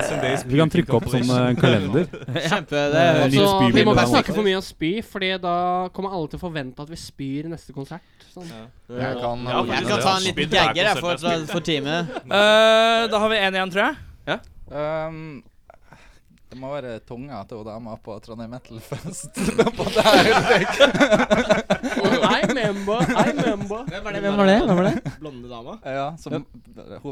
Speaker 1: vi kan trykke opp som eh, en kalender.
Speaker 7: Kjempe, det
Speaker 1: Eh,
Speaker 7: er
Speaker 1: ny
Speaker 11: Så vi må
Speaker 1: spybilde
Speaker 11: ikke
Speaker 1: der nå.
Speaker 11: snakke for mye om spy, Fordi da kommer alle til å forvente at vi spyr i neste konsert. Sånn.
Speaker 12: Jeg kan
Speaker 8: Ja,
Speaker 12: ordne
Speaker 7: Jeg
Speaker 8: faktisk.
Speaker 12: det,
Speaker 7: skal ta en
Speaker 12: altså.
Speaker 7: liten gagger jeg, for, for teamet.
Speaker 2: Eh, da har vi én igjen, tror jeg.
Speaker 9: Um, det må være tunga til hun dama på Trondheim Metal Fest. *laughs* på det her.
Speaker 11: Oh, I remember, I remember.
Speaker 10: Hvem var det? Hvem var det? Blonde dama?
Speaker 9: ja, som, hun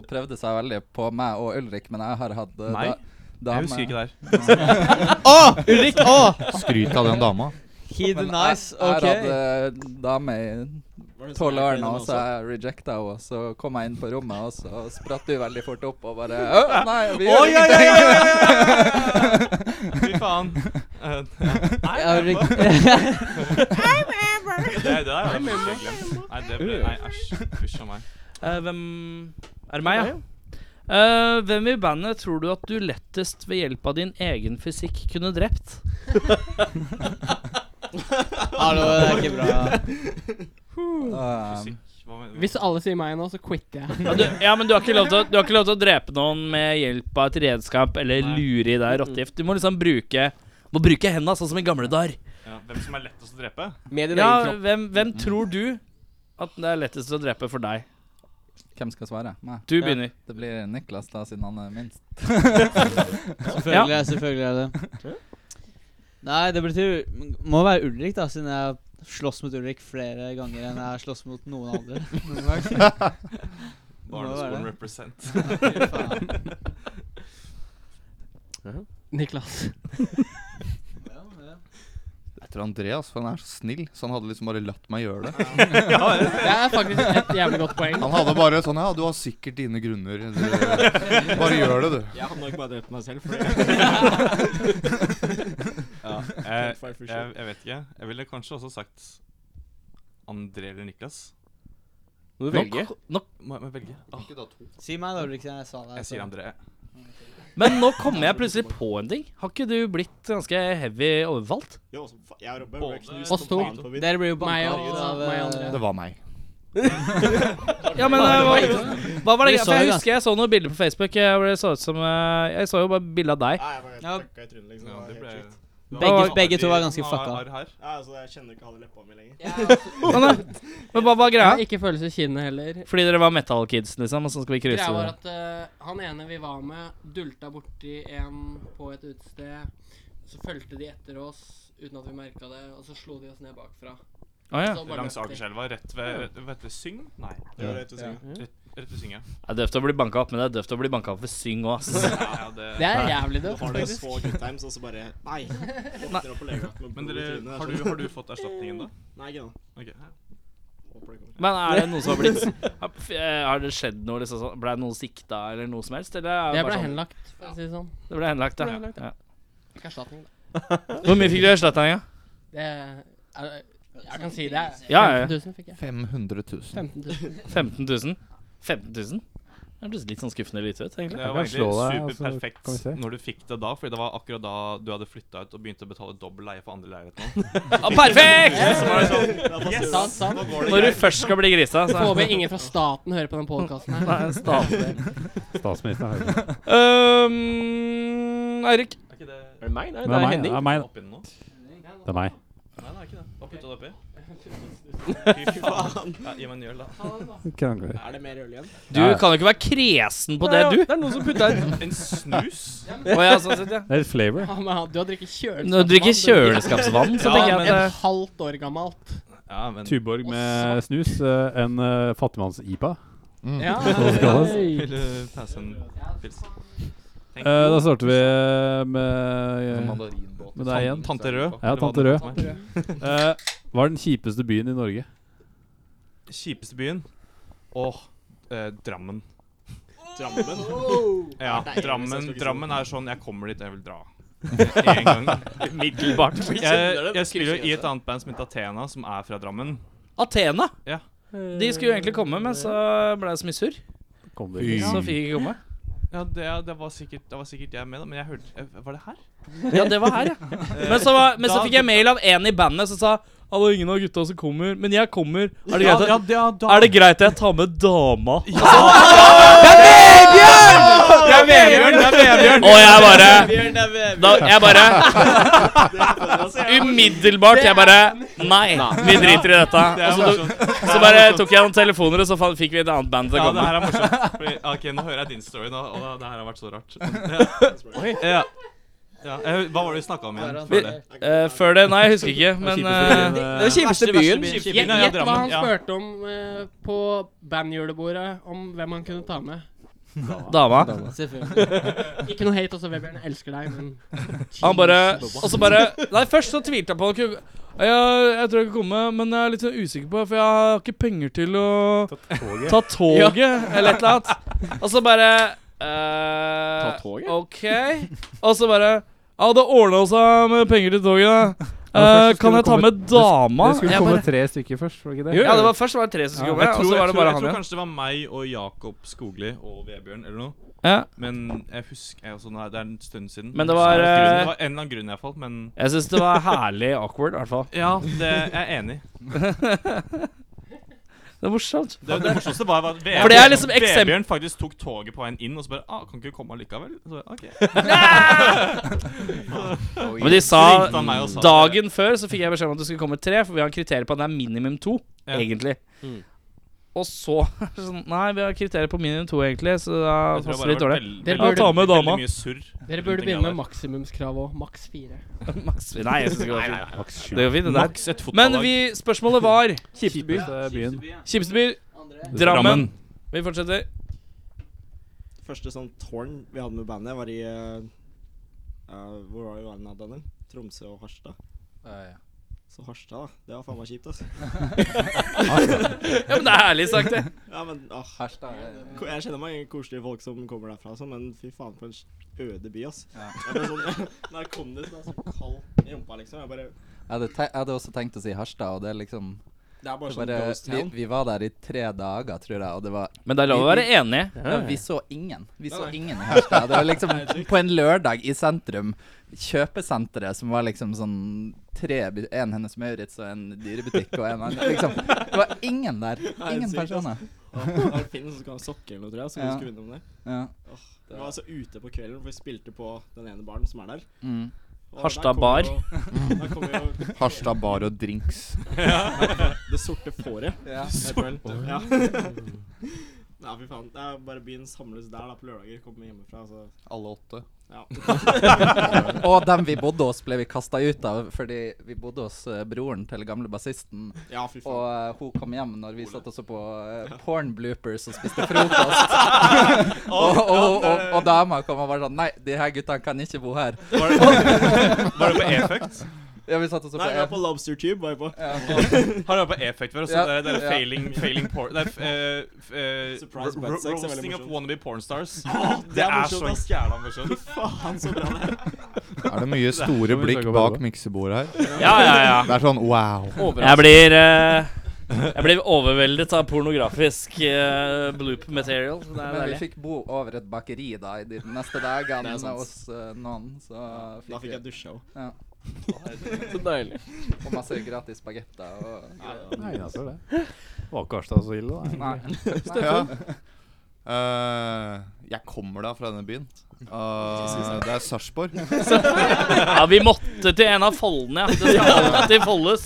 Speaker 9: prøvde seg veldig på meg og Ulrik, men jeg har hatt eh,
Speaker 8: Meg?
Speaker 9: da-
Speaker 8: Jeg husker
Speaker 9: *laughs*
Speaker 8: ikke
Speaker 9: dame-
Speaker 8: det her.
Speaker 7: Å! Ulrik! Å!
Speaker 12: Skryt av den dama.
Speaker 7: He the
Speaker 9: Men
Speaker 7: nice.
Speaker 9: jeg,
Speaker 7: OK.
Speaker 9: jeg hadde dame i
Speaker 10: Var det
Speaker 9: tolv år
Speaker 10: som jeg
Speaker 9: nå,
Speaker 10: pleier
Speaker 9: så
Speaker 10: med
Speaker 9: jeg rejecta henne. Så kom jeg inn på rommet, og så spratt hun veldig fort opp og bare Å, nei, vi
Speaker 8: Oi,
Speaker 9: gjør
Speaker 8: oi, oi, oi,
Speaker 9: ingenting!
Speaker 8: oi, oi, oi! Fy *laughs* faen. Eh,
Speaker 7: Ja, Ulrik.
Speaker 8: *laughs* Det er- det der har jeg faktisk glemt. Nei, det ble Nei, æsj. Fysj a meg.
Speaker 2: Eh, hvem Er det meg, ja? Eh, hvem i bandet tror du at du lettest ved hjelp av din egen fysikk kunne
Speaker 7: *laughs*
Speaker 2: drept?
Speaker 7: Hallo, det er ikke bra.
Speaker 9: Um,
Speaker 8: Fysikk Hva mener
Speaker 11: Hvis alle sier meg nå, så quitter jeg.
Speaker 2: Ja, du, ja men du har, ikke lov til, å- du har ikke lov til å drepe noen med hjelp av et redskap eller
Speaker 8: Nei.
Speaker 2: lure i deg rottegift. Du må liksom bruke må bruke henda, sånn som i gamle dager.
Speaker 8: Ja, hvem som er lettest å drepe?
Speaker 3: Med din egen
Speaker 2: Ja,
Speaker 3: kropp.
Speaker 2: hvem, hvem tror du at det er lettest å drepe for deg?
Speaker 9: Hvem skal svare? Meg.
Speaker 2: Du begynner.
Speaker 9: Det blir Niklas, da, siden han er minst.
Speaker 7: Selvfølgelig, selvfølgelig er det Nei, det betyr Må være Ulrik, da, siden jeg har slåss mot Ulrik flere ganger enn jeg har slåss mot noen *laughs* andre. Noen gang. Må jo være
Speaker 8: *laughs* Barneskolen
Speaker 7: det.
Speaker 8: represent.
Speaker 7: *laughs* Fy faen.
Speaker 11: *laughs*
Speaker 8: *laughs*
Speaker 11: Niklas.
Speaker 12: Etter Andreas, for han er så snill, så han hadde liksom bare latt meg gjøre det.
Speaker 11: Det er faktisk et jævlig godt poeng.
Speaker 12: Han hadde bare sånn Ja, du har sikkert dine grunner. Du- Bare gjør det, du.
Speaker 10: Jeg hadde nok bare drept meg
Speaker 8: *laughs*
Speaker 10: selv. Fordi
Speaker 8: Ja, jeg,
Speaker 10: Catfight for
Speaker 8: jeg,
Speaker 10: sure.
Speaker 8: jeg vet ikke. Jeg ville kanskje også sagt André eller Niklas.
Speaker 3: Må du velge.
Speaker 8: Må jeg må jeg velge? Åh,
Speaker 7: Si meg da, Ulrik, siden jeg sa det.
Speaker 8: jeg sier André.
Speaker 2: Men nå kommer jeg plutselig på en ting. Har ikke du blitt ganske heavy overfalt?
Speaker 10: Jo, så fa- jeg og Robbe ble
Speaker 8: Både-
Speaker 10: knust
Speaker 11: Oss to.
Speaker 10: totalt på vidt.
Speaker 7: Dere blir jo
Speaker 11: Meg
Speaker 7: banka
Speaker 11: og,
Speaker 7: ut av
Speaker 11: meg og
Speaker 7: eh,
Speaker 11: André.
Speaker 12: Det var
Speaker 10: *laughs*
Speaker 12: meg.
Speaker 2: Ja, men eh, hva, hva var det?
Speaker 7: Vi
Speaker 2: For
Speaker 7: så jo
Speaker 2: jeg
Speaker 7: ganske-
Speaker 2: husker jeg så noen bilder på Facebook. eh, Hvor det så ut som eh, Jeg så jo bare bilde av deg.
Speaker 10: Nei, jeg bare
Speaker 7: Ja.
Speaker 10: takka i trynet, liksom.
Speaker 8: Ja, det
Speaker 10: det var
Speaker 8: ble,
Speaker 10: helt sjukt.
Speaker 7: Begge- begge to var ganske fucka.
Speaker 8: fucka.
Speaker 10: Ja, altså, jeg kjenner ikke halve leppa mi lenger.
Speaker 2: Men, eh, men hva var
Speaker 11: Jeg har
Speaker 2: greia?
Speaker 11: ikke følelse i kinnet heller.
Speaker 2: Fordi dere var metal kids, liksom? Og så skal vi krysse
Speaker 11: Greia var
Speaker 2: det.
Speaker 11: at eh, han ene vi var med, dulta borti en på et utested. Så fulgte de etter oss uten at vi merka det, og så slo de oss ned bakfra.
Speaker 2: Å, ja.
Speaker 11: Så bare
Speaker 8: Langs
Speaker 11: løp de.
Speaker 8: Akerselva, rett ved rett- Hva heter det? Syng? Nei,
Speaker 10: Det var rett ved siden.
Speaker 8: rett ved Syng, ja.
Speaker 2: Det er døvt å bli banka opp, men det er døvt å bli banka opp ved syng òg, ass.
Speaker 8: ja
Speaker 11: Det
Speaker 8: det.
Speaker 11: er jævlig
Speaker 10: Da
Speaker 11: dødt,
Speaker 10: har dere
Speaker 11: faktisk.
Speaker 10: så good times, og så bare
Speaker 11: *laughs*
Speaker 10: Nei! Våkner opp og legger deg med
Speaker 8: Men
Speaker 10: blod i
Speaker 8: dere,
Speaker 10: trynet.
Speaker 8: har, du, har du fått erstatningen, da?
Speaker 10: Nei, ikke ennå.
Speaker 8: Ok, her.
Speaker 10: Håper det kommer.
Speaker 2: Men er det noen som har blitt
Speaker 10: *laughs*
Speaker 2: Har f- eh, har det skjedd noe? Liksom, sånn? ble noen sikta eller noe som helst? Eller er det
Speaker 11: Jeg
Speaker 2: bare
Speaker 11: ble
Speaker 2: sånn?
Speaker 11: henlagt, for å si det sånn.
Speaker 2: Det ble henlagt,
Speaker 11: Ble
Speaker 2: ja.
Speaker 11: henlagt,
Speaker 2: ja.
Speaker 11: Ikke erstatning, da.
Speaker 2: Hvor mye fikk du i erstatning? Ja?
Speaker 11: Det er, jeg kan si det.
Speaker 2: Ja, ja, ja.
Speaker 11: 15 000 fikk jeg.
Speaker 12: 500 000.
Speaker 11: 15 000.
Speaker 2: *laughs* 15 000? 15 000? Det hørtes litt sånn skuffende lite ut, egentlig.
Speaker 8: Det var
Speaker 1: kan
Speaker 8: egentlig
Speaker 1: slå deg, altså,
Speaker 8: superperfekt
Speaker 1: kan vi se.
Speaker 8: når du fikk det da, Fordi det var akkurat da du hadde flytta ut og begynte å betale dobbel leie for andre
Speaker 1: *laughs*
Speaker 8: leiligheten.
Speaker 2: Ah, perfekt!
Speaker 10: Så var det sånn, yes!
Speaker 11: Sant, sant.
Speaker 2: Når du først skal bli grisa, så
Speaker 11: Håper ingen fra staten hører på den podkasten her.
Speaker 2: Nei, statlig.
Speaker 1: Statsministeren hører på.
Speaker 2: Um, Eirik.
Speaker 8: Er ikke det
Speaker 3: Er det meg? Nei,
Speaker 1: Det
Speaker 3: det
Speaker 1: er
Speaker 3: er
Speaker 1: meg,
Speaker 3: Henning.
Speaker 1: det er meg.
Speaker 8: oppi den nå?
Speaker 1: Det er meg.
Speaker 8: Nei, det er ikke det. Hva putta du oppi? Fy faen. Ja, gi meg en øl, da.
Speaker 1: Krangler.
Speaker 10: Er det mer øl igjen?
Speaker 2: Du kan jo ikke være kresen på det, du.
Speaker 3: Det er noen som putta en
Speaker 8: En snus?
Speaker 2: Å ja, sånn sett, ja.
Speaker 1: Det er litt flavor.
Speaker 11: Ja, men Du har drukket kjøleskapsvann.
Speaker 2: Når du drikker kjøleskapsvann, så
Speaker 8: Ja,
Speaker 2: tenker jeg
Speaker 11: Et
Speaker 2: at
Speaker 11: halvt år gammelt.
Speaker 8: Ja, men
Speaker 1: Tuborg med snus. eh, En eh, fattigmanns-IPA.
Speaker 8: Mm.
Speaker 11: Ja. *laughs*
Speaker 8: Vil du passe en pils?
Speaker 1: Eh, da starter vi eh, med,
Speaker 12: Mandarinbåt.
Speaker 1: med deg igjen.
Speaker 8: Tante Rød.
Speaker 1: Ja,
Speaker 8: eller hva
Speaker 1: Tante
Speaker 8: det
Speaker 1: Rød.
Speaker 8: het for meg.
Speaker 1: Eh, hva er den kjipeste byen i Norge?
Speaker 8: Kjipeste byen? Åh, eh, Drammen.
Speaker 10: Drammen?
Speaker 8: Ja,
Speaker 10: Nei, jeg
Speaker 8: Drammen,
Speaker 10: skal ikke si
Speaker 8: Drammen er sånn Jeg kommer dit, jeg vil dra. En gang. Umiddelbart. Jeg, jeg spiller jo i et annet band som heter Athena, som er fra Drammen.
Speaker 2: Athena
Speaker 8: Ja.
Speaker 2: De skulle jo egentlig komme, men så ble det så mye surr.
Speaker 1: Kom
Speaker 12: Fy.
Speaker 1: det
Speaker 2: Så fikk jeg ikke komme.
Speaker 8: Ja, det, det, var sikkert, det var sikkert jeg med, da. Men jeg hørte eh, Var det her?
Speaker 2: Ja, det var her,
Speaker 8: *laughs*
Speaker 2: ja. Men så, var, men så fikk jeg mail av en i bandet som sa Hallo, ingen av gutta som kommer, men jeg kommer. Er det
Speaker 8: Ja,
Speaker 2: greit at,
Speaker 8: ja, ja, da-
Speaker 2: er det greit at jeg tar med dama?
Speaker 6: Det er Vebjørn! Det er Vebjørn!
Speaker 2: Og jeg bare
Speaker 6: Vebjørn, det er Vebjørn.
Speaker 2: da, Jeg bare Umiddelbart. Jeg bare Nei, vi driter i dette.
Speaker 8: Det er
Speaker 2: Og så, tok-
Speaker 8: morsomt. Det
Speaker 2: så
Speaker 8: er
Speaker 2: bare
Speaker 8: morsomt.
Speaker 2: tok jeg noen telefoner, og så fa- fikk vi et annet band til å
Speaker 8: Ja, det her er
Speaker 2: komme. *laughs*
Speaker 8: morsomt. Fordi, ok, Nå hører jeg din story, nå, og det her har vært så rart. Ja.
Speaker 2: Oi.
Speaker 8: Ja. Ja. eh, Hva var det vi snakka om igjen?
Speaker 2: Vi,
Speaker 8: Før det?
Speaker 2: eh, før det? Nei, jeg husker ikke. Men eh,
Speaker 3: Den kjipeste byen.
Speaker 8: Kjipeste
Speaker 11: Gjett
Speaker 8: byen, ja, ja,
Speaker 11: gjett hva
Speaker 8: Drammen,
Speaker 11: han
Speaker 8: ja.
Speaker 11: spurte om eh, på bandjulebordet, om hvem han kunne ta med.
Speaker 2: *laughs* dama.
Speaker 11: Selvfølgelig. *laughs* Ikke noe hate også, Vebjørn. Jeg elsker deg, men
Speaker 2: *laughs* Han bare
Speaker 11: Jesus.
Speaker 2: Og så bare Nei, først så tvilte jeg på han kunne- jeg, jeg tror jeg kan komme, men jeg er litt sånn usikker på For jeg har ikke penger til å ta toget, eller et eller annet. Og så bare eh,
Speaker 10: Ta toget?
Speaker 2: OK. Og så bare Ja, det ordna seg med penger til toget, da. Eh, kan jeg ta med dama?
Speaker 1: Det skulle
Speaker 2: Jeg
Speaker 1: komme
Speaker 2: bare-
Speaker 1: tre stykker først, var det ikke det?
Speaker 2: Ja, det var først var det tre som skulle
Speaker 1: Ja,
Speaker 2: komme,
Speaker 8: Jeg
Speaker 2: og
Speaker 8: tror,
Speaker 2: så var
Speaker 8: jeg
Speaker 2: det
Speaker 8: tror,
Speaker 2: bare
Speaker 8: jeg
Speaker 2: han
Speaker 8: tror
Speaker 2: igjen.
Speaker 8: kanskje det var meg og Jakob Skogli og Vebjørn eller noe.
Speaker 2: Ja.
Speaker 8: Men jeg husker jeg også, nei, Det er en stund siden.
Speaker 2: Men det var,
Speaker 8: Så det
Speaker 2: eh,
Speaker 8: det var en eller annen grunn, iallfall. Men
Speaker 2: Jeg syns det var herlig awkward, i hvert fall.
Speaker 8: ja, det jeg er enig.
Speaker 2: *laughs* Det er morsomt.
Speaker 8: *laughs* Det, det morsomste var at
Speaker 2: For det er liksom eksempel-
Speaker 8: Vebjørn faktisk tok toget på veien inn og så bare ah, 'Kan ikke du komme allikevel?' Så,
Speaker 2: *laughs*
Speaker 8: jeg, *laughs* ok.
Speaker 2: Men de sa
Speaker 8: Så ringte han meg og sa det.
Speaker 2: Dagen før så fikk jeg beskjed om at det skulle komme tre, for vi har kriterier på at det er minimum to.
Speaker 8: Ja.
Speaker 2: Egentlig.
Speaker 3: Mm.
Speaker 2: Og så *laughs* sånn, Nei, vi har kriterier på minimum to, egentlig, så da
Speaker 8: Jeg tror jeg
Speaker 2: passer
Speaker 8: bare
Speaker 2: det litt
Speaker 8: var
Speaker 2: dårlig.
Speaker 8: veld-
Speaker 11: Dere
Speaker 8: veldig-
Speaker 11: burde-
Speaker 2: Ta med dama.
Speaker 8: Veldig mye surr.
Speaker 11: Dere
Speaker 8: rundt
Speaker 11: burde
Speaker 8: den greia
Speaker 11: begynne
Speaker 8: der.
Speaker 11: med maksimumskrav òg. Maks fire.
Speaker 2: *laughs* Maks Nei, jeg syns det går fint.
Speaker 1: Maks sju.
Speaker 2: Det går fint, det der.
Speaker 8: Maks et
Speaker 2: Men
Speaker 8: fotballag.
Speaker 2: vi Spørsmålet var
Speaker 1: Kjipeste byen.
Speaker 2: Kjipeste by? Drammen.
Speaker 1: Drammen.
Speaker 2: Vi fortsetter.
Speaker 10: Første sånn tårn vi hadde med bandet, var i eh, eh, Hvor var vi verden av, Daniel? Tromsø og Harstad. Så Harstad, da. Det var faen meg kjipt, altså.
Speaker 2: *laughs* Ja, men det er herlig sagt, det.
Speaker 10: *laughs* Ja, men ah, ko- Jeg kjenner mange koselige folk som kommer derfra, altså, men fy faen for en s- øde by, ass. Jeg ble sånn, *laughs* da jeg kom dit, så var jeg så kald i rumpa, liksom. Jeg bare
Speaker 9: Jeg hadde, te jeg hadde også tenkt å si Harstad, og det er liksom
Speaker 10: Det er bare
Speaker 9: det
Speaker 10: sånn
Speaker 9: bare,
Speaker 10: ghost
Speaker 9: vi,
Speaker 10: town.
Speaker 9: vi var der i tre dager, tror jeg, og det var
Speaker 2: Men det er lov å være enig.
Speaker 9: ja, Vi så ingen. Vi så ingen i Harstad. Det var
Speaker 10: *laughs*
Speaker 9: liksom på en lørdag i sentrum. Kjøpesenteret som var liksom sånn tre bu- En Hennes Maurits og en dyrebutikk og en annen liksom. Det var ingen
Speaker 10: *laughs*
Speaker 9: der. Ingen
Speaker 10: sykt,
Speaker 9: personer.
Speaker 10: Ah, Det er Finn som skal ha sokker eller noe, tror jeg. Så vi
Speaker 9: Ja.
Speaker 10: skulle vinne om det.
Speaker 9: Ja.
Speaker 10: Vi var altså ute på kvelden, for vi spilte på den ene baren som er der.
Speaker 9: Mm.
Speaker 10: Og
Speaker 2: Harstad
Speaker 10: der kommer
Speaker 2: bar.
Speaker 10: jo- Der kommer jo
Speaker 12: *laughs* Harstad bar og
Speaker 10: *laughs*
Speaker 12: drinks.
Speaker 10: Det sorte fåret.
Speaker 9: Ja.
Speaker 10: heter det vel. Ja. *laughs* Nei, fy faen. Det er bare byen samles der da på lørdager. Kommer hjemmefra, altså. så
Speaker 12: Alle åtte.
Speaker 10: ja.
Speaker 9: *laughs*
Speaker 10: *laughs*
Speaker 9: Og dem vi bodde hos, ble vi kasta ut av fordi vi bodde hos eh, broren til gamle bassisten.
Speaker 10: ja, fy
Speaker 9: Og
Speaker 10: faen.
Speaker 9: eh, hun kom hjem når vi satt og så på eh, porn bloopers og spiste
Speaker 10: *laughs*
Speaker 9: frokost. *laughs* og, og, og, og, og dama kom og var sånn Nei, de her guttene kan ikke bo her. *laughs*
Speaker 8: Var det, *laughs* var det på E-fucked?
Speaker 9: Ja, vi satt og så på
Speaker 10: Nei, vi er
Speaker 9: en-
Speaker 10: på Lobster Tube. Var jeg på.
Speaker 8: *laughs*
Speaker 10: *laughs*
Speaker 8: Har dere vært på E-fucked før? Så
Speaker 9: Ja,
Speaker 8: det er, det er
Speaker 9: ja.
Speaker 8: failing, failing porn... Det er eh, f- eh,
Speaker 10: Surprise
Speaker 8: ro-
Speaker 10: butt sex er veldig
Speaker 8: roasting of
Speaker 10: morsomt.
Speaker 8: wannabe pornstars.
Speaker 10: *laughs* det
Speaker 8: Det
Speaker 10: er
Speaker 8: er så
Speaker 10: morsomt, ass.
Speaker 8: jævla morsomt.
Speaker 10: *laughs* Faen, så bra det er.
Speaker 12: *laughs* Er det mye
Speaker 10: *laughs*
Speaker 12: store blikk bak miksebordet her?
Speaker 2: Ja, ja, ja.
Speaker 12: Det er sånn wow.
Speaker 2: Jeg blir eh, Jeg blir overveldet av pornografisk eh, bloop material. så Det er
Speaker 9: Men vi
Speaker 2: deilig.
Speaker 9: fikk bo over et bakeri da i de neste dagene
Speaker 10: Det er sant.
Speaker 9: hos eh, noen. Så
Speaker 10: Da fikk
Speaker 9: fikk
Speaker 10: jeg dusja òg.
Speaker 3: Så deilig.
Speaker 9: vi og masse gratis bagetter og
Speaker 1: Nei, jeg tror det. Var ikke Harstad så ille, da? *laughs*
Speaker 9: Nei.
Speaker 12: Ja. Eh, jeg kommer da fra denne byen. Eh, det er Sarpsborg.
Speaker 2: *laughs*
Speaker 8: *laughs*
Speaker 2: Ja, vi måtte til en av foldene, ja. Det skal alltid foldes.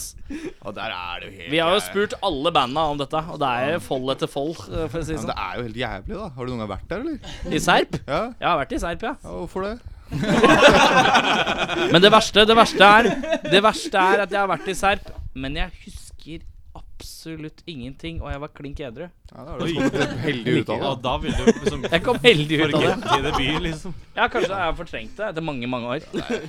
Speaker 12: Og der er det jo helt
Speaker 2: Vi har jo
Speaker 12: jævlig.
Speaker 2: spurt alle banda om dette, og det er fold etter fold, eh, for å si det
Speaker 12: Ja, men
Speaker 2: sånn.
Speaker 12: det er jo helt jævlig, da. Har du noen gang vært der, eller?
Speaker 2: I Serp?
Speaker 12: Ja,
Speaker 2: Jeg har vært i Serp, ja.
Speaker 12: ja Hvorfor det?
Speaker 2: *laughs* Men det verste, det verste er Det verste er at jeg har vært i Serp, men jeg husker absolutt ingenting, og jeg var klink edru.
Speaker 12: Ja, da har du kommet litt heldig ut av det.
Speaker 8: Ja, da vil du liksom
Speaker 2: Jeg kom heldig ut av det.
Speaker 8: Farge i det by, liksom.
Speaker 2: Ja, kanskje jeg har fortrengt det etter mange, mange år.
Speaker 12: Ja,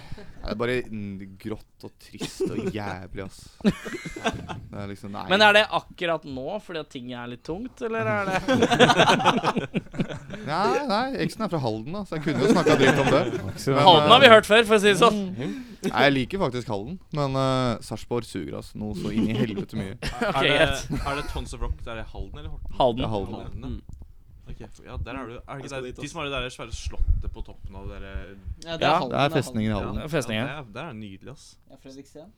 Speaker 12: Det er bare mm, grått og trist og jævlig, ass. Det er liksom Nei.
Speaker 2: Men er det akkurat nå fordi at ting er litt tungt, eller er det
Speaker 12: *laughs* Nei, nei, eksen er fra Halden, da, så jeg kunne jo snakka dritt
Speaker 8: *laughs*
Speaker 12: om det. Men,
Speaker 2: Halden har vi
Speaker 12: eh,
Speaker 2: hørt før, for å si det sånn.
Speaker 12: *laughs* Nei, jeg liker faktisk Halden, men eh, Sarpsborg suger, ass. Noe så inn i helvete mye.
Speaker 2: Ok,
Speaker 8: er, *laughs*
Speaker 2: greit.
Speaker 10: *laughs*
Speaker 8: det, er det Tons of Rock der i Halden eller Horten?
Speaker 2: Halden.
Speaker 12: Det er Halden.
Speaker 8: Halden, ja. Ok, for- ja, der er du. Er det
Speaker 10: Mm. Jeg
Speaker 8: ikke
Speaker 10: skal
Speaker 8: der,
Speaker 10: dit
Speaker 8: de som
Speaker 10: også.
Speaker 8: har det der svære slottet på toppen av det der
Speaker 7: Ja, det er Ja, Halden, det er det er
Speaker 12: festningen i Halden. Halden.
Speaker 8: Ja,
Speaker 2: Festningen.
Speaker 8: Ja, det er, det er nydelig, ass.
Speaker 7: Ja, Fredriksten.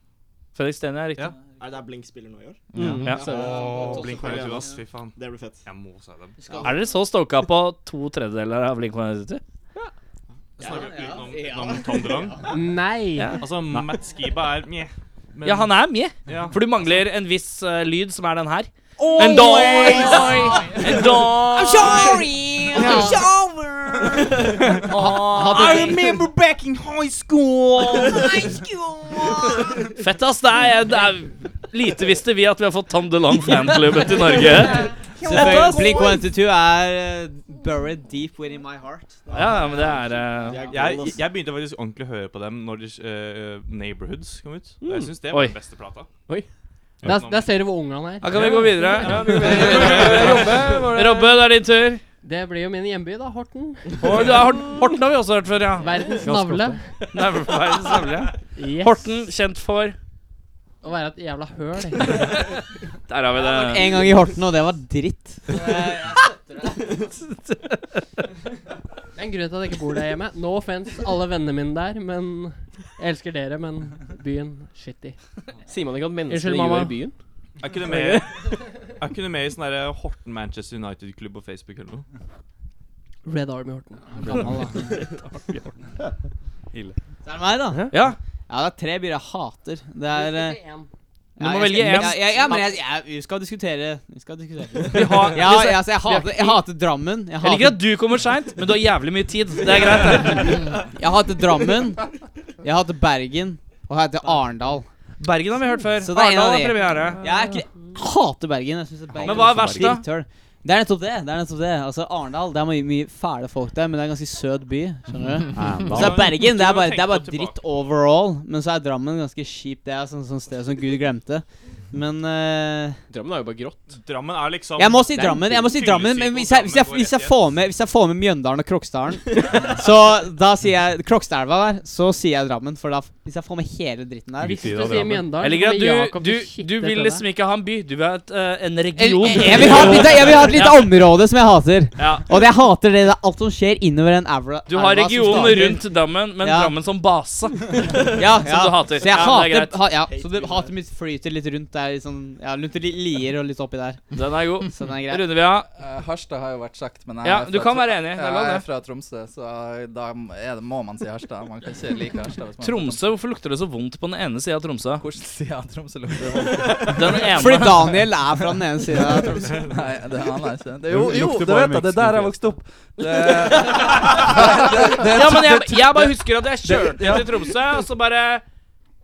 Speaker 2: Fredrik Stene er riktig.
Speaker 8: Ja.
Speaker 10: Er det der Blink spiller nå i år?
Speaker 8: Mm,
Speaker 2: Ja. Ja.
Speaker 10: Så-
Speaker 8: Åh,
Speaker 10: Også
Speaker 8: Blink
Speaker 10: for Arena.
Speaker 8: 182, ass. Fy faen.
Speaker 10: Det blir fett.
Speaker 8: Jeg må se dem.
Speaker 2: Er dere så stoka på to tredjedeler av Blink 182?
Speaker 8: Snakker vi utenom utenom Tom DeLonge?
Speaker 11: Nei.
Speaker 2: Ja.
Speaker 8: Altså, Matt Skiba er mjeh.
Speaker 10: *laughs*
Speaker 8: men-
Speaker 2: ja, han er med.
Speaker 8: Ja.
Speaker 2: For du mangler en viss eh, lyd, som er den her.
Speaker 6: Oi,
Speaker 2: en
Speaker 6: oi,
Speaker 2: noise!
Speaker 6: oi.
Speaker 2: En noise!
Speaker 6: I'm sorry, I'm sorry.
Speaker 2: Åh,
Speaker 6: I
Speaker 2: hadde-
Speaker 6: remember back in high school. High school.
Speaker 2: Fett, ass. Det er, det er Lite visste vi at vi har fått Tom DeLonge fanklubben til
Speaker 7: *laughs*
Speaker 2: Norge. Fett, ass.
Speaker 7: Blink 122 er eh, buried deep within my heart.
Speaker 2: Ja, ja, men det er eh,
Speaker 8: Jeg,
Speaker 7: altså.
Speaker 8: jeg begynte faktisk ordentlig å høre på dem når de, eh, Neighborhoods kom ut. Og jeg syns det var
Speaker 2: Oi.
Speaker 8: den beste plata.
Speaker 11: Oi. Der, der ser du hvor ung han er.
Speaker 2: Da kan vi gå videre.
Speaker 11: Ja,
Speaker 2: *laughs*
Speaker 11: *laughs*
Speaker 2: vi går videre. Robbe, var det- Robbe, det er din tur.
Speaker 11: Det blir jo min hjemby, da. Horten.
Speaker 2: Å, det er Horten- Horten har vi også hørt før, ja.
Speaker 11: Verdens
Speaker 2: Ganske ofte.
Speaker 11: navle.
Speaker 2: Nav- verdens navle, ja.
Speaker 11: Yes.
Speaker 2: Horten, kjent for
Speaker 11: Å være et jævla høl.
Speaker 2: *laughs* Der har vi det.
Speaker 7: En gang i Horten, og det var
Speaker 11: *laughs*
Speaker 7: dritt.
Speaker 11: Det er en grunn til at jeg ikke bor der hjemme. No offense alle vennene mine der, men Jeg elsker dere, men byen shitty.
Speaker 3: Sier man ikke at menneskene
Speaker 11: Unnskyld, mamma.
Speaker 3: gjør byen?
Speaker 8: Er
Speaker 11: *laughs*
Speaker 8: ikke det *laughs* med, er ikke det med i sånn derre Horten Manchester United-klubb på Facebook eller noe?
Speaker 11: Red Army Horten. Gammel, da.
Speaker 8: Ille.
Speaker 7: Det er meg, da.
Speaker 2: Ja.
Speaker 7: ja det er tre byer jeg hater. Det er eh,
Speaker 2: Du må
Speaker 7: jeg
Speaker 2: velge
Speaker 7: skal-
Speaker 2: en.
Speaker 7: Ja, ja, ja, men jeg, jeg, vi skal diskutere. Vi skal diskutere.
Speaker 2: *laughs* Vi har-
Speaker 7: ja,
Speaker 2: vi skal-
Speaker 7: ja, så
Speaker 2: vi har
Speaker 7: jeg, hater, jeg
Speaker 2: ikke-
Speaker 7: hater Drammen. Jeg
Speaker 2: Jeg liker
Speaker 7: hater,
Speaker 2: at du kommer seint, men du har jævlig mye tid. Det er greit. det.
Speaker 7: *laughs* jeg hater Drammen. Jeg hater Bergen. Og jeg hater Arendal.
Speaker 2: Bergen har vi hørt før.
Speaker 7: Så det er en av
Speaker 2: Arendal
Speaker 7: de.
Speaker 2: er premiere.
Speaker 7: Jeg er ikke, hater Bergen. Jeg synes at Bergen
Speaker 2: Men hva er verst, da?
Speaker 7: Drittøl. Det er nettopp det. det er nettopp det Altså Arendal det er mye, mye fæle folk der, men det er en ganske søt by. Skjønner du? *laughs* Og så er Bergen det er bare, det er bare dritt overall. Men så er Drammen ganske kjipt. Det er sånn, sånn sted som Gud glemte. Men eh,
Speaker 3: Drammen er jo bare grått.
Speaker 8: Drammen er liksom
Speaker 7: jeg må si
Speaker 8: Det er en
Speaker 7: Drammen. Jeg må si
Speaker 8: fyllesyk,
Speaker 7: Drammen Men
Speaker 8: og
Speaker 7: hvis jeg, hvis, jeg,
Speaker 8: Drammen går
Speaker 7: hvis, jeg
Speaker 8: rett
Speaker 7: får med, hvis jeg får med Mjøndalen og
Speaker 2: *laughs*
Speaker 7: Krokstaren, så da sier jeg Krokstadelva der, så sier jeg Drammen. For da, hvis jeg får med hele dritten der
Speaker 11: Hvis du sier Mjøndalen,
Speaker 2: Jeg liker
Speaker 11: så blir
Speaker 2: at du,
Speaker 11: Jakob
Speaker 2: du,
Speaker 11: shittet
Speaker 2: du vil
Speaker 11: på
Speaker 2: liksom
Speaker 11: deg.
Speaker 2: ikke ha en by. Du vil ha et, eh, en
Speaker 7: Jeg,
Speaker 2: region.
Speaker 7: jeg, vil ha et lite, jeg vil ha et lite område som jeg hater.
Speaker 2: Ja.
Speaker 7: Og jeg hater det, det er alt som skjer innover den aura.
Speaker 2: Du har regionen rundt Drammen, men
Speaker 7: Ja.
Speaker 2: Drammen som base. *laughs*
Speaker 7: ja, ja.
Speaker 2: Som du hater.
Speaker 7: Så jeg
Speaker 2: Ja, det er greit.
Speaker 7: hater ha, ja. Så det, hatet mitt flyter litt rundt der. Liksom, ja, rundt li- Lier og litt oppi der.
Speaker 2: Den er god.
Speaker 7: Så den er grei.
Speaker 2: Runder vi av.
Speaker 9: *laughs* Eh, Harstad har jo vært sagt, men jeg
Speaker 2: Ja,
Speaker 9: er
Speaker 2: du
Speaker 9: fra
Speaker 2: kan
Speaker 9: Tro-
Speaker 2: være enig. Det er lov,
Speaker 9: Jeg er
Speaker 2: det.
Speaker 9: fra Tromsø, så da er det, må man si Harstad. Man kan ikke like Harstad. hvis man er
Speaker 2: *laughs*
Speaker 9: fra
Speaker 2: Tromsø, hvorfor lukter det så vondt på den ene sida av Tromsø?
Speaker 9: Hvordan sier jeg Tromsø lukter vondt?
Speaker 2: *laughs* Den ene.
Speaker 7: Fordi Daniel er fra den ene sida
Speaker 2: *laughs*
Speaker 7: av Tromsø.
Speaker 9: *laughs* Nei, det aner jeg ikke. Det,
Speaker 12: Det
Speaker 9: jo, jo,
Speaker 12: lukter
Speaker 9: det
Speaker 12: bare
Speaker 9: vet jeg. Det er der jeg vokste opp. Det,
Speaker 2: *laughs* Ja, men jeg, jeg bare husker at jeg
Speaker 9: det-
Speaker 2: kjørte til Tromså, og så bare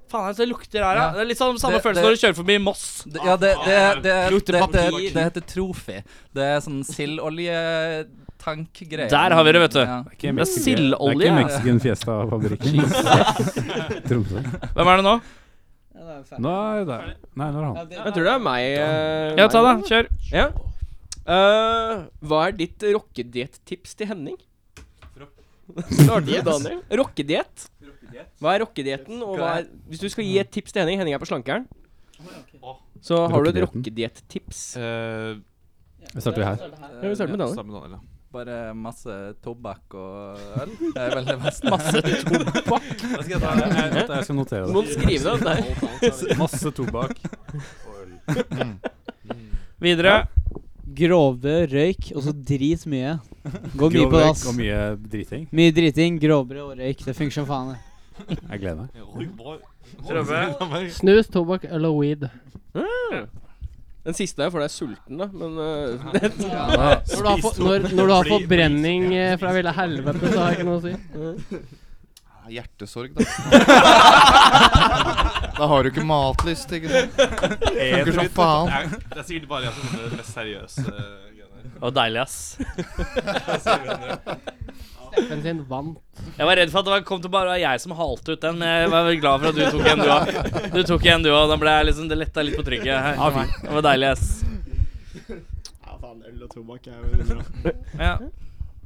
Speaker 2: Faen, altså, det lukter her, da.
Speaker 9: Ja.
Speaker 2: Det er litt sånn samme
Speaker 9: Det-
Speaker 2: følelse
Speaker 9: det-
Speaker 2: når du kjører forbi Moss.
Speaker 9: det, ja, det, det, det, det,
Speaker 7: Lukter
Speaker 9: det, det,
Speaker 7: papir.
Speaker 9: det heter Trofi. Det er sånn sildoljetankgreier.
Speaker 2: Der har vi det, vet du.
Speaker 9: Ja.
Speaker 1: Det er
Speaker 2: Det er
Speaker 1: Det er
Speaker 2: sildolje.
Speaker 1: ikke Mexican
Speaker 9: *laughs*
Speaker 1: Fiesta-fabrikken. Tromsø.
Speaker 2: Hvem er det nå?
Speaker 1: Nei, det er, nei, det er han.
Speaker 3: Jeg tror det er meg. eh,
Speaker 2: Ja, ta
Speaker 3: meg.
Speaker 2: da. Kjør.
Speaker 3: Ja. Eh, hva er ditt rockediett-tips til Henning? Starter med Daniel. Rockediett. Hva er rockedietten, og hva er Hvis du skal gi et tips til Henning Henning er på slankeren. Så har du et rockediett-tips.
Speaker 8: Eh,
Speaker 1: Vi starter her.
Speaker 3: Ja, vi starter med Daniel.
Speaker 8: sammen med Daniel, ja.
Speaker 9: Bare masse tobakk og øl. Det er vel det beste.
Speaker 2: *laughs* Masse
Speaker 1: Jeg skal notere
Speaker 3: Må du skrive det der?
Speaker 9: *laughs*
Speaker 1: det. Masse tobakk.
Speaker 2: Videre.
Speaker 7: Grove røyk, og så drit mye. Går mye på
Speaker 1: Grov
Speaker 7: dass.
Speaker 1: røyk og mye driting.
Speaker 7: Mye driting, grovbrød og røyk. Det funker som faen. det.
Speaker 1: Jeg gleder meg.
Speaker 11: Snus, tobakk, øl og weed.
Speaker 3: Den siste der får deg sulten, da. Men eh, *laughs*
Speaker 11: Når du har, for, når, når du har forbrenning eh, fra ville helvete, så har jeg ikke noe å si.
Speaker 12: Ah, Hjertesorg,
Speaker 8: *laughs*
Speaker 12: da. da har du ikke matlyst, ikke sant? Funker som faen.
Speaker 8: Nei, Det er sikkert bare jeg som er det mest seriøse eh, greiene.
Speaker 2: Å, deilig, ass.
Speaker 11: Steffen sin vant.
Speaker 2: Jeg var redd for at det var- kom til bare å være jeg som halte ut den. men Jeg var veldig glad for at du tok en, du òg. Du tok en, du òg. Da ble jeg liksom Det letta litt på trykket. her for meg. Det
Speaker 10: *laughs*
Speaker 2: var deilig, ass.
Speaker 10: Ja, faen, øl og tobakk er jo bra.
Speaker 2: Ja.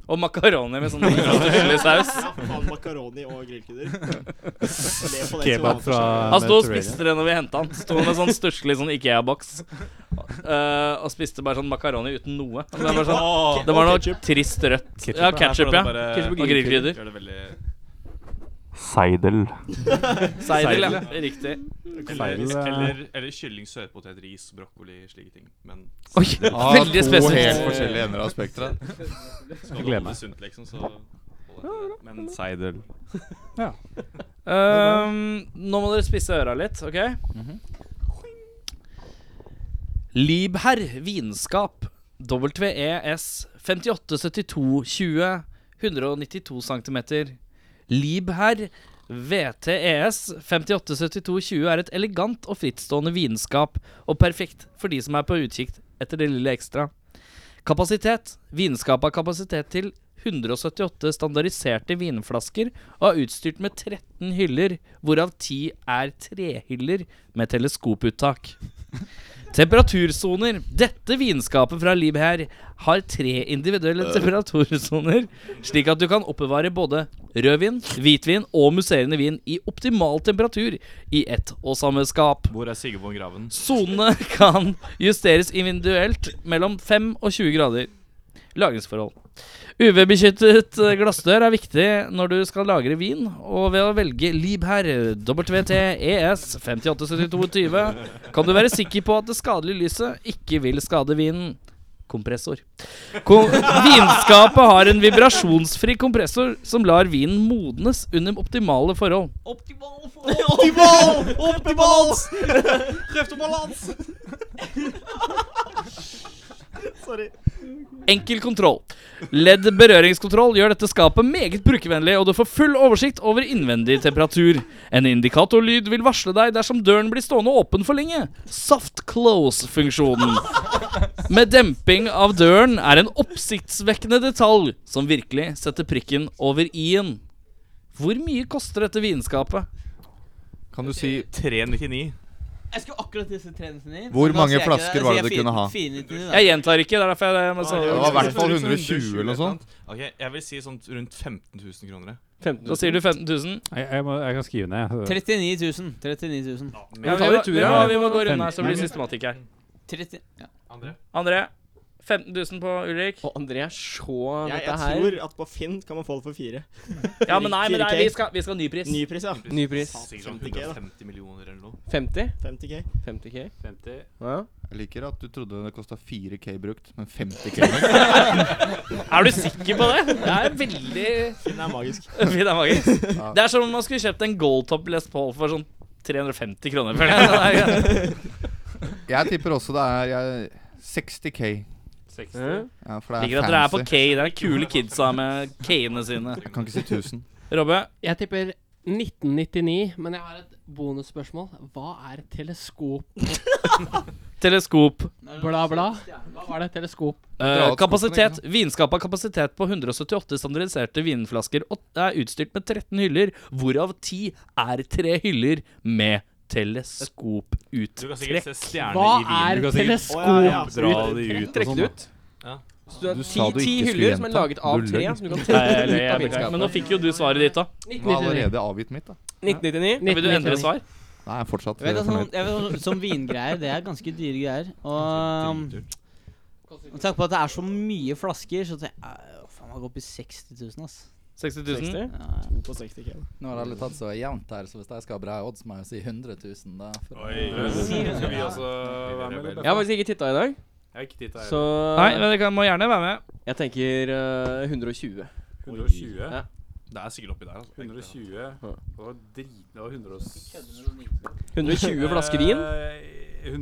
Speaker 2: Og makaroni med sånn chili saus.
Speaker 10: Ja, faen, makaroni og
Speaker 8: *laughs*
Speaker 10: grillkrydder. Le på det til
Speaker 1: Kebab
Speaker 10: hverandre.
Speaker 1: fra
Speaker 2: Han sto og
Speaker 1: Mediterranean.
Speaker 2: spiste det når vi henta han. Sto med sånn stusslig sånn Ikea-boks. Eh, og spiste bare sånn makaroni uten noe. Altså, det, var sånn, det var noe trist rødt.
Speaker 1: Ketchup.
Speaker 2: Ja, ketchup, ja.
Speaker 8: Ketchup
Speaker 2: Og
Speaker 8: og
Speaker 2: grillkrydder.
Speaker 8: Gjør det veldig
Speaker 1: Seidel.
Speaker 12: *laughs*
Speaker 2: Seidel, ja. Riktig.
Speaker 8: Eller,
Speaker 1: Feil, eh.
Speaker 8: eller, eller kylling, sørpotet, ris, brokkoli, slike ting. Men
Speaker 2: Oi,
Speaker 12: Ah,
Speaker 2: *laughs* veldig
Speaker 12: To
Speaker 2: spesifikt.
Speaker 12: helt forskjellige ender av spekteret.
Speaker 8: Eh, skal
Speaker 1: Jeg
Speaker 8: du
Speaker 1: gleder
Speaker 8: holde
Speaker 1: meg.
Speaker 8: det sunt, liksom, så holder jeg til det. Men seidel
Speaker 2: Ehm, nå må dere spisse øra litt, OK?
Speaker 5: Mhm.
Speaker 2: Liebherr Vinskap E WES 587220 192 cm. Liebherr E VTES 587220 er et elegant og frittstående vinskap, og perfekt for de som er på utkikk etter det lille ekstra. Kapasitet. Vinskapet har kapasitet til 178 standardiserte vinflasker og er utstyrt med 13 hyller, hvorav 10 er trehyller med teleskoputtak. Temperatursoner. Dette vinskapet fra Liv her har tre individuelle temperatursoner, slik at du kan oppbevare både rødvin, hvitvin og musserende vin i optimal temperatur i ett og samme skap.
Speaker 8: Hvor er Sigurd Graven?
Speaker 2: Sonene kan justeres individuelt mellom 5 og 20 grader. Lagringsforhold. UV-beskyttet eh, glassdør er viktig når du skal lagre vin, og ved å velge Liebherr E WTES 587220 kan du være sikker på at det skadelige lyset ikke vil skade vinen. Kompressor. Ko- vinskapet har en vibrasjonsfri kompressor som lar vinen modnes under optimale forhold.
Speaker 10: Optimal!
Speaker 6: *laughs*
Speaker 10: Optimal! balans! Sorry.
Speaker 2: Enkel kontroll. LED berøringskontroll gjør dette skapet meget brukervennlig, og du får full oversikt over innvendig temperatur. En indikatorlyd vil varsle deg dersom døren blir stående åpen for lenge. Soft close-funksjonen. Med demping av døren er en oppsiktsvekkende detalj som virkelig setter prikken over i-en. Hvor mye koster dette vinskapet?
Speaker 12: Kan du si
Speaker 8: 399.
Speaker 7: Jeg skulle akkurat disse treningene
Speaker 12: Hvor mange flasker var det du kunne ha?
Speaker 2: Jeg gjentar ikke, det er derfor jeg må
Speaker 12: Det var i hvert fall 120 eller noe sånt.
Speaker 8: Ok, Jeg vil si sånn rundt 15 000 kroner. jeg.
Speaker 2: Da sier du 15 000.
Speaker 1: Jeg, jeg, må, jeg kan skrive ned.
Speaker 7: 39 000. 39 000.
Speaker 2: Ja, vi,
Speaker 1: tar
Speaker 2: må,
Speaker 1: et tur,
Speaker 2: ja,
Speaker 1: ja.
Speaker 2: vi må gå rundt her, så blir det systematikk her.
Speaker 7: 30, ja.
Speaker 8: André?
Speaker 2: André, 15 000 på Ulrik.
Speaker 3: Og André er så
Speaker 10: Jeg,
Speaker 3: dette
Speaker 10: jeg
Speaker 3: her.
Speaker 10: tror at på Finn kan man få det for fire.
Speaker 2: Ja, men nei, men det er,
Speaker 10: 4K.
Speaker 2: vi, skal, vi skal ha ny pris.
Speaker 10: Ny pris, ja.
Speaker 3: Ny pris.
Speaker 8: Sikkert sånn
Speaker 10: 50K, da.
Speaker 8: 150 millioner eller noe.
Speaker 3: 50?
Speaker 10: 50K.
Speaker 3: 50K?
Speaker 1: 50.
Speaker 3: Ja.
Speaker 12: Jeg liker at du trodde det kosta 4K brukt, men 50K brukt.
Speaker 2: *laughs* *laughs* Er du sikker på det? Det er veldig
Speaker 10: Finn er
Speaker 2: *laughs*
Speaker 10: magisk.
Speaker 2: fint av magen. Det er som om man skulle kjøpt en Goldtop Les Paul for sånn 350 kroner. For det.
Speaker 12: Jeg tipper også det er jeg, 60K.
Speaker 3: Hæ?
Speaker 12: Ja, for det
Speaker 2: Liker
Speaker 12: er
Speaker 2: at dere er på
Speaker 12: fancy.
Speaker 2: K. Det er kule kidsa med K-ene sine.
Speaker 12: Jeg kan ikke si 1000.
Speaker 2: Robbe,
Speaker 11: Jeg tipper 1999, men jeg har et bonusspørsmål. Hva er teleskop?
Speaker 2: teleskop.
Speaker 11: Bla, bla. Hva var det? Teleskop.
Speaker 2: Eh, kapasitet. Vinskapet har kapasitet på 178 standardiserte vinflasker og er utstyrt med 13 hyller, hvorav 10 er tre hyller med
Speaker 8: Du kan sikkert
Speaker 2: teleskoputtrekk.
Speaker 8: se stjerner
Speaker 11: Hva
Speaker 8: i vinen.
Speaker 11: er
Speaker 1: Du kan sikkert-
Speaker 11: teleskop?
Speaker 1: Dra de ut og
Speaker 3: Trekke
Speaker 1: sånn.
Speaker 3: det
Speaker 1: da.
Speaker 3: ut.
Speaker 8: Ja.
Speaker 3: Så du har ti,
Speaker 12: Du sa du
Speaker 3: ti
Speaker 12: ikke skulle
Speaker 3: hyller som er
Speaker 12: gjenta.
Speaker 3: laget av
Speaker 12: Du
Speaker 3: tre,
Speaker 12: løy.
Speaker 3: som du
Speaker 12: *laughs*
Speaker 3: kan
Speaker 2: Nei,
Speaker 3: trekke
Speaker 2: eller
Speaker 3: ut
Speaker 2: jeg
Speaker 3: av
Speaker 2: beklager. Men
Speaker 3: vinskapet.
Speaker 2: nå fikk jo du svaret ditt, da.
Speaker 12: Jeg har allerede avgitt mitt, da.
Speaker 3: 1999.
Speaker 2: Vil du endre svar?
Speaker 12: Nei, jeg er fortsatt
Speaker 7: Jeg vet,
Speaker 12: eh,
Speaker 7: at sånn,
Speaker 12: fornøyd.
Speaker 7: jeg vet, at sånn vingreier, det er ganske dyre greier. Og um, med tanke på at det er så mye flasker, så tenker jeg å, Faen, man går opp i 60 000, ass.
Speaker 2: 60 000?
Speaker 7: Ja.
Speaker 10: To på 60K.
Speaker 9: Nå har alle tatt så jevnt her, så hvis jeg skal ha bra odds, må jeg jo si 100 000, da. For
Speaker 8: Skal vi også være med,
Speaker 3: Jeg har faktisk ikke titta i dag,
Speaker 8: har ikke titta
Speaker 3: så
Speaker 2: Nei, men dere kan- må gjerne være med.
Speaker 3: jeg tenker eh, 120.
Speaker 1: 120.
Speaker 8: Det er sikkert oppi der. altså.
Speaker 1: 120. Det var drit... Det var 100
Speaker 3: 120 flasker vin.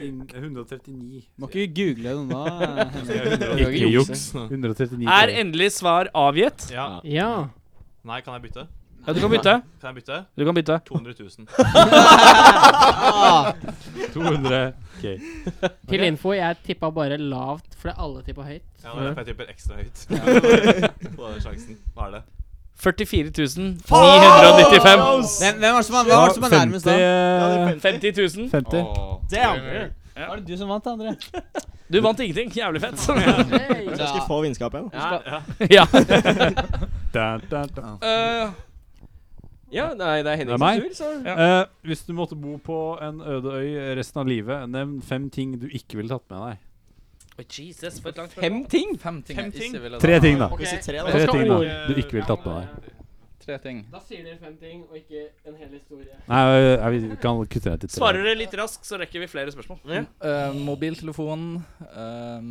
Speaker 1: 139.
Speaker 7: Må ikke google det nå.
Speaker 2: *laughs*
Speaker 7: Henrik.
Speaker 3: Ikke juks.
Speaker 1: 139
Speaker 2: Er endelig svar avgitt?
Speaker 8: Ja.
Speaker 11: Ja.
Speaker 8: Nei, kan jeg bytte?
Speaker 2: Ja, du kan bytte.
Speaker 8: Kan jeg bytte?
Speaker 2: Du kan bytte. *laughs*
Speaker 12: *laughs*
Speaker 8: 200 *laughs* 000.
Speaker 1: 200. Ok.
Speaker 11: *laughs* Til info, jeg tippa bare lavt fordi alle tippa høyt.
Speaker 8: Ja, det er derfor jeg tipper ekstra høyt. *laughs* På den sjansen. Hva er det?
Speaker 2: 44 995.
Speaker 7: Hvem, hvem var det som var, hvem var, det som var nærmest da?
Speaker 1: 50, eh,
Speaker 2: 50 000.
Speaker 1: 50.
Speaker 10: Damn!
Speaker 7: Var det du som vant, André?
Speaker 2: *laughs* Du vant ingenting. Jævlig fett. *laughs*
Speaker 10: Hey. Så jeg skal få vinskapet igjen, da.
Speaker 2: Ja.
Speaker 1: Da, da, da.
Speaker 2: Eh,
Speaker 3: Ja, nei, det er
Speaker 1: Det er
Speaker 3: Henning
Speaker 1: meg.
Speaker 3: sin tur, så
Speaker 1: Eh, hvis du måtte bo på en øde øy resten av livet, nevn fem ting du ikke ville tatt med deg.
Speaker 2: oi, Jesus, for et langt spørsmål.
Speaker 3: Fem ting!
Speaker 9: Fem ting
Speaker 8: Fem
Speaker 9: jeg
Speaker 8: ting?
Speaker 9: ikke ville
Speaker 1: Tre ting, da.
Speaker 11: Ok.
Speaker 10: Hvis det er tre,
Speaker 1: Tre
Speaker 10: da.
Speaker 1: ting da, du ikke ville tatt med deg.
Speaker 9: Tre ting.
Speaker 11: Da sier dere fem ting, og ikke en hel historie.
Speaker 1: Nei, eh, vi kan kutte deg til tre.
Speaker 2: Svarer dere litt raskt, så rekker vi flere spørsmål. Mm.
Speaker 9: Eh, mobiltelefon eh,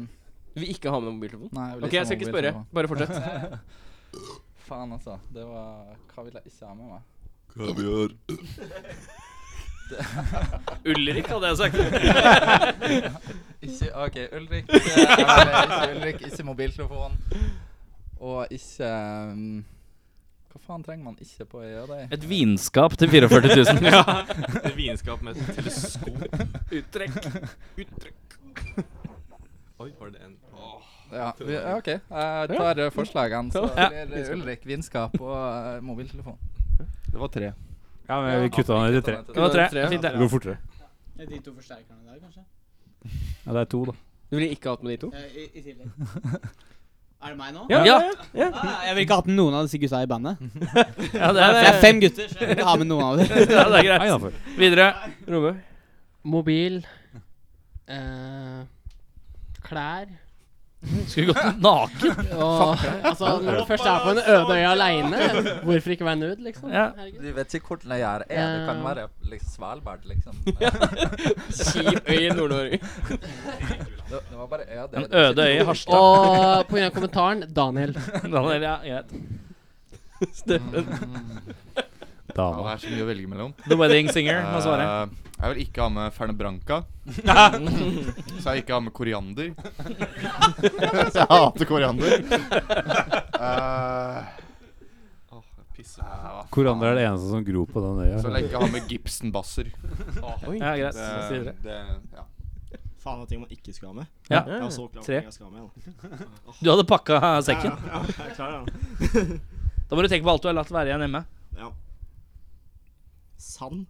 Speaker 3: Du vil ikke ha med mobiltelefonen?
Speaker 9: Nei, vil
Speaker 3: Ok, jeg skal ikke spørre.
Speaker 9: mobiltelefon.
Speaker 3: Bare fortsett.
Speaker 9: *laughs* Faen, altså. Det var Hva ville jeg ikke ha med meg? *laughs*
Speaker 4: Kaviar.
Speaker 2: Ulrik hadde jeg sagt.
Speaker 9: *laughs* Ikke OK, Ulrik. eh, jeg ville ikke Ulrik, ikke mobiltelefon. Og ikke eh, Hva faen trenger man ikke på ei øde øy?
Speaker 2: Et vinskap til 44 000. ja.
Speaker 8: Et vinskap med et teleskop.
Speaker 9: *laughs*
Speaker 2: Uttrekk.
Speaker 8: Oi, var det en Åh.
Speaker 9: Ja, vi, ja, OK. Jeg tar eh, forslagene, så
Speaker 2: Ja.
Speaker 9: blir det
Speaker 8: *laughs*
Speaker 9: Ulrik vinskap og eh, mobiltelefon.
Speaker 12: Det var tre.
Speaker 1: Ja, men vi kutta deg til tre.
Speaker 2: Det var tre.
Speaker 9: Tre.
Speaker 2: Fint,
Speaker 1: Det
Speaker 2: det.
Speaker 1: går fortere.
Speaker 7: Er De to forsterkerne der, kanskje?
Speaker 1: Ja, det er to, da.
Speaker 3: Du ville ikke hatt med de to?
Speaker 7: Eh, I, i tillegg. Er det meg nå?
Speaker 2: Ja.
Speaker 7: Ah, jeg ville ikke hatt med noen av disse gutta i bandet.
Speaker 2: *laughs* ja, det er
Speaker 7: Det er fem gutter, så jeg vil ikke ha med noen av dem.
Speaker 2: *laughs* Ja, det er
Speaker 1: Nei,
Speaker 2: greit.
Speaker 1: innenfor.
Speaker 2: Videre.
Speaker 3: Romme?
Speaker 11: Mobil. Eh, klær.
Speaker 2: Skulle gått naken.
Speaker 11: *laughs* Og, altså, når du først er på en øde øy aleine, hvorfor ikke være nude, liksom?
Speaker 2: Ja.
Speaker 11: Herregud.
Speaker 9: Du vet ikke hvordan jeg gjør det. Det kan
Speaker 11: Eh.
Speaker 9: være liksom, Svalbard,
Speaker 11: *laughs*
Speaker 9: liksom.
Speaker 3: Kjip øy i Nord-Norge.
Speaker 9: Det, det var bare øde.
Speaker 2: En øde øy i Harstad.
Speaker 11: Og på grunn av kommentaren Daniel.
Speaker 2: *laughs* Daniel, ja,
Speaker 9: *laughs*
Speaker 2: greit.
Speaker 9: Mm.
Speaker 12: Ja, det
Speaker 1: Dama.
Speaker 12: er så mye å velge mellom.
Speaker 2: The Wedding Singer må svare.
Speaker 12: Eh, jeg vil ikke ha med
Speaker 2: *laughs*
Speaker 12: Fernebranca. så jeg ikke har med koriander. så *laughs* *laughs* jeg hater
Speaker 9: *laughs*
Speaker 12: koriander. *laughs* Eh,
Speaker 8: Pisser.
Speaker 12: hva faen?
Speaker 1: Koriander er det eneste som gror på den øya.
Speaker 12: Så lenge jeg ikke har med Gibson-basser.
Speaker 2: Ja, greit. Si
Speaker 12: Det,
Speaker 11: *laughs*
Speaker 2: videre.
Speaker 12: det, ja.
Speaker 10: Faen av ting man ikke skal ha med.
Speaker 2: Ja.
Speaker 10: Jeg var så klar
Speaker 2: Tre.
Speaker 10: over jeg skal ha med. da.
Speaker 2: *laughs* Du hadde pakka sekken.
Speaker 10: Ja, ja, jeg er klar, ja.
Speaker 2: *laughs*
Speaker 10: *laughs*
Speaker 2: Da må du tenke på alt du har latt være igjen hjemme. *laughs*
Speaker 10: Ja. Sand.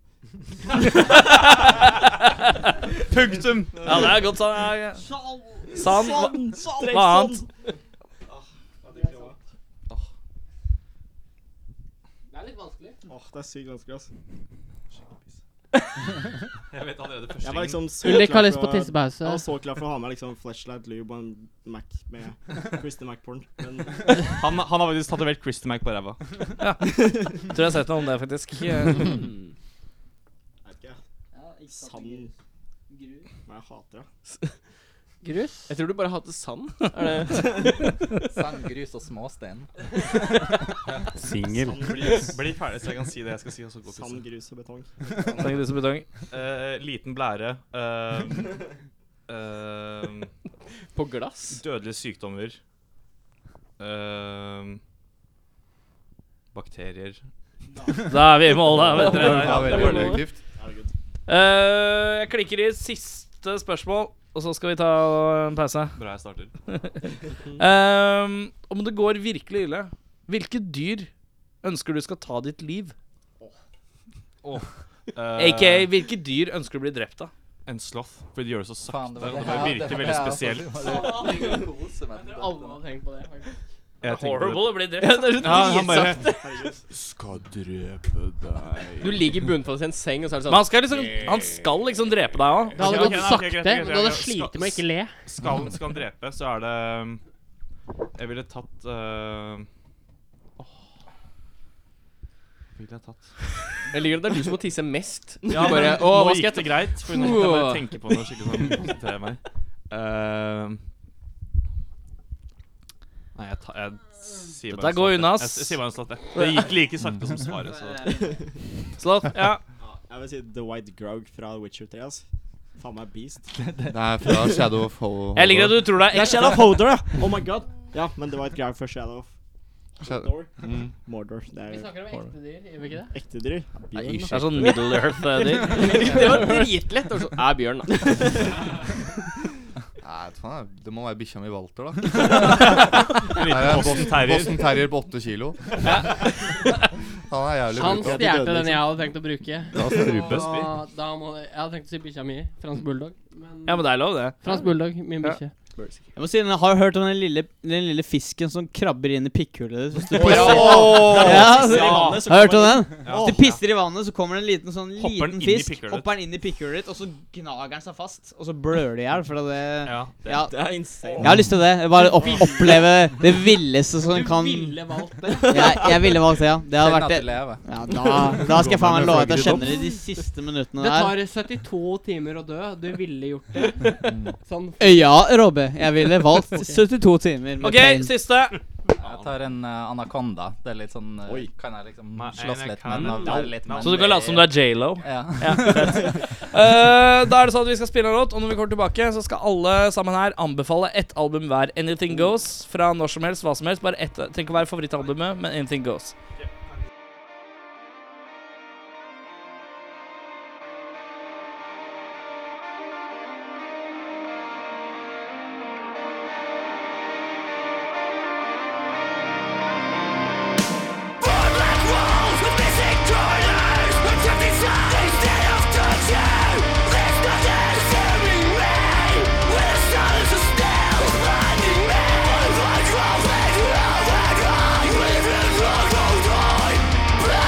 Speaker 2: Punktum. Ja, det er godt sa- ja, ja. *laughs* Sand.
Speaker 6: Sånn,
Speaker 2: Hva-
Speaker 10: Sand.
Speaker 2: Hva annet?
Speaker 11: Det er litt
Speaker 2: *laughs*
Speaker 11: vanskelig.
Speaker 10: Åh, det er sykt vanskelig, ass. *laughs*
Speaker 8: Jeg vet allerede
Speaker 10: Jeg
Speaker 8: første
Speaker 10: var
Speaker 8: gang.
Speaker 10: liksom så
Speaker 11: Ulrik har
Speaker 10: klar
Speaker 11: lyst
Speaker 10: for
Speaker 11: på
Speaker 10: å- Jeg
Speaker 11: tissepause.
Speaker 10: var så klar for å ha med liksom flashlight, lube og en Mac med Christer Mac-porn. Men
Speaker 8: Han, han har faktisk tatovert Christy Mac på
Speaker 9: *laughs*
Speaker 8: ræva.
Speaker 2: Tror jeg har sett noe om det, faktisk.
Speaker 10: jeg vet ikke. Sand Nei, jeg hater det.
Speaker 11: Grus.
Speaker 3: Jeg tror du bare hater sand.
Speaker 10: *laughs*
Speaker 9: Sand, grus og småstein.
Speaker 3: *laughs*
Speaker 1: Singel.
Speaker 10: Sand, grus,
Speaker 8: Bli ferdig, så jeg kan si det jeg skal si. og så gå og pisse.
Speaker 10: sand, grus og betong.
Speaker 2: Tenk du som betong.
Speaker 8: Eh, liten blære. eh, eh,
Speaker 3: På glass.
Speaker 8: dødelige sykdommer. eh, bakterier.
Speaker 2: Da er vi i mål, da. vet
Speaker 12: Det
Speaker 8: *laughs*
Speaker 2: dere.
Speaker 12: var veldig kollektivt.
Speaker 10: Herregud.
Speaker 2: Eh, jeg klikker i siste spørsmål, og så skal vi ta en *laughs* pause.
Speaker 8: Bra jeg starter.
Speaker 2: *laughs* Ehm, om det går virkelig ille, hvilke dyr ønsker du skal ta ditt liv?
Speaker 8: Eh,
Speaker 2: Aka hvilke dyr ønsker du bli drept av?
Speaker 8: En sloth. For de gjør det så
Speaker 9: Faen,
Speaker 8: sakte.
Speaker 9: det var
Speaker 8: og det bare virker veldig spesielt.
Speaker 7: altså- *laughs*
Speaker 11: Alle har tenkt på det. faktisk.
Speaker 8: Jeg tenker på det.
Speaker 2: Horrible å bli drept.
Speaker 8: *laughs* Ja, han bare
Speaker 4: Skal drepe deg.
Speaker 3: Du ligger bunnfast i en seng, og så er det
Speaker 2: Men
Speaker 3: sånn
Speaker 2: han skal liksom Han skal liksom drepe deg òg.
Speaker 11: Det hadde
Speaker 8: Ok,
Speaker 11: gått
Speaker 8: ok, ok,
Speaker 11: sakte,
Speaker 8: greit, greit,
Speaker 11: men du hadde
Speaker 8: greit.
Speaker 11: slitt med å ikke le.
Speaker 8: skal, skal han drepe, så er det um, Jeg ville tatt uh, Ville jeg tatt
Speaker 3: Jeg ligger der det er du som må tisse mest.
Speaker 8: Ja,
Speaker 3: bare,
Speaker 8: men
Speaker 3: «Å, hva
Speaker 8: nå
Speaker 3: skal
Speaker 8: gikk
Speaker 3: jeg
Speaker 8: det greit, for nå kan jeg bare tenke på noe skikkelig
Speaker 7: *laughs*
Speaker 8: sånn konsentrere meg. Ehm, nei, jeg, ta, jeg sier bare
Speaker 2: Dette
Speaker 8: en
Speaker 2: går
Speaker 8: slått,
Speaker 2: unna,
Speaker 8: jeg.
Speaker 2: ass.
Speaker 8: Jeg, jeg sier bare en slått, jeg. Det gikk like sakte som svaret, så
Speaker 10: *laughs*
Speaker 2: Slått. Ja.
Speaker 10: Jeg vil si The White Grog fra Witcher 3, ass. Faen meg beast.
Speaker 12: *laughs* Det er fra Shadow of Hol-
Speaker 2: Jeg liker at du tror det er ekstra.
Speaker 10: Shadow of Hodor, ja! Oh my god. Ja, men The White Grog fra Shadow of
Speaker 12: Shadow-
Speaker 10: Hodor.
Speaker 12: Mm.
Speaker 10: Mordor.
Speaker 11: Vi
Speaker 10: Det er jo
Speaker 11: snakker om ekte dyr, gjør vi ikke det?
Speaker 10: ekte dyr.
Speaker 12: Nei,
Speaker 10: Bjørn,
Speaker 2: Det er
Speaker 12: ikke.
Speaker 2: sånn Middle
Speaker 10: *laughs*
Speaker 2: Earth-dyr.
Speaker 11: altså.
Speaker 3: Det var dritlett. Og så er bjørn, da.
Speaker 12: *laughs* Nei, vet faen, jeg. det må være bikkja mi Walter, *laughs* da. Her er en
Speaker 6: Boston Terrier.
Speaker 12: Boston Terrier på åtte kilo. *laughs* Han er liksom. jævlig
Speaker 11: Han
Speaker 12: brutal.
Speaker 11: stjal den jeg hadde tenkt å bruke.
Speaker 12: Da
Speaker 2: altså,
Speaker 12: strupe.
Speaker 11: Og Da må jeg hadde tenkt å si bikkja mi. Fransk bulldog. Men
Speaker 2: Ja, men det er lov, det.
Speaker 11: Fransk bulldog, min bikkje.
Speaker 7: Jeg må si, jeg har hørt om den lille, den lille fisken som krabber inn i pikkhullet ditt. Hvis du
Speaker 6: Åh,
Speaker 7: pisser.
Speaker 6: ja!
Speaker 7: Ja,
Speaker 6: Hvis du pisser i
Speaker 7: ja.
Speaker 6: vannet, så
Speaker 7: Har du hørt om
Speaker 6: kommer
Speaker 7: den?
Speaker 6: den- Ja.
Speaker 7: Hvis du pisser i vannet, så kommer det en liten sånn
Speaker 6: Hopper den
Speaker 7: liten
Speaker 6: inn i
Speaker 7: fisk.
Speaker 6: pikkhullet ditt.
Speaker 7: Hopper den inn i pikkhullet ditt, og så gnager den seg fast. Og så blør det i hjel. For det, ja,
Speaker 6: det- det er insane.
Speaker 7: Jeg har lyst til det. Bare opp, oppleve det villeste som
Speaker 11: Du
Speaker 7: kan
Speaker 11: ville valgt det.
Speaker 7: *laughs* Jeg, jeg ville valgt det, ja. Det
Speaker 11: Kjenn
Speaker 7: hadde vært
Speaker 11: at det lever.
Speaker 7: Ja, da, da skal jeg faen meg love at jeg kjenner det de siste minuttene
Speaker 11: Det
Speaker 7: der.
Speaker 11: tar 72 timer å dø. Du ville gjort
Speaker 7: *laughs*
Speaker 11: det. Sånn.
Speaker 7: Ja, Robbe. Jeg ville valgt
Speaker 11: *laughs*
Speaker 7: 72 timer. med pain.
Speaker 2: siste.
Speaker 9: Jeg tar en eh, anakonda. Det er litt sånn eh, Kan jeg liksom slåss litt med den og være litt
Speaker 2: Så du kan late som du er J.Lo?
Speaker 9: *laughs* Ja.
Speaker 2: fett. Eh, da er det sånn at vi skal spille en låt, og når vi kommer tilbake, så skal alle sammen her anbefale ett album hver. Anything Goes fra når som helst, hva som helst. Bare ett, Trenger ikke å være favorittalbumet, men Anything Goes.
Speaker 6: Running man, like a red, red, red, red, red, red, red, red, red.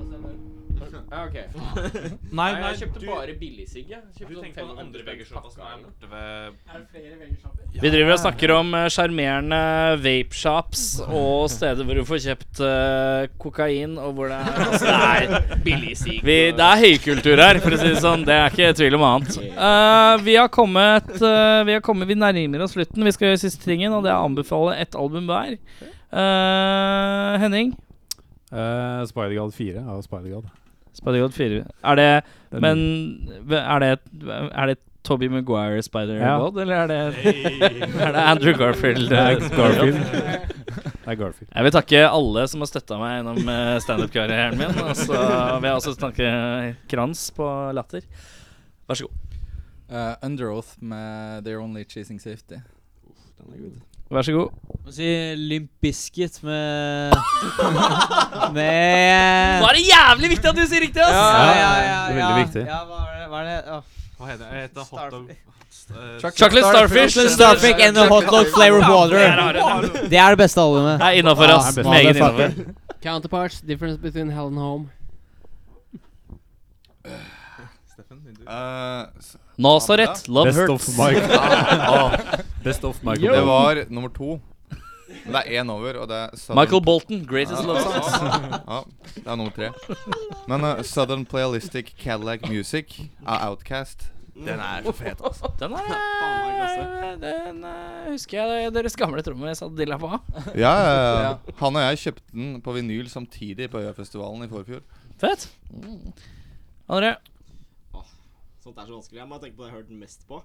Speaker 3: ok.
Speaker 7: Nei, nei,
Speaker 3: jeg kjøpte
Speaker 7: du-
Speaker 3: bare billigsigg, jeg. Kjøpte
Speaker 8: Du
Speaker 3: sånn
Speaker 8: tenker på
Speaker 3: 500
Speaker 8: den andre
Speaker 3: spenn
Speaker 8: vegersjappa som er
Speaker 3: pakkene.
Speaker 8: borte ved
Speaker 11: Er det flere vegersjapper?
Speaker 2: Vi driver og snakker
Speaker 7: *laughs*
Speaker 2: om eh, sjarmerende vapeshops og steder hvor du får kjøpt eh, kokain, og hvor det er, *laughs* altså, det er billig sig. Vi, det er høykultur her, for å si det sånn. Det er ikke tvil om annet. Eh, vi har kommet eh, Vi har kommet Vi nærmer oss slutten. Vi skal gjøre siste tingen, og det er å anbefale ett album hver. Eh, Henning?
Speaker 1: Uh, Spider-God 4 er jo Spider-God.
Speaker 2: Spider-God 4. Er det
Speaker 1: Den-
Speaker 2: Men er det, er det Tobey Maguire Spider-God,
Speaker 1: Ja.
Speaker 2: eller er det,
Speaker 1: Hey.
Speaker 2: er det Andrew Garfield? eh,
Speaker 1: Det er Garfield.
Speaker 2: Spider-God?
Speaker 1: Det er Garfield.
Speaker 2: Jeg vil takke alle som har støtta meg gjennom eh, standup-karrieren min. Og så vil jeg også takke Kranz på Latter. Vær så god.
Speaker 9: Eh, Underoath med They're Only Cheesing Safety.
Speaker 2: Vær så god.
Speaker 7: Må si Limp Bizkit med *laughs* Med
Speaker 2: Var det jævlig viktig at du sier riktig, ass?
Speaker 7: Ja, ja, ja, ja,
Speaker 1: det er veldig viktig.
Speaker 7: Ja, hva er det? Hva er det? Åh.
Speaker 8: Hva heter det? Jeg heter hot dog
Speaker 2: Chocolate Chocolate Starfish. Starfish.
Speaker 7: Chocolate Starfish and the hot dog flavor water.
Speaker 2: Det er rarere.
Speaker 7: Det er det beste albumet.
Speaker 2: Det er innenfor,
Speaker 7: Ja,
Speaker 2: ass.
Speaker 7: det er best.
Speaker 2: Meget
Speaker 7: Motherfucker.
Speaker 2: innenfor.
Speaker 11: Counterparts, difference between hell and home.
Speaker 12: Eh,
Speaker 2: Nazareth, Love
Speaker 1: Best
Speaker 2: Hurts.
Speaker 1: of
Speaker 12: *laughs*
Speaker 1: Mike.
Speaker 12: Ah, ah.
Speaker 1: Best of Michael
Speaker 12: Det
Speaker 1: Bolton.
Speaker 12: var nummer to. Men det er én over, og det er Southern-
Speaker 2: Michael Bolton, greatest
Speaker 12: Ja,
Speaker 2: love
Speaker 12: ja,
Speaker 2: songs.
Speaker 12: *laughs* ja. Ja, det er nummer tre. Men eh, Southern Playalistic Cadillac Music av Outcast, den er så fet.
Speaker 2: altså. Den er eh, Den eh, husker jeg deres gamle trommer satt dilla på.
Speaker 12: Ja, ja, ja. Han og jeg kjøpte den på vinyl samtidig på Øyafestivalen i forfjor.
Speaker 2: Fett.
Speaker 12: *laughs*
Speaker 2: André?
Speaker 10: Sånt er så vanskelig. Jeg må tenke på det jeg har hørt mest på.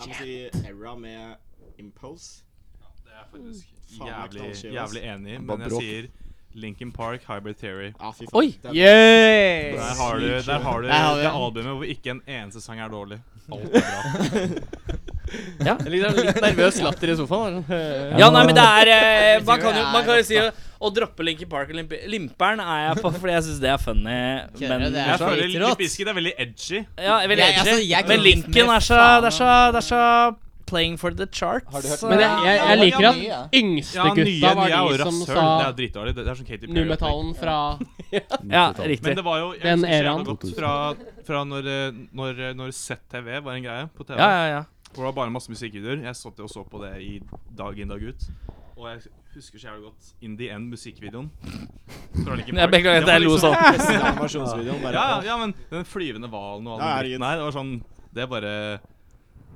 Speaker 10: Jeg må si Era med Impulse.
Speaker 8: Det er faktisk
Speaker 10: Faen, jeg er
Speaker 8: jævlig,
Speaker 10: knallskjev, ass.
Speaker 8: jævlig enig,
Speaker 10: Han
Speaker 8: men
Speaker 10: bare
Speaker 8: jeg
Speaker 10: bråk.
Speaker 8: sier Linkin Park, Hybrid Theory.
Speaker 10: fy faen.
Speaker 2: Oi!
Speaker 10: Den-
Speaker 2: Yay!
Speaker 8: Der har du, der har du
Speaker 2: Der har vi
Speaker 8: det
Speaker 2: den.
Speaker 8: albumet hvor ikke en eneste sang er dårlig. Alt er bra.
Speaker 2: *laughs* Ja.
Speaker 3: Litt, litt nervøs latter i sofaen.
Speaker 2: Ja, nei, men det
Speaker 8: *laughs*
Speaker 2: er eh, Man kan jo, man kan jo si å- å droppe Linkin Park og Limp Limperen er jeg på fordi jeg syns det er funny. Men
Speaker 7: Kjenner du det er
Speaker 8: Jeg
Speaker 7: så
Speaker 8: føler
Speaker 7: litt
Speaker 8: Limp
Speaker 7: rått.
Speaker 8: Bizkit er veldig edgy.
Speaker 2: Ja, jeg vil
Speaker 7: Jeg- altså,
Speaker 2: edgy.
Speaker 7: jeg kunne
Speaker 2: Men
Speaker 7: likt
Speaker 2: Linkin
Speaker 7: mer
Speaker 2: er så Det er så
Speaker 7: altså.
Speaker 2: Det er så Playing for the charts.
Speaker 11: Men jeg, jeg, jeg liker at
Speaker 8: Ja,
Speaker 11: yngste
Speaker 8: nye,
Speaker 11: gutta
Speaker 8: nye er
Speaker 11: var
Speaker 8: jo
Speaker 11: de som
Speaker 8: rasshøl.
Speaker 11: sa
Speaker 8: Det er dritdårlig. Det det er sånn Katy Perry.
Speaker 11: nu-metallen fra
Speaker 2: Ja, riktig.
Speaker 8: Men det var jo jeg
Speaker 11: Den
Speaker 8: husker så jævla
Speaker 11: eraen.
Speaker 8: godt fra, fra når, eh, når, eh, når ZTV var en greie på TV.
Speaker 2: Ja, ja, ja.
Speaker 8: Hvor det var bare masse musikkvideoer. Jeg satt og så på det i dag inn dag ut. Og jeg husker så jævlig godt In the End-musikkvideoen. fra Linkin
Speaker 2: Jeg
Speaker 8: Park.
Speaker 2: beklager at
Speaker 8: *laughs* Det var
Speaker 2: jeg lo
Speaker 8: liksom-
Speaker 2: sånn.
Speaker 10: Beste animasjonsvideoen, bare.
Speaker 8: Ja, ja, ja, men den flyvende hvalen og
Speaker 10: Ja,
Speaker 8: all den
Speaker 10: herregud.
Speaker 8: dritten her, det var sånn Det bare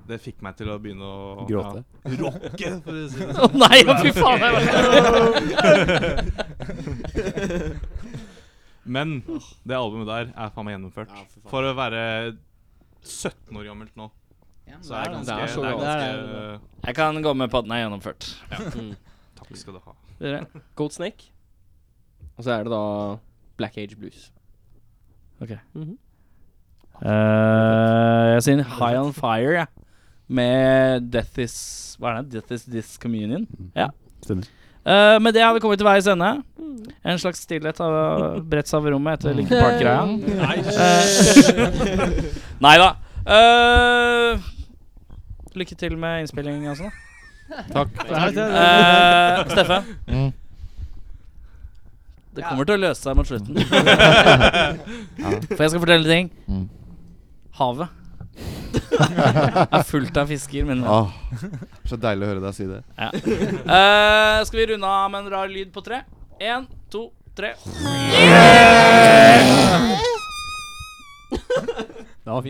Speaker 8: Det fikk meg til å begynne å
Speaker 1: Gråte.
Speaker 8: Ja, rocke, for å si det
Speaker 2: Å nei, å fy faen,
Speaker 8: jeg
Speaker 2: jeg-
Speaker 8: *laughs* Men det albumet der er faen meg gjennomført. For å være 17 år gammelt nå. Så er det ganske,
Speaker 2: Det er så
Speaker 8: det er
Speaker 2: gammelt.
Speaker 8: ganske
Speaker 2: Jeg kan gå med på at den er gjennomført. *laughs*
Speaker 8: Ja.
Speaker 3: Mm.
Speaker 8: eh, Takk skal du ha.
Speaker 2: Dere?
Speaker 3: Gold Snake. Og så er det da Black Age Blues.
Speaker 2: Ok.
Speaker 3: Mhm.
Speaker 2: Eh, jeg sier High On Fire, jeg. Med Death Is Hva er det? Death Is Discommunion. Ja.
Speaker 1: Mm. Stemmer.
Speaker 2: Eh, med det har vi kommet til veis ende. En slags stillhet har bredt seg over rommet
Speaker 1: Mm.
Speaker 2: etter Linkin Park-greia.
Speaker 8: Nei.
Speaker 2: Eh, Nei da. Eh, lykke til med innspilling og sånn.
Speaker 1: Takk.
Speaker 2: Eh, Steffen?
Speaker 12: Mm.
Speaker 2: Det kommer til å løse seg mot
Speaker 12: *laughs*
Speaker 2: slutten. For jeg skal fortelle ting.
Speaker 12: Mm.
Speaker 2: Havet er fullt av fisker, min venn.
Speaker 12: Åh, så deilig å høre deg si det.
Speaker 2: Ja. *laughs* Eh, skal vi runde av med en rar lyd på tre? Én, to, tre.